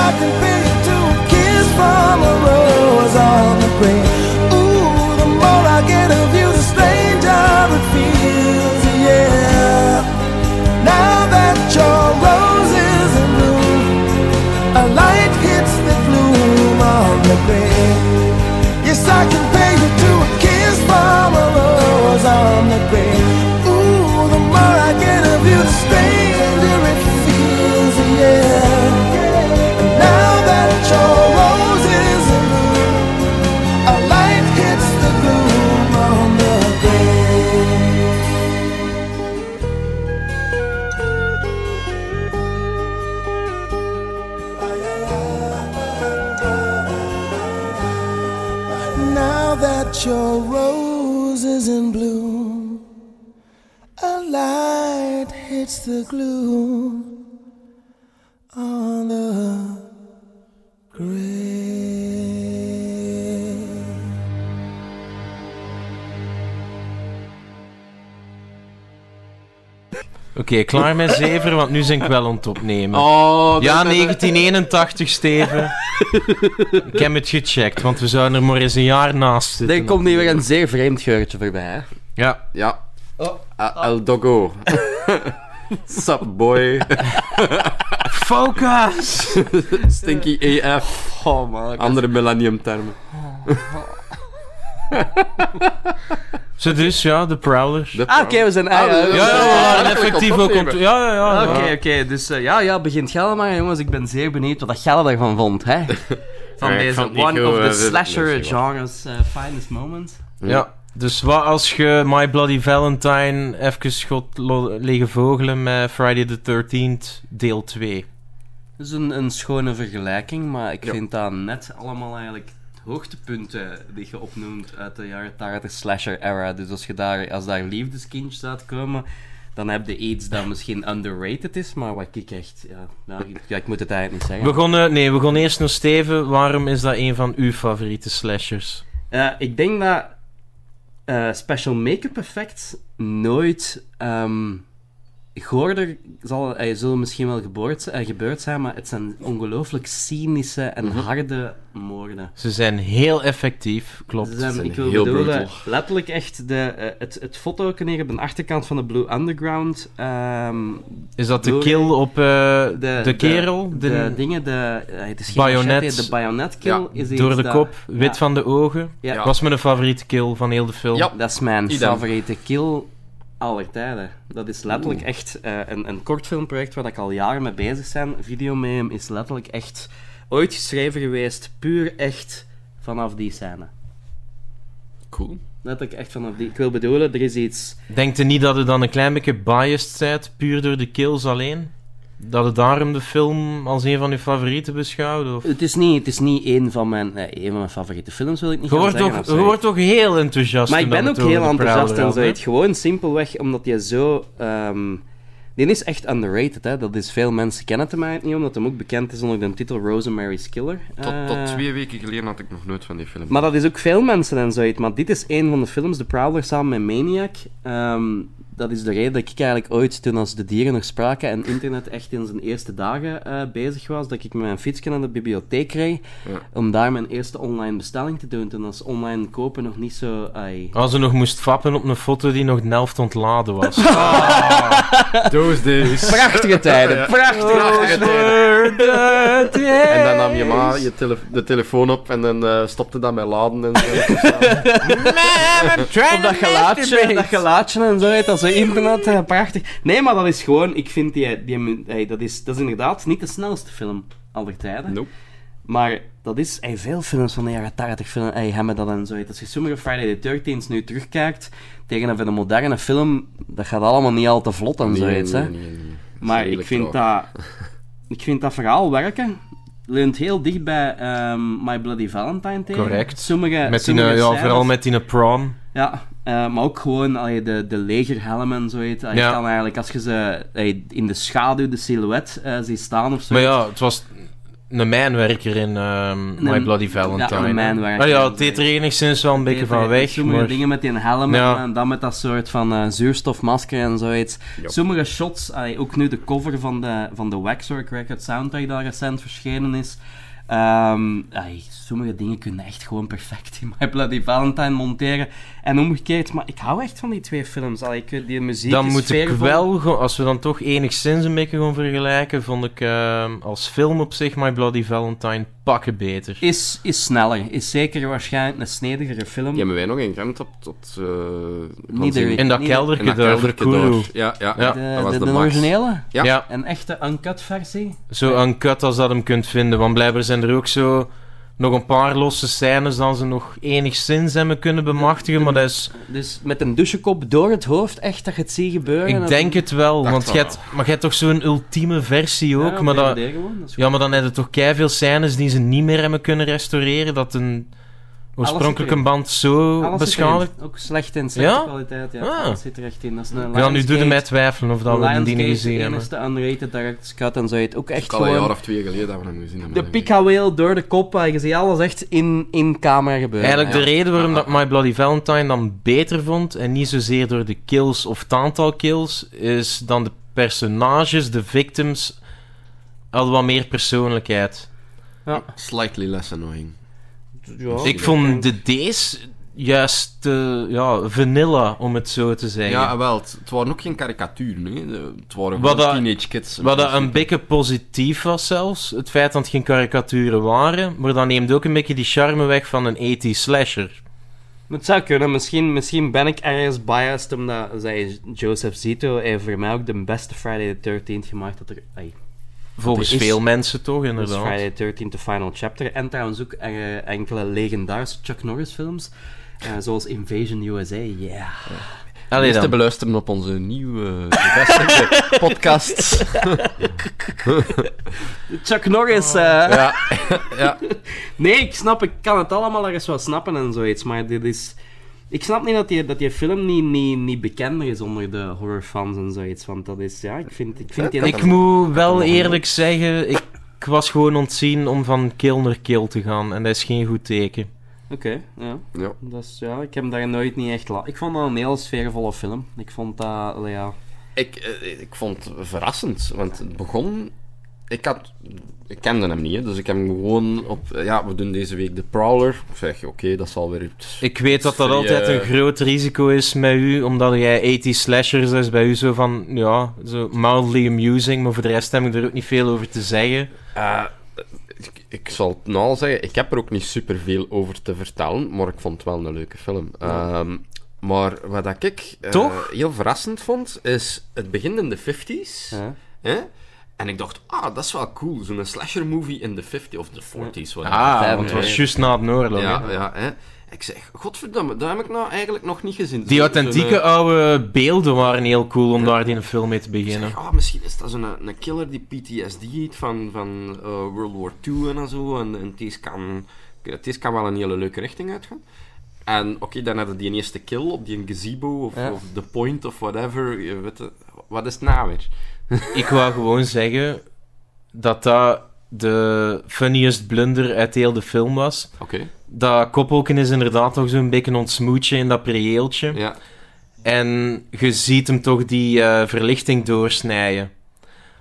Speaker 8: I can feel you too. Kiss from a rose on the grave. Ooh, the more I get of you, the stranger it feels, yeah. Now that your rose is in bloom, a light hits the gloom on the grave. Yes, I can pay you to a kiss from a rose on the grave. Ooh, the more I get of you, the stranger it feels, yeah. And now that your rose is in bloom, a light hits the gloom on the grave. Now that your rose is in bloom, a light hits the gloom on the grave.
Speaker 1: Oké, klaar met zeven, want nu zijn ik wel aan het opnemen.
Speaker 9: Oh,
Speaker 1: ja, 1981, Steven. ik heb het gecheckt, want we zouden er maar eens een jaar naast zitten.
Speaker 3: Er komt nu weer een zeer vreemd geurtje voorbij. Hè?
Speaker 1: Ja,
Speaker 9: Ja.
Speaker 3: Oh.
Speaker 9: Ah, El Dogo. <laughs> Sup,
Speaker 3: <laughs>
Speaker 9: boy.
Speaker 1: focus!
Speaker 9: Stinky AF.
Speaker 3: Oh man.
Speaker 9: Andere millennium termen.
Speaker 1: Zo dus, ja, de Prowlers.
Speaker 9: De
Speaker 3: Ah, oké, we zijn... ah, ja,
Speaker 9: Ah,
Speaker 1: Ja,
Speaker 3: we-
Speaker 1: ja, we waren effectief ook...
Speaker 9: opnemen.
Speaker 1: ont- Ja, ja, ja.
Speaker 3: Oké,
Speaker 1: ja.
Speaker 9: Ah.
Speaker 3: oké. Dus eh, ja, ja, begint Gelle maar, jongens. Ik ben zeer benieuwd wat dat Gelle daarvan
Speaker 9: <laughs>
Speaker 3: vond, hè? Van
Speaker 9: Ja, ik
Speaker 3: deze
Speaker 9: vond het niet
Speaker 3: one
Speaker 9: goed,
Speaker 3: of
Speaker 9: eh,
Speaker 3: the
Speaker 9: dit-
Speaker 3: slasher
Speaker 9: dit is wel-
Speaker 3: genres eh, finest moments.
Speaker 1: Ja, dus wat als je My Bloody Valentine even schot lo- liggen vogelen met Friday the 13th, deel 2.
Speaker 3: Dat is een, een schone vergelijking, maar ik
Speaker 9: Ja.
Speaker 3: vind dat net allemaal eigenlijk hoogtepunten die je opnoemt uit de jaren 80 slasher era. Dus als, je daar, als daar liefdeskindjes uitkomen, dan heb je iets dat misschien underrated is, maar wat ik echt... Ja, nou, ik, ja, ik moet het eigenlijk niet
Speaker 1: We
Speaker 3: zeggen.
Speaker 1: gaan, nee, we gaan eerst naar Steven. Waarom is dat een van uw favoriete slashers?
Speaker 3: Eh, ik denk dat eh, special make-up effect nooit... ehm goorder zal... eh, zullen misschien wel geboord, eh, gebeurd zijn, maar het zijn ongelooflijk cynische en
Speaker 1: Mhm.
Speaker 3: harde moorden.
Speaker 1: Ze zijn heel effectief, klopt.
Speaker 3: Dus, ehm,
Speaker 9: zijn
Speaker 3: ik wil
Speaker 9: heel
Speaker 3: bedoelen,
Speaker 9: brutal.
Speaker 3: letterlijk echt de, eh, het, het foto hier op de achterkant van de Blue Underground. ehm,
Speaker 1: Is dat de
Speaker 3: Door-
Speaker 1: kill op eh, de, kerel?
Speaker 3: De,
Speaker 1: De,
Speaker 3: dingen, de... eh, het is geen
Speaker 1: Bajonet.
Speaker 3: machete, de bayonet kill.
Speaker 9: Ja,
Speaker 3: is iets
Speaker 1: door de
Speaker 3: dat-
Speaker 1: kop, wit
Speaker 3: ja.
Speaker 1: van de ogen.
Speaker 3: Ja.
Speaker 9: Ja.
Speaker 1: Was mijn favoriete kill van heel de film.
Speaker 9: Ja.
Speaker 3: Dat is mijn
Speaker 9: Idem.
Speaker 3: favoriete kill aller tijden. Dat is letterlijk echt eh, een, een kortfilmproject waar ik al jaren mee bezig ben. Videomeme is letterlijk echt ooit geschreven geweest, puur echt vanaf die scène.
Speaker 9: Cool.
Speaker 3: Letterlijk echt vanaf die... Ik wil bedoelen, er is iets...
Speaker 1: Denkt u niet dat u dan een klein beetje biased bent, puur door de kills alleen? Dat u daarom de film als een van uw favorieten beschouwt? Of...
Speaker 3: Het is niet, het is niet één, van mijn, nee, één van mijn favoriete films, wil ik niet
Speaker 1: Je
Speaker 3: gaan
Speaker 1: wordt,
Speaker 3: zeggen.
Speaker 1: toch,
Speaker 3: of
Speaker 1: je
Speaker 3: zo.
Speaker 1: wordt toch heel enthousiast
Speaker 3: maar ik
Speaker 1: toen dat
Speaker 3: ben ook
Speaker 1: het over
Speaker 3: heel
Speaker 1: de
Speaker 3: enthousiast
Speaker 1: Prowler
Speaker 3: en
Speaker 1: had, hè?
Speaker 3: zoiets. Gewoon simpelweg omdat je zo... ehm, die is echt underrated, hè. Dat is, veel mensen kennen het mij niet, omdat hem ook bekend is onder de titel Rosemary's Killer.
Speaker 9: Tot,
Speaker 3: Eh,
Speaker 9: tot twee weken geleden had ik nog nooit van die film.
Speaker 3: Maar dat is ook veel mensen en zoiets. Maar dit is één van de films, The Prowler, samen met Maniac. Ehm, dat is de reden dat ik eigenlijk ooit, toen als de dieren nog spraken en internet echt in zijn eerste dagen eh, bezig was, dat ik met mijn fietsje naar de bibliotheek reed
Speaker 9: Ja.
Speaker 3: om daar mijn eerste online bestelling te doen. Toen was online kopen nog niet zo... ai.
Speaker 1: Als ze nog moest fappen op een foto die nog de helft ontladen was.
Speaker 9: Those days.
Speaker 3: <laughs> Prachtige tijden, prachtige
Speaker 9: Prachtige tijden. En
Speaker 1: en
Speaker 9: dan nam je ma je tele- de telefoon op en dan eh, stopte dat met laden en zo.
Speaker 3: Op dat gelaatje, dat gelaatje en zo, dat zo internet, eh, prachtig. Nee, maar dat is gewoon, ik vind die, die mu- hey, dat, is, dat is inderdaad niet de snelste film aller tijden.
Speaker 9: Nope.
Speaker 3: Maar dat is, hey, veel films van de jaren 80 film, hey, hebben dat en zo. Als je sommige Friday the 13th nu terugkijkt tegen een van de moderne film, dat gaat allemaal niet al te vlot en zoiets. hè.
Speaker 9: nee, nee.
Speaker 3: Maar ik
Speaker 4: redelijk
Speaker 3: vind, dat,
Speaker 1: <laughs>
Speaker 3: ik vind dat verhaal werken. Leunt heel dicht bij ehm, My Bloody Valentine tegen.
Speaker 1: Correct.
Speaker 3: Sommige,
Speaker 1: Met die,
Speaker 3: sommige
Speaker 1: eh, ja,
Speaker 3: scènes-
Speaker 1: vooral met die prom.
Speaker 3: Ja, eh, maar ook gewoon allee, de, de legerhelmen en zoiets. Allee,
Speaker 1: Ja.
Speaker 3: je kan eigenlijk, als je ze allee, in de schaduw, de silhouet, eh ziet staan of zo.
Speaker 1: Maar ja, het was een mijnwerker in ehm, My
Speaker 3: Een-
Speaker 1: Bloody Valentine.
Speaker 3: ja, een
Speaker 1: hè.
Speaker 3: mijnwerker.
Speaker 1: Maar ja, het deed er enigszins wel een beetje van weg.
Speaker 3: Sommige
Speaker 1: maar-
Speaker 3: dingen met die helm en-
Speaker 1: Ja.
Speaker 3: en dan met dat soort van eh, zuurstofmasker en zoiets. Sommige shots, allee, ook nu de cover van de, van de Waxwork Record soundtrack dat recent verschenen is. Ehm, allee, sommige dingen kunnen echt gewoon perfect in My Bloody Valentine monteren. En omgekeerd, maar ik hou echt van die twee films. Allee, ik, weet, die muziek
Speaker 1: Dan
Speaker 3: is
Speaker 1: moet ik
Speaker 3: sfeervol.
Speaker 1: wel, gewoon- als we dan toch enigszins een beetje gaan vergelijken, vond ik ehm, als film op zich My Bloody Valentine pakken beter.
Speaker 3: Is, is sneller. Is zeker waarschijnlijk een snedigere film.
Speaker 4: Die hebben wij nog in Gent op tot... eh,
Speaker 3: Niet de-
Speaker 1: In dat
Speaker 3: niet-
Speaker 1: kelderke
Speaker 4: In dat
Speaker 1: daar,
Speaker 4: kelderke
Speaker 1: Kuru.
Speaker 4: door. Ja, ja,
Speaker 1: Ja.
Speaker 3: de,
Speaker 4: dat was
Speaker 3: de,
Speaker 4: de,
Speaker 3: de
Speaker 4: max.
Speaker 3: originele?
Speaker 4: Ja.
Speaker 1: Ja,
Speaker 3: Een echte uncut versie?
Speaker 1: zo uncut als dat hem kunt vinden. Want blijkbaar zijn er ook zo nog een paar losse scènes dan ze nog enigszins hebben kunnen bemachtigen. Maar dat is,
Speaker 3: Dus met een douchekop door het hoofd, echt dat je het ziet gebeuren.
Speaker 1: ik denk het wel. Want je hebt, maar je hebt toch zo'n ultieme versie ook. maar dat, Ja, maar dan hebben toch kei veel scènes die ze niet meer hebben kunnen restaureren. Dat een oorspronkelijke
Speaker 3: erin.
Speaker 1: band zo beschadigd.
Speaker 3: Ook slecht in slechte
Speaker 1: Ja?
Speaker 3: kwaliteit. Ja,
Speaker 1: Ah.
Speaker 3: alles zit er echt in. Dat is een
Speaker 1: Ja, nu doen we mij twijfelen of dat we die dingen
Speaker 3: Lionsgate,
Speaker 1: gezien
Speaker 3: de
Speaker 1: hebben.
Speaker 3: enigste unrated director's cut en zo. Het ook echt
Speaker 4: al een jaar
Speaker 3: gewoon...
Speaker 4: of twee geleden dat we hem gezien hebben.
Speaker 3: De picaweel door de kop, eh, je ziet alles echt in, in camera gebeuren.
Speaker 1: Eigenlijk de
Speaker 3: Ja.
Speaker 1: reden waarom dat ik My Bloody Valentine dan beter vond, en niet zozeer door de kills of het aantal kills, is dan de personages, de victims, hadden wat meer persoonlijkheid.
Speaker 4: Slightly less annoying.
Speaker 3: Ja.
Speaker 1: Ik vond de D's juist eh, ja, vanilla, om het zo te zeggen.
Speaker 4: Ja, wel. Het, het waren ook geen karikaturen, hè. De- Het waren
Speaker 1: Wat
Speaker 4: gewoon
Speaker 1: dat-
Speaker 4: teenage kids. in
Speaker 1: Wat dat een
Speaker 4: principe.
Speaker 1: beetje positief was zelfs, het feit dat het geen karikaturen waren, maar dat neemt ook een beetje die charme weg van een 80 slasher.
Speaker 3: Het zou kunnen, misschien, misschien ben ik ergens biased omdat zij Joseph Zito heeft voor mij ook de beste Friday the 13th gemaakt dat er. ai,
Speaker 1: Volgens
Speaker 3: Dat is-
Speaker 1: veel mensen toch,
Speaker 3: dat is
Speaker 1: inderdaad.
Speaker 3: Dus Friday the 13th, The Final Chapter. En trouwens ook eh, enkele legendarische Chuck Norris films. eh, zoals Invasion USA, yeah.
Speaker 1: Allee
Speaker 4: Die is te
Speaker 1: dan.
Speaker 4: beluisteren op onze nieuwe <laughs> gevestigde podcast.
Speaker 3: Chuck Norris, eh. <laughs>
Speaker 4: Ja, ja.
Speaker 3: Nee, ik snap, ik kan het allemaal ergens wel snappen en zoiets, maar dit is... Ik snap niet dat die, dat die film niet, niet, niet bekender is onder de horrorfans en zoiets, want dat is... Ja, ik vind, Eh, ik vind die...
Speaker 1: Ik moet wel eerlijk zeggen, ik, ik was gewoon ontzien om van kill naar kill te gaan, en dat is geen goed teken.
Speaker 3: Oké, ja.
Speaker 4: Ja.
Speaker 3: Dat is, ja, ik heb daar nooit niet echt la. Ik vond dat een heel sfeervolle film. Ik vond dat, allee, ja...
Speaker 4: Ik, eh, ik vond het verrassend, want het begon... Ik, had, ik kende hem niet, hè, dus ik heb hem gewoon op... eh, Ja, we doen deze week de Prowler. Ik zeg, oké, dat zal weer... iets-
Speaker 1: Ik weet dat dat
Speaker 4: Vrij,
Speaker 1: altijd een
Speaker 4: eh,
Speaker 1: groot risico is met u, omdat jij 80 slashers is bij u zo van, ja, zo mildly amusing, maar voor de rest heb ik er ook niet veel over te zeggen.
Speaker 4: Eh, ik, ik zal het nou al zeggen, ik heb er ook niet superveel over te vertellen, maar ik vond het wel een leuke film. Ehm, maar wat dat ik eh,
Speaker 1: Toch?
Speaker 4: heel verrassend vond, is het begint in de 50s.
Speaker 3: Ja.
Speaker 4: Hè? En ik dacht, ah, dat is wel cool, zo'n slasher movie in de 50s of de 40s. Wat
Speaker 1: Ah, want het was juist na de oorlog. hè.
Speaker 4: ja, ja, hè? Ik zeg, godverdamme, dat heb ik nou eigenlijk nog niet gezien.
Speaker 1: Die
Speaker 4: Zo'n-
Speaker 1: authentieke
Speaker 4: zo'n,
Speaker 1: oude beelden waren heel cool om daar die een film mee te beginnen.
Speaker 4: Ah, misschien is dat zo'n een killer die PTSD heeft van, van eh, World War II en dan zo. En, en deze, kan, deze kan wel een hele leuke richting uitgaan. En oké, dan hadden die eerste kill op die gazebo of,
Speaker 3: Ja.
Speaker 4: of The Point of whatever. Je weet, het, wat is het nou weer?
Speaker 1: Ik wou gewoon zeggen dat dat de funniest blunder uit heel de film was.
Speaker 4: Oké,
Speaker 1: Dat koppelken is inderdaad toch zo'n beetje een ontsmoetje in dat prieeltje.
Speaker 4: ja.
Speaker 1: En je ziet hem toch die eh, verlichting doorsnijden.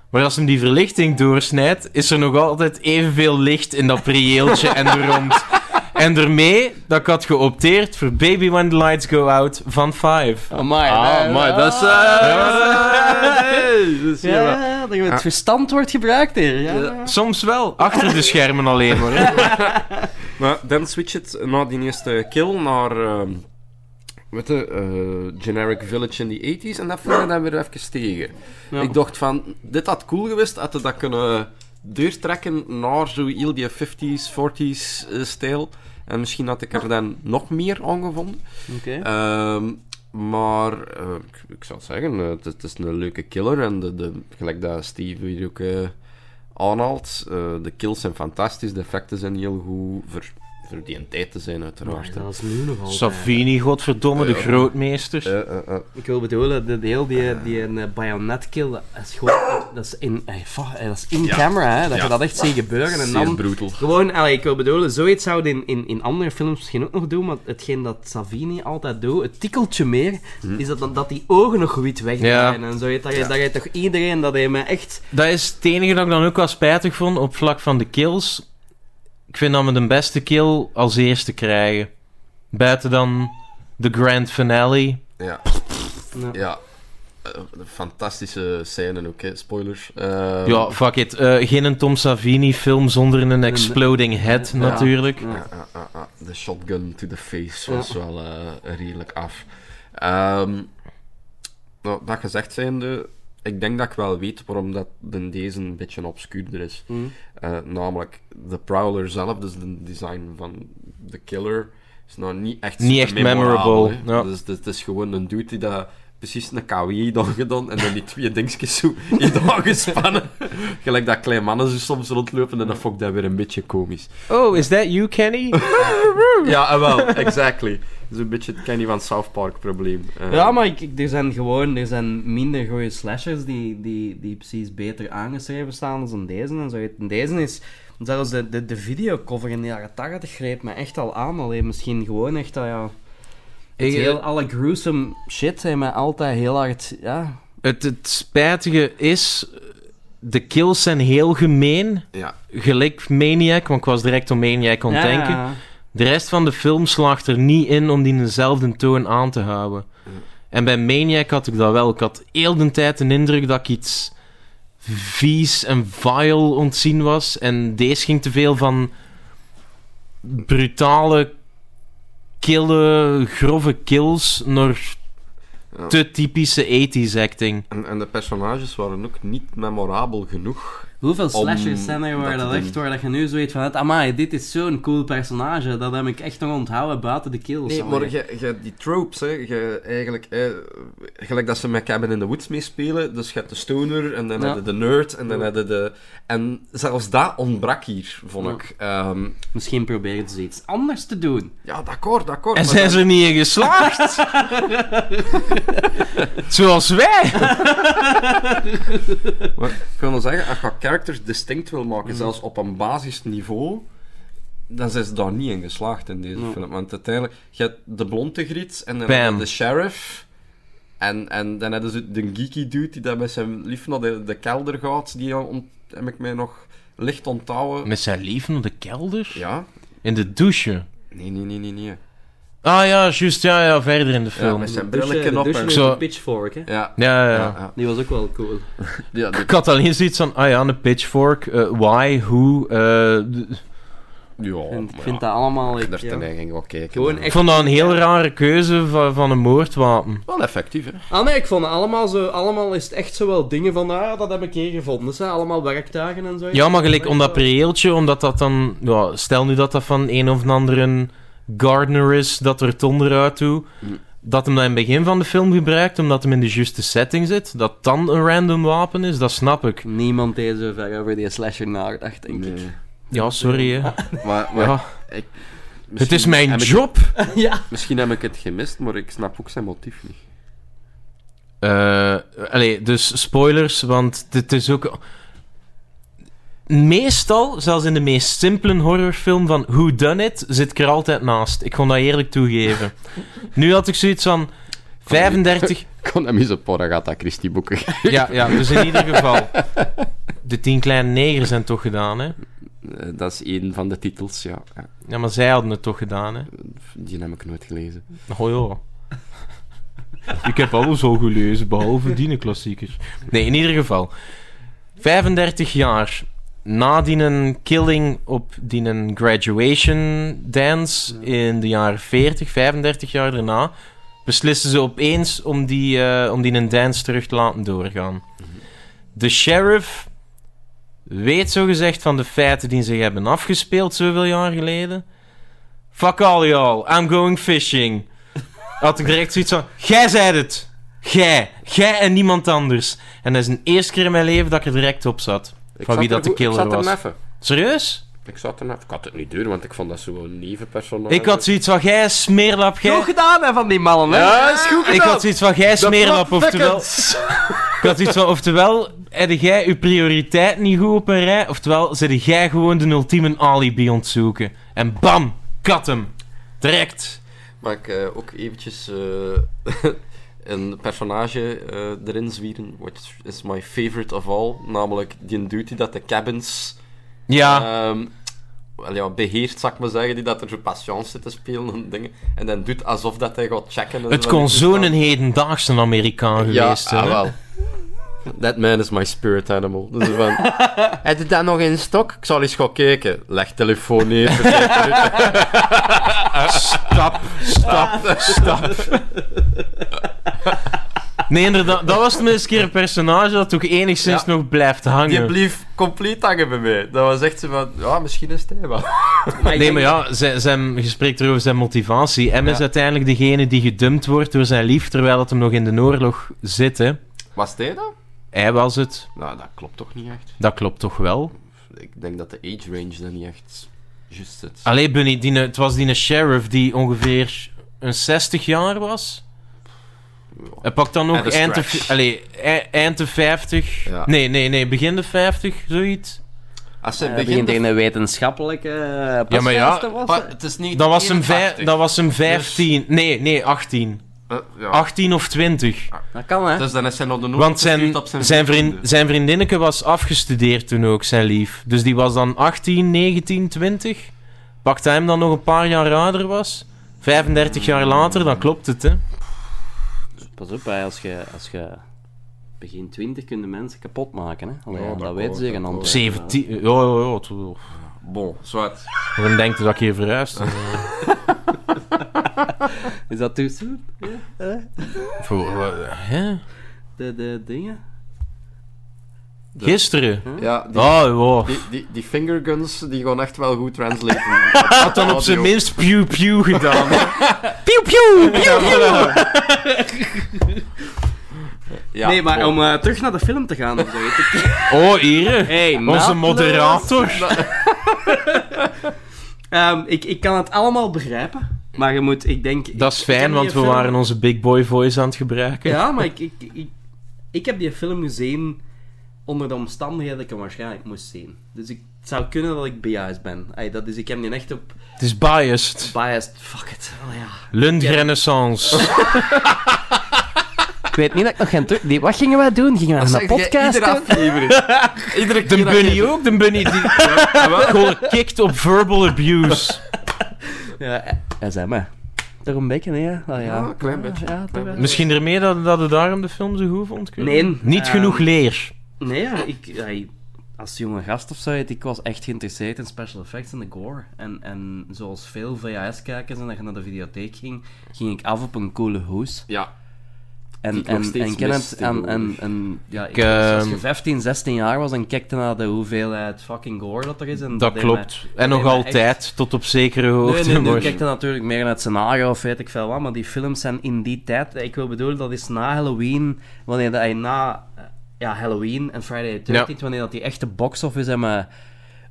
Speaker 1: Maar als hem die verlichting doorsnijdt, is er nog altijd evenveel licht in dat prieeltje en er rond. En daarmee, dat ik had geopteerd voor Baby When The Lights Go Out van Five.
Speaker 3: Amai,
Speaker 4: Ah, maar dat is... eh, dat is-
Speaker 3: Ja, ja, dat het verstand wordt gebruikt hier. Ja, ja.
Speaker 1: Soms wel, achter de schermen alleen maar. hè.
Speaker 4: Maar dan switch het na die eerste kill naar... ehm, weet je, eh, Generic Village in the 80s. En dat vond ik dan weer even tegen. Ik dacht van, dit had cool geweest, had je dat kunnen doortrekken naar zo heel die 50s, 40s eh, stijl. En misschien had ik er dan nog meer aan gevonden.
Speaker 3: Oké.
Speaker 4: Ehm, Maar eh, ik, ik zou zeggen, eh, het, is- het is een leuke killer. En de, de, gelijk dat Steve hier ook eh, aanhaalt, eh, de kills zijn fantastisch, de effecten zijn heel goed. Voor, voor die een tijd te zijn, uiteraard. hè.
Speaker 3: Dat is nu nog altijd.
Speaker 1: Savini, godverdomme, de grootmeester.
Speaker 4: Eh, eh, eh.
Speaker 3: Ik wil bedoelen, de, de heel die, die een eh, bajonetkill, dat is gewoon... Dat is in, eh, fuck, eh, dat is in camera, hè, dat je dat echt ziet gebeuren. En
Speaker 4: Zeer
Speaker 3: dan
Speaker 4: brutal.
Speaker 3: Gewoon, allee, ik wil bedoelen, zoiets zouden in, in, in andere films misschien ook nog doen, maar hetgeen dat Savini altijd doet, het tikkeltje meer, is dat, dan- dat die ogen nog wit wegdraaien en zo. Dat je, dat je toch iedereen, dat hij me echt...
Speaker 1: Dat is het enige dat ik dan ook wel spijtig vond op vlak van de kills. Ik vind dat we de beste kill als eerste krijgen. Buiten dan de grand finale.
Speaker 4: Ja.
Speaker 3: Ja.
Speaker 4: Ja. Eh, de fantastische scène ook, hè. spoilers. Eh,
Speaker 1: ja, fuck it. Eh, geen een Tom Savini film zonder een exploding head, natuurlijk.
Speaker 4: ja, ja, ja, ja. De shotgun to the face was wel eh, redelijk af. Ehm, nou, dat gezegd zijnde, ik denk dat ik wel weet waarom dat de deze een beetje obscuurder is.
Speaker 1: Mm.
Speaker 4: Eh, namelijk, de Prowler zelf, dus de design van de killer, is nou niet echt
Speaker 1: Niet echt memorable,
Speaker 4: hè.
Speaker 1: ja.
Speaker 4: Dus het is gewoon een dude die dat precies een KW dan gedaan en dan die twee dingetjes zo in de <laughs> hand gespannen. Gelijk dat kleine mannen zo soms rondlopen en dan vond ik dat weer een beetje komisch.
Speaker 1: Oh, is that you, Kenny?
Speaker 4: Ja, eh, wel, exactly. Dat is een beetje het Kenny van South Park probleem. Eh,
Speaker 3: Ja, maar ik, ik- er zijn gewoon er zijn minder goede slashers die, die, die precies beter aangeschreven staan dan deze en zo. En deze is... Zelfs de, de, de videocover in de jaren 80 greep me echt al aan. Alleen misschien gewoon echt dat, ja... Het
Speaker 1: Ik-
Speaker 3: heel, alle gruesome shit heeft me altijd heel hard... Ja,
Speaker 1: <laughs> Het, het spijtige is, de kills zijn heel gemeen.
Speaker 4: Ja.
Speaker 1: Gelijk Maniac, want ik was direct om Maniac aan het
Speaker 3: Ja, ja,
Speaker 1: denken.
Speaker 3: ja.
Speaker 1: De rest van de film slaagt er niet in om die dezelfde toon aan te houden. En bij Maniac had ik dat wel. Ik had heel de tijd de indruk dat ik iets vies en vile ontzien was. En deze ging te veel van brutale, kille, grove kills naar
Speaker 4: Ja.
Speaker 1: te typische 80s acting.
Speaker 4: En, en de personages waren ook niet memorabel genoeg.
Speaker 3: Hoeveel
Speaker 4: om
Speaker 3: slashers zijn er waar
Speaker 4: dat
Speaker 3: dat
Speaker 4: te
Speaker 3: echt
Speaker 4: doen.
Speaker 3: waar dat je nu zoiets van hebt, amai, dit is zo'n cool personage, dat heb ik echt nog onthouden buiten de kills.
Speaker 4: Nee,
Speaker 3: Allee.
Speaker 4: maar je, je, die tropes, hè, je, eigenlijk, eh, gelijk dat ze met Cabin in the Woods meespelen, dus je hebt de stoner, en dan
Speaker 3: Ja.
Speaker 4: heb je de nerd, en dan heb je de... En zelfs dat ontbrak hier, vond ik. Ehm,
Speaker 3: Misschien proberen ze iets anders te doen.
Speaker 4: ja, d'accord, d'accord.
Speaker 1: En
Speaker 4: maar
Speaker 1: zijn
Speaker 4: dat-
Speaker 1: ze er niet in
Speaker 4: <laughs>
Speaker 1: geslaagd? Zoals wij!
Speaker 4: Maar ik wil nog zeggen, als je characters distinct wil maken,
Speaker 3: Mhm.
Speaker 4: zelfs op een basisniveau, dan zijn ze daar niet in geslaagd in deze film. Want uiteindelijk, je hebt de blonde griet en dan
Speaker 1: Bam.
Speaker 4: heb je de sheriff. En, en dan hebben ze de geeky dude die daar met zijn lief naar de, de kelder gaat. Die on- heb ik mij nog licht onthouden.
Speaker 1: Met zijn lief naar de kelder?
Speaker 4: Ja?
Speaker 1: In de douche.
Speaker 4: Nee, nee, nee, nee, nee.
Speaker 1: Ah ja, juist, ja, ja, verder in de
Speaker 4: Ja,
Speaker 1: film.
Speaker 4: met zijn
Speaker 3: Dus
Speaker 4: brilletje op. en-
Speaker 1: met Zo. een
Speaker 3: pitchfork, hè.
Speaker 4: Ja.
Speaker 1: Ja, ja, ja.
Speaker 4: Ja, ja.
Speaker 3: Die was ook wel cool.
Speaker 4: Ja, die-
Speaker 1: Ik had alleen zoiets van, ah ja, een pitchfork, eh, why, hoe. eh, d-
Speaker 4: ja,
Speaker 3: En ik
Speaker 4: maar
Speaker 3: vind
Speaker 4: ja,
Speaker 3: dat allemaal... Ik,
Speaker 4: daar ten
Speaker 3: ja.
Speaker 4: eigen wel kijken.
Speaker 3: Gewoon
Speaker 1: ik
Speaker 3: echt...
Speaker 1: vond dat een heel rare keuze van, van een moordwapen.
Speaker 4: Wel effectief, hè?
Speaker 3: Ah nee, ik vond allemaal zo... Allemaal is het echt zo wel dingen van, ah, dat heb ik hier gevonden. Dus hè, allemaal werkdagen en zo.
Speaker 1: Ja, maar gelijk om dat preeltje, omdat dat dan... Ja, stel nu dat dat van een of andere een gardener is, dat er het onderuit toe...
Speaker 4: Mm.
Speaker 1: Dat hem dat in het begin van de film gebruikt, omdat hem in de juiste setting zit. Dat dan een random wapen is, dat snap ik.
Speaker 4: Mm.
Speaker 3: Niemand deed zo ver over die slasher nagedacht, denk ik.
Speaker 1: Ja, sorry hè.
Speaker 4: Maar, maar
Speaker 1: Ja, het
Speaker 4: misschien
Speaker 1: is mijn
Speaker 4: heb ik-
Speaker 1: job.
Speaker 3: ja.
Speaker 4: Misschien heb ik het gemist, maar ik snap ook zijn motief niet.
Speaker 1: Eh, allee, dus spoilers, want dit is ook... Meestal, zelfs in de meest simpele horrorfilm van Who Done It, zit ik er altijd naast. Ik kon dat eerlijk toegeven. nu had ik zoiets van... 35...
Speaker 4: Ik kon hem eens op Agatha Christie boeken.
Speaker 1: Ja, ja, dus in ieder geval... De tien kleine negers zijn het toch gedaan, hè?
Speaker 4: dat is één van de titels, ja. Ja,
Speaker 1: Ja, maar zij hadden het toch gedaan, hè?
Speaker 4: Die heb ik nooit gelezen.
Speaker 1: Oh ja. Ik heb alles al gelezen, behalve die klassiekers. Nee, in ieder geval. 35 jaar na die een killing op die een graduation dance in de jaren 40, 35 jaar daarna, beslissen ze opeens om die, eh, om die een dance terug te laten doorgaan. De sheriff weet zogezegd van de feiten die zich hebben afgespeeld zoveel jaar geleden. Fuck all y'all, I'm going fishing. had ik direct zoiets van: Jij zei het! Jij! Jij en niemand anders. En dat is de eerste keer in mijn leven dat ik er direct op zat.
Speaker 4: Ik
Speaker 1: Van
Speaker 4: zat
Speaker 1: wie
Speaker 4: er
Speaker 1: dat de
Speaker 4: goed-
Speaker 1: killer
Speaker 4: Ik
Speaker 1: was.
Speaker 4: zat er even.
Speaker 1: Serieus?
Speaker 4: Ik zat er even. Ik had het niet duur, want ik vond dat zo'n lieve personage.
Speaker 1: Ik had zoiets van: Jij smeerlap, jij.
Speaker 3: Goed gedaan hè, van die mannen, hè?
Speaker 4: Ja, is goed gedaan.
Speaker 1: Ik had zoiets van: Jij
Speaker 4: De
Speaker 1: smeerlap, oftewel.
Speaker 4: plotfuckers.
Speaker 1: Ik had zoiets van, oftewel, heb jij je prioriteit niet goed op een rij, oftewel, zit jij gewoon de ultieme alibi ontzoeken. En bam, kat hem. Direct.
Speaker 4: Mag ik eh, ook eventjes eh, <laughs> een personage eh, erin zwieren, which is my favorite of all, namelijk die dude die dat de cabins
Speaker 1: Ja,
Speaker 4: ehm, wel ja, beheert, zou ik maar zeggen, die dat er zo patience zit te spelen en dingen, en dan doet alsof dat hij gaat checken. en
Speaker 1: het
Speaker 4: zo van
Speaker 1: kon
Speaker 4: die
Speaker 1: zo'n
Speaker 4: toestanden.
Speaker 1: hedendaagse Amerikaan geweest
Speaker 4: Ja,
Speaker 1: zijn.
Speaker 4: ah,
Speaker 1: hè.
Speaker 4: wel. That man is my spirit animal. Dus <laughs> van, heb je dat nog in stok? Ik zal eens gaan kijken. Leg telefoon neer. voor vijf minuten.
Speaker 1: <laughs> Stap, stap, stap. Nee, inderdaad, dat was tenminste een keer een personage dat toch enigszins
Speaker 4: Ja.
Speaker 1: nog blijft
Speaker 4: Die
Speaker 1: hangen.
Speaker 4: bleef compleet hangen bij mij. Dat was echt zo van, ja, misschien is het hij wel.
Speaker 1: <laughs> Nee, maar ja, zijn, zijn gesprek erover zijn motivatie. Hem is uiteindelijk degene die gedumpt wordt door zijn lief, terwijl het hem nog in de oorlog zit, hè.
Speaker 4: Was hij dat?
Speaker 1: Hij was het.
Speaker 4: Nou, dat klopt toch niet echt?
Speaker 1: Dat klopt toch wel?
Speaker 4: Ik denk dat de age range daar niet echt juist zit.
Speaker 1: Allee, Bunny, die, het was die sheriff die ongeveer een 60 jaar was. Hij pakt dan nog
Speaker 4: En de
Speaker 1: eind de,
Speaker 4: scratch.
Speaker 1: v- allee, e- eind de 50.
Speaker 4: Ja.
Speaker 1: Nee, nee, nee, begin de 50, zoiets.
Speaker 4: Als hij
Speaker 3: Eh,
Speaker 4: begint...
Speaker 3: begint in
Speaker 4: te-
Speaker 3: een wetenschappelijke eh,
Speaker 1: Ja, maar ja,
Speaker 3: podcast te wassen.
Speaker 4: Maar het is niet
Speaker 1: Dan was hem, vij-
Speaker 4: 81.
Speaker 1: dan was hem 15. Nee, nee, 18.
Speaker 4: Eh, ja.
Speaker 1: 18 of 20.
Speaker 3: Dat kan, hè?
Speaker 4: Dus dan is hij nog de nood
Speaker 1: Want
Speaker 4: gestuurd
Speaker 1: zijn,
Speaker 4: op zijn,
Speaker 1: zijn, vriend,
Speaker 4: vrienden.
Speaker 1: zijn vriendinneke was afgestudeerd toen ook, zijn lief. Dus die was dan 18, 19, 20. Pakt hij hem dan nog een paar jaar ouder was? 35 jaar later, dan klopt het, hè?
Speaker 3: Pas op, hè, als je... Als je... Begin 20 kunnen mensen kapot maken, hè? Allee,
Speaker 4: Ja,
Speaker 3: ja, dat,
Speaker 4: dat
Speaker 3: weten
Speaker 4: klopt,
Speaker 3: ze
Speaker 4: dat
Speaker 3: geen antwoord.
Speaker 1: 17. Ja, ja, ja. het-
Speaker 4: Bon, zwart.
Speaker 1: Waarom denkt u dat ik hier verhuisd?
Speaker 3: Is dat too soon?
Speaker 1: Voor, eh,
Speaker 3: Ah,
Speaker 1: hè?
Speaker 3: De, de dingen?
Speaker 1: Gisteren.
Speaker 4: Ja, die,
Speaker 1: Oh, ja.
Speaker 4: die, die, die fingerguns, die gaan echt wel goed translaten.
Speaker 1: <laughs> Had dan op zijn
Speaker 4: Audio.
Speaker 1: minst pew pew gedaan. pew pew, pew pew.
Speaker 4: Ja,
Speaker 3: nee, maar
Speaker 4: bon.
Speaker 3: om eh, terug naar de film te gaan of zo. weet ik-
Speaker 1: <laughs> Oh, Ere. Onze
Speaker 3: naadloos.
Speaker 1: moderator.
Speaker 3: Ehm, ik, ik kan het allemaal begrijpen, maar je moet, ik denk... ik-
Speaker 1: Dat is
Speaker 3: ik heb
Speaker 1: fijn,
Speaker 3: die
Speaker 1: want we
Speaker 3: film-
Speaker 1: waren onze big boy voice aan het gebruiken.
Speaker 3: Ja, maar ik, ik, ik, ik heb die film gezien onder de omstandigheden dat ik hem waarschijnlijk moest zien. Dus ik, het zou kunnen dat ik biased ben. Ay, dat is, ik heb die echt op
Speaker 1: Het is biased.
Speaker 3: biased... Fuck it. Oh, ja.
Speaker 1: Lund
Speaker 3: <laughs>
Speaker 1: Renaissance.
Speaker 3: Ik weet niet dat ik nog geen terug... Die, wat gingen wij doen? Gingen we
Speaker 4: Zeg jij Iedere aflevering. <laughs> Iedere keer
Speaker 1: De
Speaker 4: dat
Speaker 1: bunny
Speaker 4: je-
Speaker 1: ook, de bunny
Speaker 3: <laughs>
Speaker 1: die gewoon kicked op verbal abuse.
Speaker 3: Ja, eh, SM, hè. Toch een beetje, nee, hè? Ah,
Speaker 4: Ja,
Speaker 3: ja.
Speaker 4: een klein beetje.
Speaker 3: Ja, toch wel.
Speaker 1: Misschien ermee dat, dat het daarom de film zo goed vond? ik weet
Speaker 3: Nee,
Speaker 1: niet. Niet
Speaker 3: ehm,
Speaker 1: genoeg leer.
Speaker 3: Nee, ja, ik, ay, als jonge gast of zo, weet ik was echt geïnteresseerd in special effects en de gore. En, en zoals veel VHS-kijkers en dat je naar de videotheek ging, ging ik af op een coole hoes.
Speaker 4: Ja,
Speaker 3: En,
Speaker 4: ik nog
Speaker 3: en,
Speaker 4: steeds
Speaker 3: en
Speaker 4: mis
Speaker 3: Kenneth, en, en,
Speaker 4: tegenwoordig.
Speaker 3: en, ja, ik
Speaker 1: Ik,
Speaker 3: was- als
Speaker 1: ehm,
Speaker 3: je 15, 16 jaar was en kijkte naar de hoeveelheid fucking gore dat er is. En
Speaker 1: Dat
Speaker 3: deed
Speaker 1: klopt.
Speaker 3: mij-
Speaker 1: en nog
Speaker 3: deed mij echt-
Speaker 1: altijd, tot op zekere hoogte.
Speaker 3: Nee, nee, nu
Speaker 1: maar-
Speaker 3: kijk dan natuurlijk meer naar het scenario of weet ik veel wat, maar die films zijn in die tijd, ik wil bedoelen, dat is na Halloween, wanneer dat hij na eh, ja, Halloween en Friday the 13th, wanneer dat die echte box-office hebben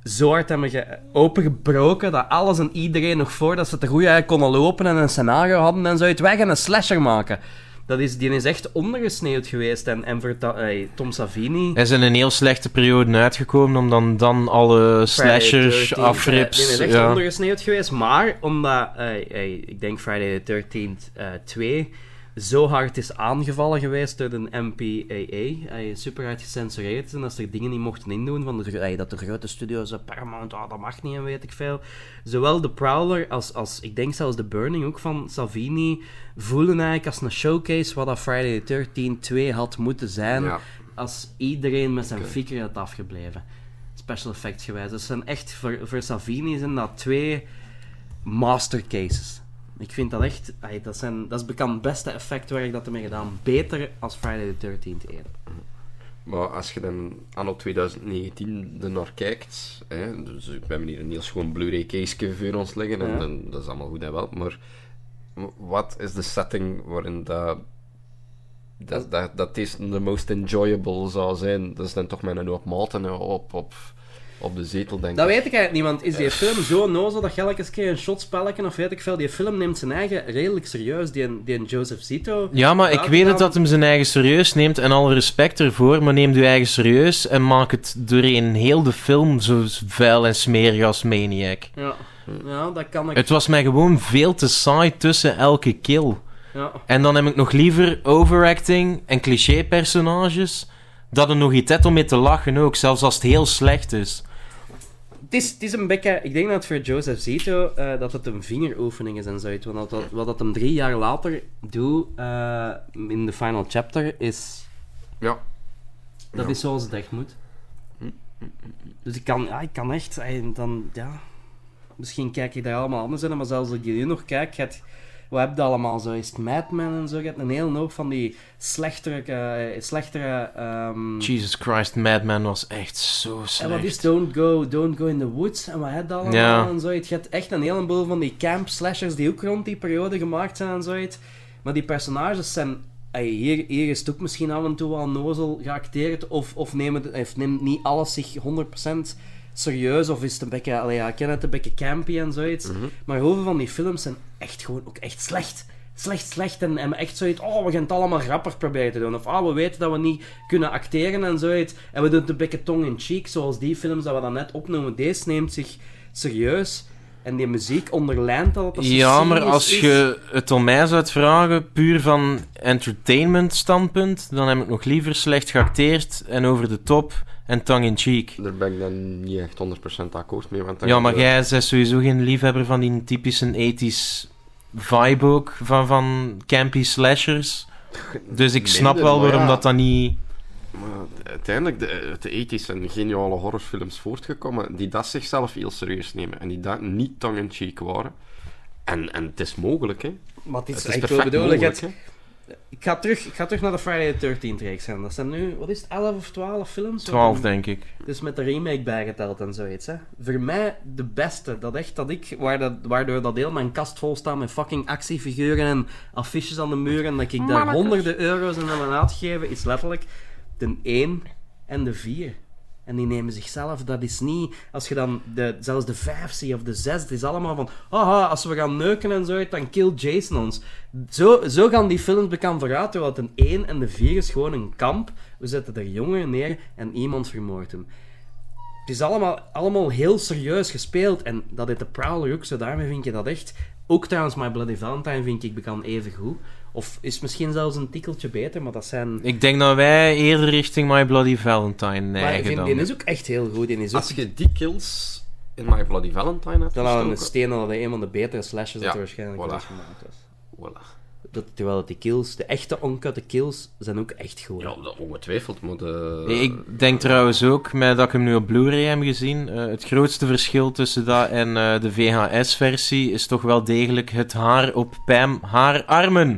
Speaker 3: zo hard hebben ge- opengebroken, dat alles en iedereen nog voordat ze het er goed uit konden lopen en een scenario hadden en zo uit weg en een slasher maken. Dat is, die is echt ondergesneeuwd geweest en, en voor ta- eh, Tom Savini...
Speaker 1: Er zijn een heel slechte periode uitgekomen, om dan, dan alle
Speaker 3: Friday
Speaker 1: slashers,
Speaker 3: 13th, eh, Die
Speaker 1: afrips...
Speaker 3: is echt
Speaker 1: ja.
Speaker 3: ondergesneeuwd geweest. Maar omdat, eh, eh, ik denk Friday the 13th eh 2 zo hard is aangevallen geweest door de MPAA. Hij is eh, super hard gecensureerd is en dat ze er dingen niet mochten indoen. Van de, gro- eh, dat de grote studio's, eh, Paramount, ah, dat mag niet en weet ik veel. Zowel The Prowler als, als, ik denk zelfs The Burning ook van Salvini voelen eigenlijk als een showcase wat dat Friday the 13th 2 had moeten zijn.
Speaker 4: Ja.
Speaker 3: Als iedereen met zijn fikker had afgebleven special effects gewijs. Dat zijn echt, voor, voor Savini zijn dat twee mastercases. Ik vind dat echt, ay, dat, zijn, dat is bekend beste effectwerk dat ermee gedaan. Beter als Friday the 13th 1.
Speaker 4: Maar als je dan anno 2019 er naar kijkt, hè, dus we hebben hier een heel schoon Blu-ray case voor ons liggen, en,
Speaker 3: Ja.
Speaker 4: dan- dat is allemaal goed en wel, maar wat is de setting waarin dat, dat, dat, dat deze de most enjoyable zou zijn? Dat is dan toch mijn op Malten op, op, op de zetel, denk ik.
Speaker 3: Dat weet ik eigenlijk niet, want is die film zo nozel dat je elke keer een shotspelletje of weet ik veel, die film neemt zijn eigen redelijk serieus, die, die Joseph Zito.
Speaker 1: Ja, maar ik weet het dat hem zijn eigen serieus neemt en alle respect ervoor, maar neem uw eigen serieus en maak het doorheen heel de film zo vuil en smerig als Maniac.
Speaker 3: Ja. ja, dat kan ik.
Speaker 1: Het was mij gewoon veel te saai tussen elke kill.
Speaker 3: Ja.
Speaker 1: En dan heb ik nog liever overacting en cliché-personages dat er nog iets hebt om mee te lachen ook, zelfs als het heel slecht is.
Speaker 3: Het is, het is een beetje... Ik denk dat het voor Joseph Zito eh, dat het een vingeroefening is en zoiets. Want dat, dat- wat dat hem drie jaar later doet eh, in de final chapter is...
Speaker 4: Ja.
Speaker 3: Dat is zoals het echt moet. Dus ik kan, ja, ik kan echt... En dan, ja... Misschien kijk ik daar allemaal anders in, maar zelfs als je nu nog kijkt... je hebt- wat heb je allemaal? Zo is het Mad Men en zo. Je hebt een hele hoop van die slechtere... eh, slechtere ehm,
Speaker 1: Jesus Christ, Madman was echt zo
Speaker 3: en
Speaker 1: slecht.
Speaker 3: wat is Don't Go, Don't Go in the Woods en wat heb je allemaal
Speaker 1: Ja.
Speaker 3: en zoiets. Je hebt echt een heleboel van die camp slashers die ook rond die periode gemaakt zijn en zoiets. Maar die personages zijn... ey, hier, hier is het ook misschien af en toe wel nozel geacteerd of, of, nemen, de- of neemt niet alles zich 100% serieus of is het een beetje... Allee, ja, ik ken het, een beetje campy en zoiets. Maar heel veel van die films zijn echt gewoon ook echt slecht. Slecht, slecht en, en echt zoiets... Oh, we gaan het allemaal grappig proberen te doen. Of ah, we weten dat we niet kunnen acteren en zoiets. En we doen het een beetje tong-in-cheek, zoals die films dat we dan net opnoemen. Deze neemt zich serieus. En die muziek onderlijnt dat. dat ze
Speaker 1: Ja, maar
Speaker 3: serious
Speaker 1: als
Speaker 3: is.
Speaker 1: je het om mij zou vragen, puur van entertainment standpunt, dan heb ik nog liever slecht geacteerd en over de top en tongue-in-cheek.
Speaker 4: Daar ben ik dan niet echt 100% akkoord mee. Want dan-
Speaker 1: Ja, maar jij bent sowieso geen liefhebber van die typische 80s vibe ook, van, van campy slashers. Dus ik snap
Speaker 4: Minder,
Speaker 1: wel
Speaker 4: maar
Speaker 1: waarom
Speaker 4: ja.
Speaker 1: dat dan niet...
Speaker 4: Maar uiteindelijk, de, uit de 80's zijn geniale horrorfilms voortgekomen die dat zichzelf heel serieus nemen en die dat niet tongue-in-cheek waren. En, en het is mogelijk, hè.
Speaker 3: Maar het is,
Speaker 4: Het is
Speaker 3: ik
Speaker 4: perfect
Speaker 3: wil bedoelen, je
Speaker 4: mogelijk,
Speaker 3: hebt- ik, ga terug, ik ga terug naar de Friday the 13th reeks gaan. Dat zijn nu, wat is het, 11 of 12 films?
Speaker 1: 12, denk ik.
Speaker 3: Dus met de remake bijgeteld en zoiets. Hè. Voor mij de beste. Dat echt dat ik, waar dat, waardoor dat heel mijn kast vol staat met fucking actiefiguren en affiches aan de muren. En dat ik daar honderden euro's in aan uitgeven, is letterlijk de 1 en de 4. En die nemen zichzelf, dat is niet... Als je dan de, zelfs de 5 ziet of de 6, het is allemaal van... Haha, als we gaan neuken en zo, dan kill Jason ons. Zo, zo gaan die films bekend vooruit, terwijl het een 1 en de 4 is gewoon een kamp. We zetten er jongeren neer en iemand vermoordt hem. Het is allemaal, allemaal heel serieus gespeeld. En dat deed de Prowler ook zo. Daarmee vind je dat echt... Ook trouwens, My Bloody Valentine vind ik bekend even goed. Of is misschien zelfs een tikkeltje beter, maar dat zijn...
Speaker 1: Ik denk dat wij eerder richting My Bloody Valentine
Speaker 3: Maar ik
Speaker 1: neigen
Speaker 3: vind,
Speaker 1: dan.
Speaker 3: die is ook echt heel goed. Die is ook...
Speaker 4: Als je die kills in My Bloody Valentine had
Speaker 3: Dan hadden we een
Speaker 4: gestoken-
Speaker 3: steen al een van de betere slashes dat
Speaker 4: Ja,
Speaker 3: er waarschijnlijk
Speaker 4: voilà.
Speaker 3: ooit gemaakt was.
Speaker 4: Voilà.
Speaker 3: Dat, terwijl dat die kills, de echte oncutte kills, zijn ook echt goed.
Speaker 4: Ja, dat ongetwijfeld, maar de...
Speaker 1: Eh, Ik denk trouwens ook, met dat ik hem nu op Blu-ray heb gezien, eh, het grootste verschil tussen dat en eh, de VHS-versie is toch wel degelijk het haar op Pam haar armen.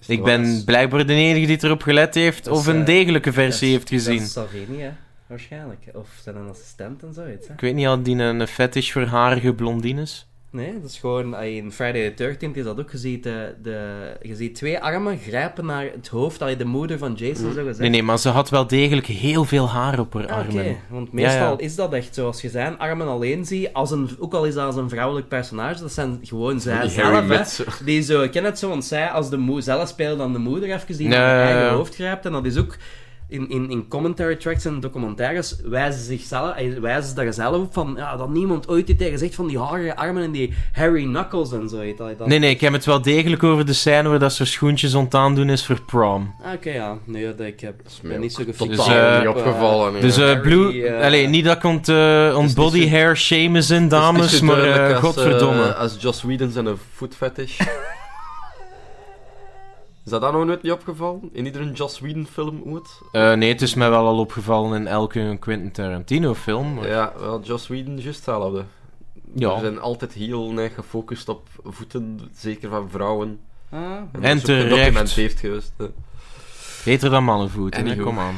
Speaker 4: Is dat
Speaker 1: Ik
Speaker 4: wel eens-
Speaker 1: ben blijkbaar de enige die erop gelet heeft
Speaker 3: Dat is,
Speaker 1: of een
Speaker 3: eh,
Speaker 1: degelijke versie
Speaker 3: Dat
Speaker 1: heeft
Speaker 3: is-
Speaker 1: gezien.
Speaker 3: Dat is Salvini, hè? Waarschijnlijk. Of zijn een assistent en zoiets, hè?
Speaker 1: Ik weet niet, had die een fetish voor harige blondines?
Speaker 3: Nee, dat is gewoon... ah, In Friday the 13th is dat ook. Je ziet, de, de, je ziet twee armen grijpen naar het hoofd dat je de moeder van Jason zou gezegd.
Speaker 1: Mm. Nee, nee, maar ze had wel degelijk heel veel haar op haar
Speaker 3: Ah, Oké,
Speaker 1: armen.
Speaker 3: want meestal
Speaker 1: Ja, ja.
Speaker 3: is dat echt zo. Als je zijn armen alleen ziet, als een, ook al is dat als een vrouwelijk personage, dat zijn gewoon zij
Speaker 4: Die Harry
Speaker 3: zelf, hè.
Speaker 4: Metz.
Speaker 3: Die zo, ik ken het zo, want zij als de moe zelf speelt dan de moeder even die
Speaker 1: Ja,
Speaker 3: naar
Speaker 1: ja,
Speaker 3: haar
Speaker 1: ja.
Speaker 3: eigen hoofd grijpt. En dat is ook in, in, in commentary tracks en documentaires wijzen ze zichzelf, eh, wijzen ze daar zelf op van ja, dat niemand ooit iets tegen zegt van die harige armen en die Harry Knuckles en zo. heet Dat, dat-
Speaker 1: Nee, nee, ik heb het wel degelijk over de scène waar dat ze haar schoentjes ontaan doen is voor prom.
Speaker 3: Ah, Oké, ja. Nee, dat- ik heb, ben
Speaker 4: ook
Speaker 3: niet zo gefixeerd.
Speaker 4: Totaal
Speaker 1: Dus, eh,
Speaker 4: niet
Speaker 3: op, eh,
Speaker 4: opgevallen. hè.
Speaker 1: Dus eh,
Speaker 3: Harry,
Speaker 1: Blue...
Speaker 3: eh,
Speaker 1: Allee, niet dat ik ont, body hair shamen zijn,
Speaker 4: Het is niet
Speaker 1: dames,
Speaker 4: zo
Speaker 1: maar
Speaker 4: duidelijk
Speaker 1: eh,
Speaker 4: als,
Speaker 1: godverdomme.
Speaker 4: eh, als Joss Whedon zijn een foot
Speaker 1: <laughs>
Speaker 4: fetish. is dat dan nog nooit niet opgevallen? In iedere Joss Whedon film ooit?
Speaker 1: Eh, nee, het is mij wel al opgevallen in elke Quentin Tarantino film. maar-
Speaker 4: Ja, Dus, eh, wel, Joss Whedon, juist hetzelfde.
Speaker 1: Ja.
Speaker 4: We zijn altijd heel erg gefocust op voeten, zeker van vrouwen.
Speaker 3: Ah,
Speaker 1: En
Speaker 4: dat is ook
Speaker 1: terecht.
Speaker 4: gedocumenteerd geweest. eh.
Speaker 1: Beter dan mannenvoeten, hè,
Speaker 4: Anywho.
Speaker 1: kom aan.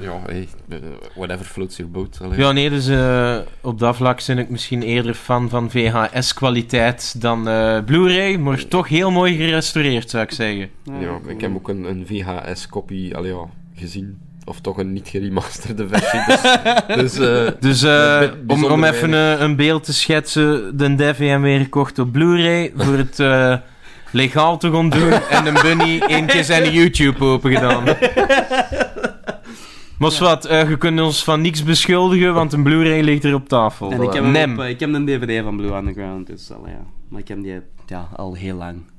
Speaker 4: ja, hey, eh, whatever floats your boat. allee.
Speaker 1: Ja, nee, dus eh, op dat vlak ben ik misschien eerder fan van VHS-kwaliteit dan eh, Blu-ray, maar toch heel mooi gerestaureerd, zou ik zeggen.
Speaker 4: Ja, ik heb ook een, een VHS-kopie allee, ja, gezien. Of toch een niet geremasterde versie.
Speaker 1: <laughs>
Speaker 4: Dus, dus eh,
Speaker 1: Dus eh,
Speaker 4: Ja, bij-
Speaker 1: om, om
Speaker 4: bijzonder
Speaker 1: even eh, een beeld te schetsen, de Dev hem weer gekocht op Blu-ray voor het eh, legaal te gaan
Speaker 4: <laughs>
Speaker 1: doen en een bunny één keer zijn YouTube open gedaan. Maar wat, eh, je kunt ons van niks beschuldigen, want een Blu-ray ligt er op tafel.
Speaker 3: En ik heb, hem
Speaker 1: Nem.
Speaker 3: op, eh, ik heb een DVD van Blue Underground, dus al, ja. Maar ik heb die ja, al heel lang.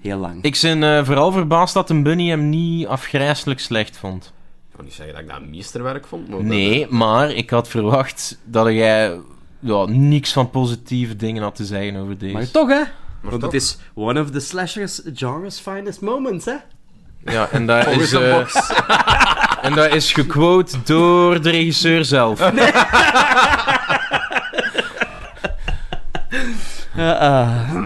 Speaker 3: Heel lang.
Speaker 1: Ik ben eh, vooral verbaasd dat een bunny hem niet afgrijselijk slecht vond.
Speaker 4: Ik kan niet zeggen dat ik dat een meesterwerk vond. Maar dat-
Speaker 1: Nee, maar ik had verwacht dat jij ja, niks van positieve dingen had te zeggen over deze.
Speaker 3: maar toch, hè? Want
Speaker 4: toch?
Speaker 3: het is one of the slashers genre's finest moments, hè?
Speaker 1: Ja, en daar is...
Speaker 4: Volgens een
Speaker 1: eh,
Speaker 4: <laughs> box.
Speaker 1: En dat is gequote door de regisseur <laughs> zelf. Eh,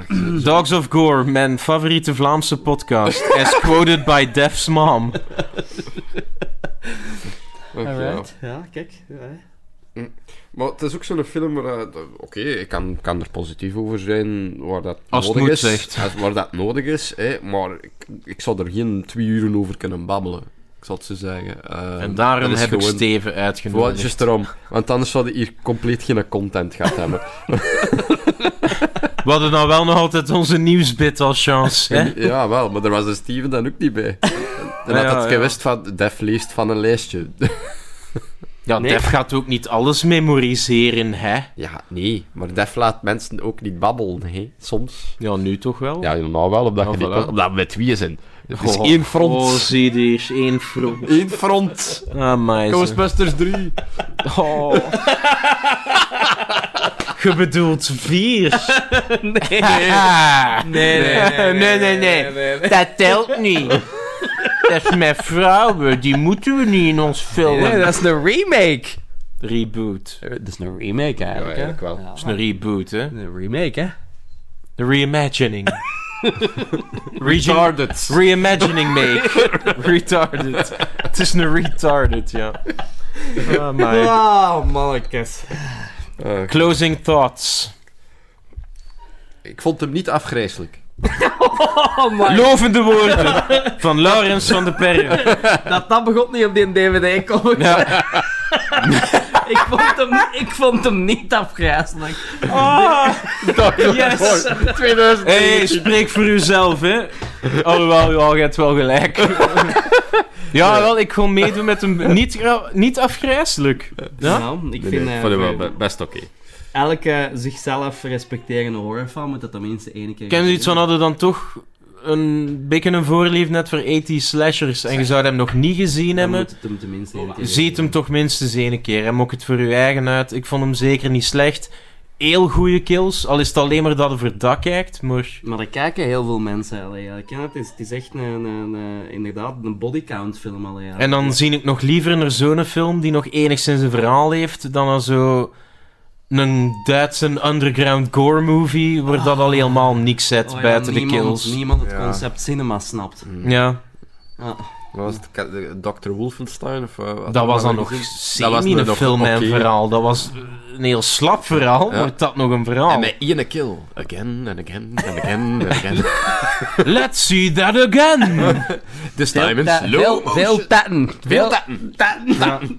Speaker 1: Dogs of Gore, mijn favoriete Vlaamse podcast. As quoted by Def's mom.
Speaker 4: Of, ja.
Speaker 3: Alright. Ja, kijk. Ja, hè.
Speaker 1: Oh,
Speaker 4: Maar het is ook zo'n film waar... eh, Oké, ik kan, kan er positief over zijn waar dat
Speaker 1: Als het
Speaker 4: nodig
Speaker 1: moet,
Speaker 4: is.
Speaker 1: zegt.
Speaker 4: Als- Waar dat nodig is, hè, maar ik, ik zou er geen twee uren over kunnen babbelen. Ik zal het zo zeggen. Eh,
Speaker 1: En daarom
Speaker 4: dat is
Speaker 1: heb ik
Speaker 4: gewoon-
Speaker 1: Steven
Speaker 4: Wel,
Speaker 1: uitgenodigd.
Speaker 4: juist daarom. Want anders zouden hier compleet geen content gehad
Speaker 1: <laughs>
Speaker 4: hebben.
Speaker 1: We hadden dan wel nog altijd onze nieuwsbit als chance. Hè?
Speaker 4: Ja, wel, maar daar was de Steven dan ook niet
Speaker 1: <laughs>
Speaker 4: bij.
Speaker 1: Ja,
Speaker 4: En had
Speaker 1: ja.
Speaker 4: het gewist van, Def leest van een lijstje. <laughs>
Speaker 1: Ja,
Speaker 3: Nee.
Speaker 1: Def gaat ook niet alles memoriseren, hè?
Speaker 4: Ja, nee, maar Def laat mensen ook niet babbelen, hè? soms.
Speaker 1: Ja, nu toch wel?
Speaker 4: Ja, nou wel, omdat,
Speaker 1: Oh,
Speaker 4: je
Speaker 1: voilà.
Speaker 4: niet, omdat we met twee zijn. Het is
Speaker 1: Oh.
Speaker 4: één front.
Speaker 1: Oh, zie hier, één front.
Speaker 4: Eén front.
Speaker 1: Amai, zeg.
Speaker 4: Ghostbusters 3.
Speaker 1: Oh. <laughs> Je bedoelt vier? <laughs> Ah, Nee. Nee, nee, nee, nee, Dat telt <laughs> niet. Dat is mijn vrouwen, die moeten we niet in ons film.
Speaker 3: is een remake.
Speaker 1: Reboot. Dat
Speaker 3: Eh, Dat is een remake, eigenlijk, hè?
Speaker 4: wel.
Speaker 1: is een reboot, hè?
Speaker 3: Een remake, hè?
Speaker 1: De <laughs> reimagining. Region-
Speaker 4: Retarded.
Speaker 1: reimagining make. <laughs> retarded. Het is een retarded, ja. Oh Amai. <laughs>
Speaker 4: Ah,
Speaker 3: Wow, mannetjes.
Speaker 4: Eh,
Speaker 1: Closing thoughts.
Speaker 4: ik vond hem niet afgrijselijk.
Speaker 1: Lovende woorden van Laurens van de Perre.
Speaker 3: <laughs> Dat, dat begon niet op die DVD, kom ik.
Speaker 1: Ja.
Speaker 3: <laughs> Ik vond hem, ik vond hem niet afgrijselijk. yes!
Speaker 4: 2000.
Speaker 1: Hé, Ah. hey, spreek voor uzelf, hè. Alhoewel, ja, je hebt wel gelijk. ja, wel, ik gewoon meedoen met een... Niet, gra- niet afgrijselijk. Ja?
Speaker 3: Nou, ik
Speaker 4: Nee,
Speaker 3: vind...
Speaker 4: nee,
Speaker 3: eh,
Speaker 4: vond ik wel
Speaker 3: voor-
Speaker 4: be- best oké.
Speaker 3: elke zichzelf respecterende horrorfilm moet dat tenminste één keer
Speaker 1: Ik ken zoiets van, hadden dan toch een beetje een voorliefde net voor 80 slashers en je zou hem nog niet gezien
Speaker 3: Dan
Speaker 1: hebben...
Speaker 3: moet het hem tenminste één keer
Speaker 1: Ziet hem toch minstens één keer. En mok het voor uw eigen uit. Ik vond hem zeker niet slecht. Heel goede kills. Al is het alleen maar dat hij voor het dak kijkt. Maar
Speaker 3: Maar daar kijken heel veel mensen allee, ja. Ik ken het, het is, het is echt een, een, een- eh, inderdaad een bodycount film allee, ja.
Speaker 1: En dan zie ik nog liever een zo'n film die nog enigszins een verhaal heeft dan een zo een Duitse underground gore movie waar dat al helemaal niks zet
Speaker 3: Oh ja,
Speaker 1: buiten de
Speaker 3: niemand-
Speaker 1: kills.
Speaker 3: Niemand het
Speaker 4: Ja.
Speaker 3: concept cinema snapt.
Speaker 1: Ja,
Speaker 3: Ja.
Speaker 4: Wat was het? Ka- de- Dr. Wolfenstein? Of, eh, wat
Speaker 1: dat was dan
Speaker 4: hadden we
Speaker 1: nog
Speaker 4: gezien?
Speaker 1: semi een
Speaker 4: nog
Speaker 1: film en
Speaker 4: oké.
Speaker 1: verhaal. Dat was een heel slap verhaal,
Speaker 4: Ja.
Speaker 1: maar dat nog een verhaal.
Speaker 4: En met ene kill. Again and again and again
Speaker 1: <laughs>
Speaker 4: and again.
Speaker 1: Let's see that
Speaker 4: <laughs>
Speaker 1: again!
Speaker 4: This
Speaker 1: Nou,
Speaker 4: time in slow motion.
Speaker 3: tatten. Veel tatten.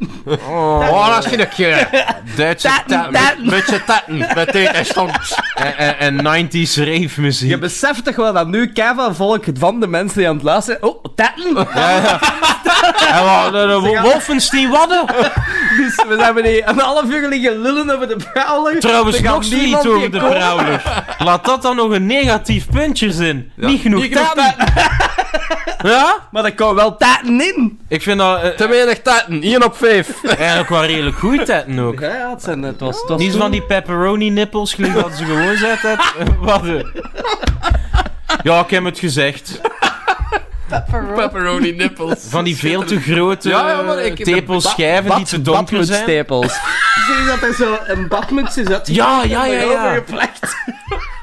Speaker 4: Oh, dat is geen
Speaker 1: <laughs>
Speaker 4: keer.
Speaker 1: Duitse
Speaker 3: Tatten,
Speaker 1: tatten.
Speaker 3: tatten.
Speaker 4: Met je tatten. Met dit en stond.
Speaker 1: En, en, en 90s rave muziek.
Speaker 3: <laughs> Je beseft toch wel dat nu Kevin volk van de mensen die aan het luisteren... Oh, tatten!
Speaker 1: En wat- de- de-
Speaker 3: gaan-
Speaker 1: Wolfenstein Wadden!
Speaker 3: <laughs> Dus we zijn beneden een half uur liggen lullen over de brouwer.
Speaker 1: Trouwens,
Speaker 3: Er gaat
Speaker 1: nog
Speaker 3: niemand
Speaker 1: zoiets over
Speaker 3: hier
Speaker 1: de
Speaker 3: komen.
Speaker 1: brouwer. Laat dat dan nog een negatief puntje zijn. niet genoeg
Speaker 4: niet genoeg
Speaker 1: tatten. Ja?
Speaker 3: Maar er komen wel tatten in.
Speaker 1: Ik vind dat eh,
Speaker 4: Te weinig tatten. 1 op 5.
Speaker 1: eigenlijk wel redelijk goed tatten ook.
Speaker 3: Ja, ja, het, zijn, het was... Het was
Speaker 1: Niet
Speaker 3: toen-
Speaker 1: van die pepperoni nippels, gelijk dat ze gewoon zijn. dat- eh, Wat? eh. Ja, ik heb het gezegd.
Speaker 4: <laughs> Pepperoni nippels.
Speaker 1: Van die veel te grote
Speaker 4: Ja, ja, maar ik-
Speaker 1: tepelschijven die te donker zijn.
Speaker 3: Badmutsstapels. Zie je dat er zo een badmuts is uit?
Speaker 1: Ja, ja, ja, ja.
Speaker 3: overgeplakt.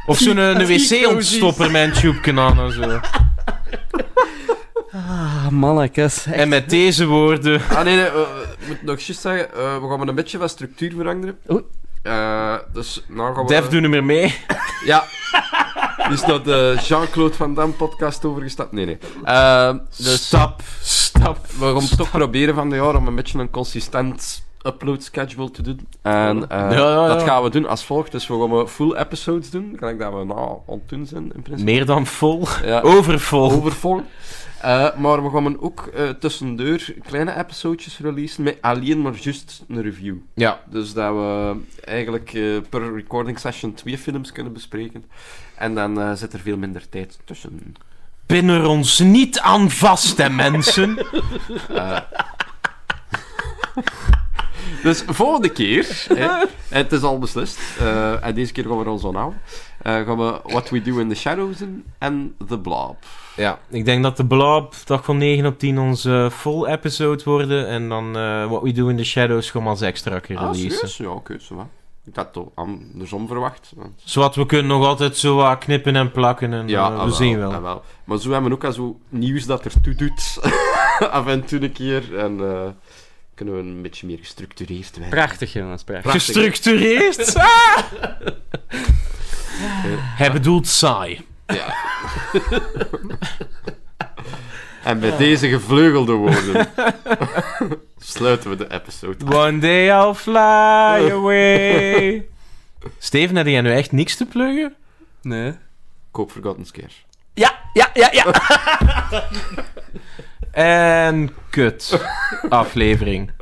Speaker 1: Of zo'n
Speaker 4: <laughs>
Speaker 1: eh, een wc-ontstopper met een tube aan en zo.
Speaker 3: <laughs> Ah, mannetjes. Echt.
Speaker 1: En met deze woorden...
Speaker 4: Ah nee, nee eh, ik moet nog juist zeggen, eh, we gaan maar een beetje wat structuur veranderen.
Speaker 3: Oei.
Speaker 4: Eh, dus nou gaan we...
Speaker 1: Def, doe niet meer mee.
Speaker 4: Ja. Dus dat de Jean-Claude Van Damme podcast overgestapt. Nee, nee. Eh, dus
Speaker 1: Stap, stap.
Speaker 4: we gaan toch proberen van de jaar om een beetje een consistent upload schedule te doen. En eh,
Speaker 1: Ja, ja, ja.
Speaker 4: dat gaan we doen als volgt. Dus we gaan eh, full episodes doen. Kan ik dat we na aan het doen zijn, in principe.
Speaker 1: Meer dan vol.
Speaker 4: Ja.
Speaker 1: Overvol.
Speaker 4: overvol. Eh, maar we gaan ook eh tussendoor kleine episodes releasen met alleen maar juist een review.
Speaker 1: Ja.
Speaker 4: Dus dat we eigenlijk eh, per recording session twee films kunnen bespreken. En dan eh, zit er veel minder tijd tussen.
Speaker 1: Pin er ons niet aan vast, hè, mensen.
Speaker 4: <laughs> Dus volgende
Speaker 1: <laughs>
Speaker 4: keer, hè, het is al beslist, eh, en deze keer gaan we er ons aan houden, eh, gaan we What We Do in the Shadows doen en The Blob.
Speaker 1: Ja, ik denk dat de Blob dag van 9 op 10 onze full episode worden. En dan eh, What We Do in the Shadows gewoon als extra keer
Speaker 4: Ah,
Speaker 1: releasen.
Speaker 4: serieus? Ja, oké, zo wat. Ik had het andersom verwacht. want-
Speaker 1: Zodat Dus we kunnen nog altijd zo wat knippen en plakken. En, eh,
Speaker 4: Ja,
Speaker 1: we
Speaker 4: ah, wel,
Speaker 1: zien wel.
Speaker 4: ah, wel. Maar zo hebben we ook al zo nieuws dat ertoe doet. <laughs> Af en toe een keer. En eh, kunnen we een beetje meer gestructureerd werken.
Speaker 3: Prachtig, jongens, prachtig.
Speaker 4: Prachtig.
Speaker 1: <laughs> Gestructureerd. Ah! Hij bedoelt saai.
Speaker 4: En met deze gevleugelde woorden <laughs> sluiten we de episode.
Speaker 1: One day I'll fly <laughs> away. Steven, heb jij nu echt niks te pluggen?
Speaker 3: Nee.
Speaker 4: Koop Forgotten Scare.
Speaker 1: Ja, ja, ja, <laughs> ja. en kut. Aflevering.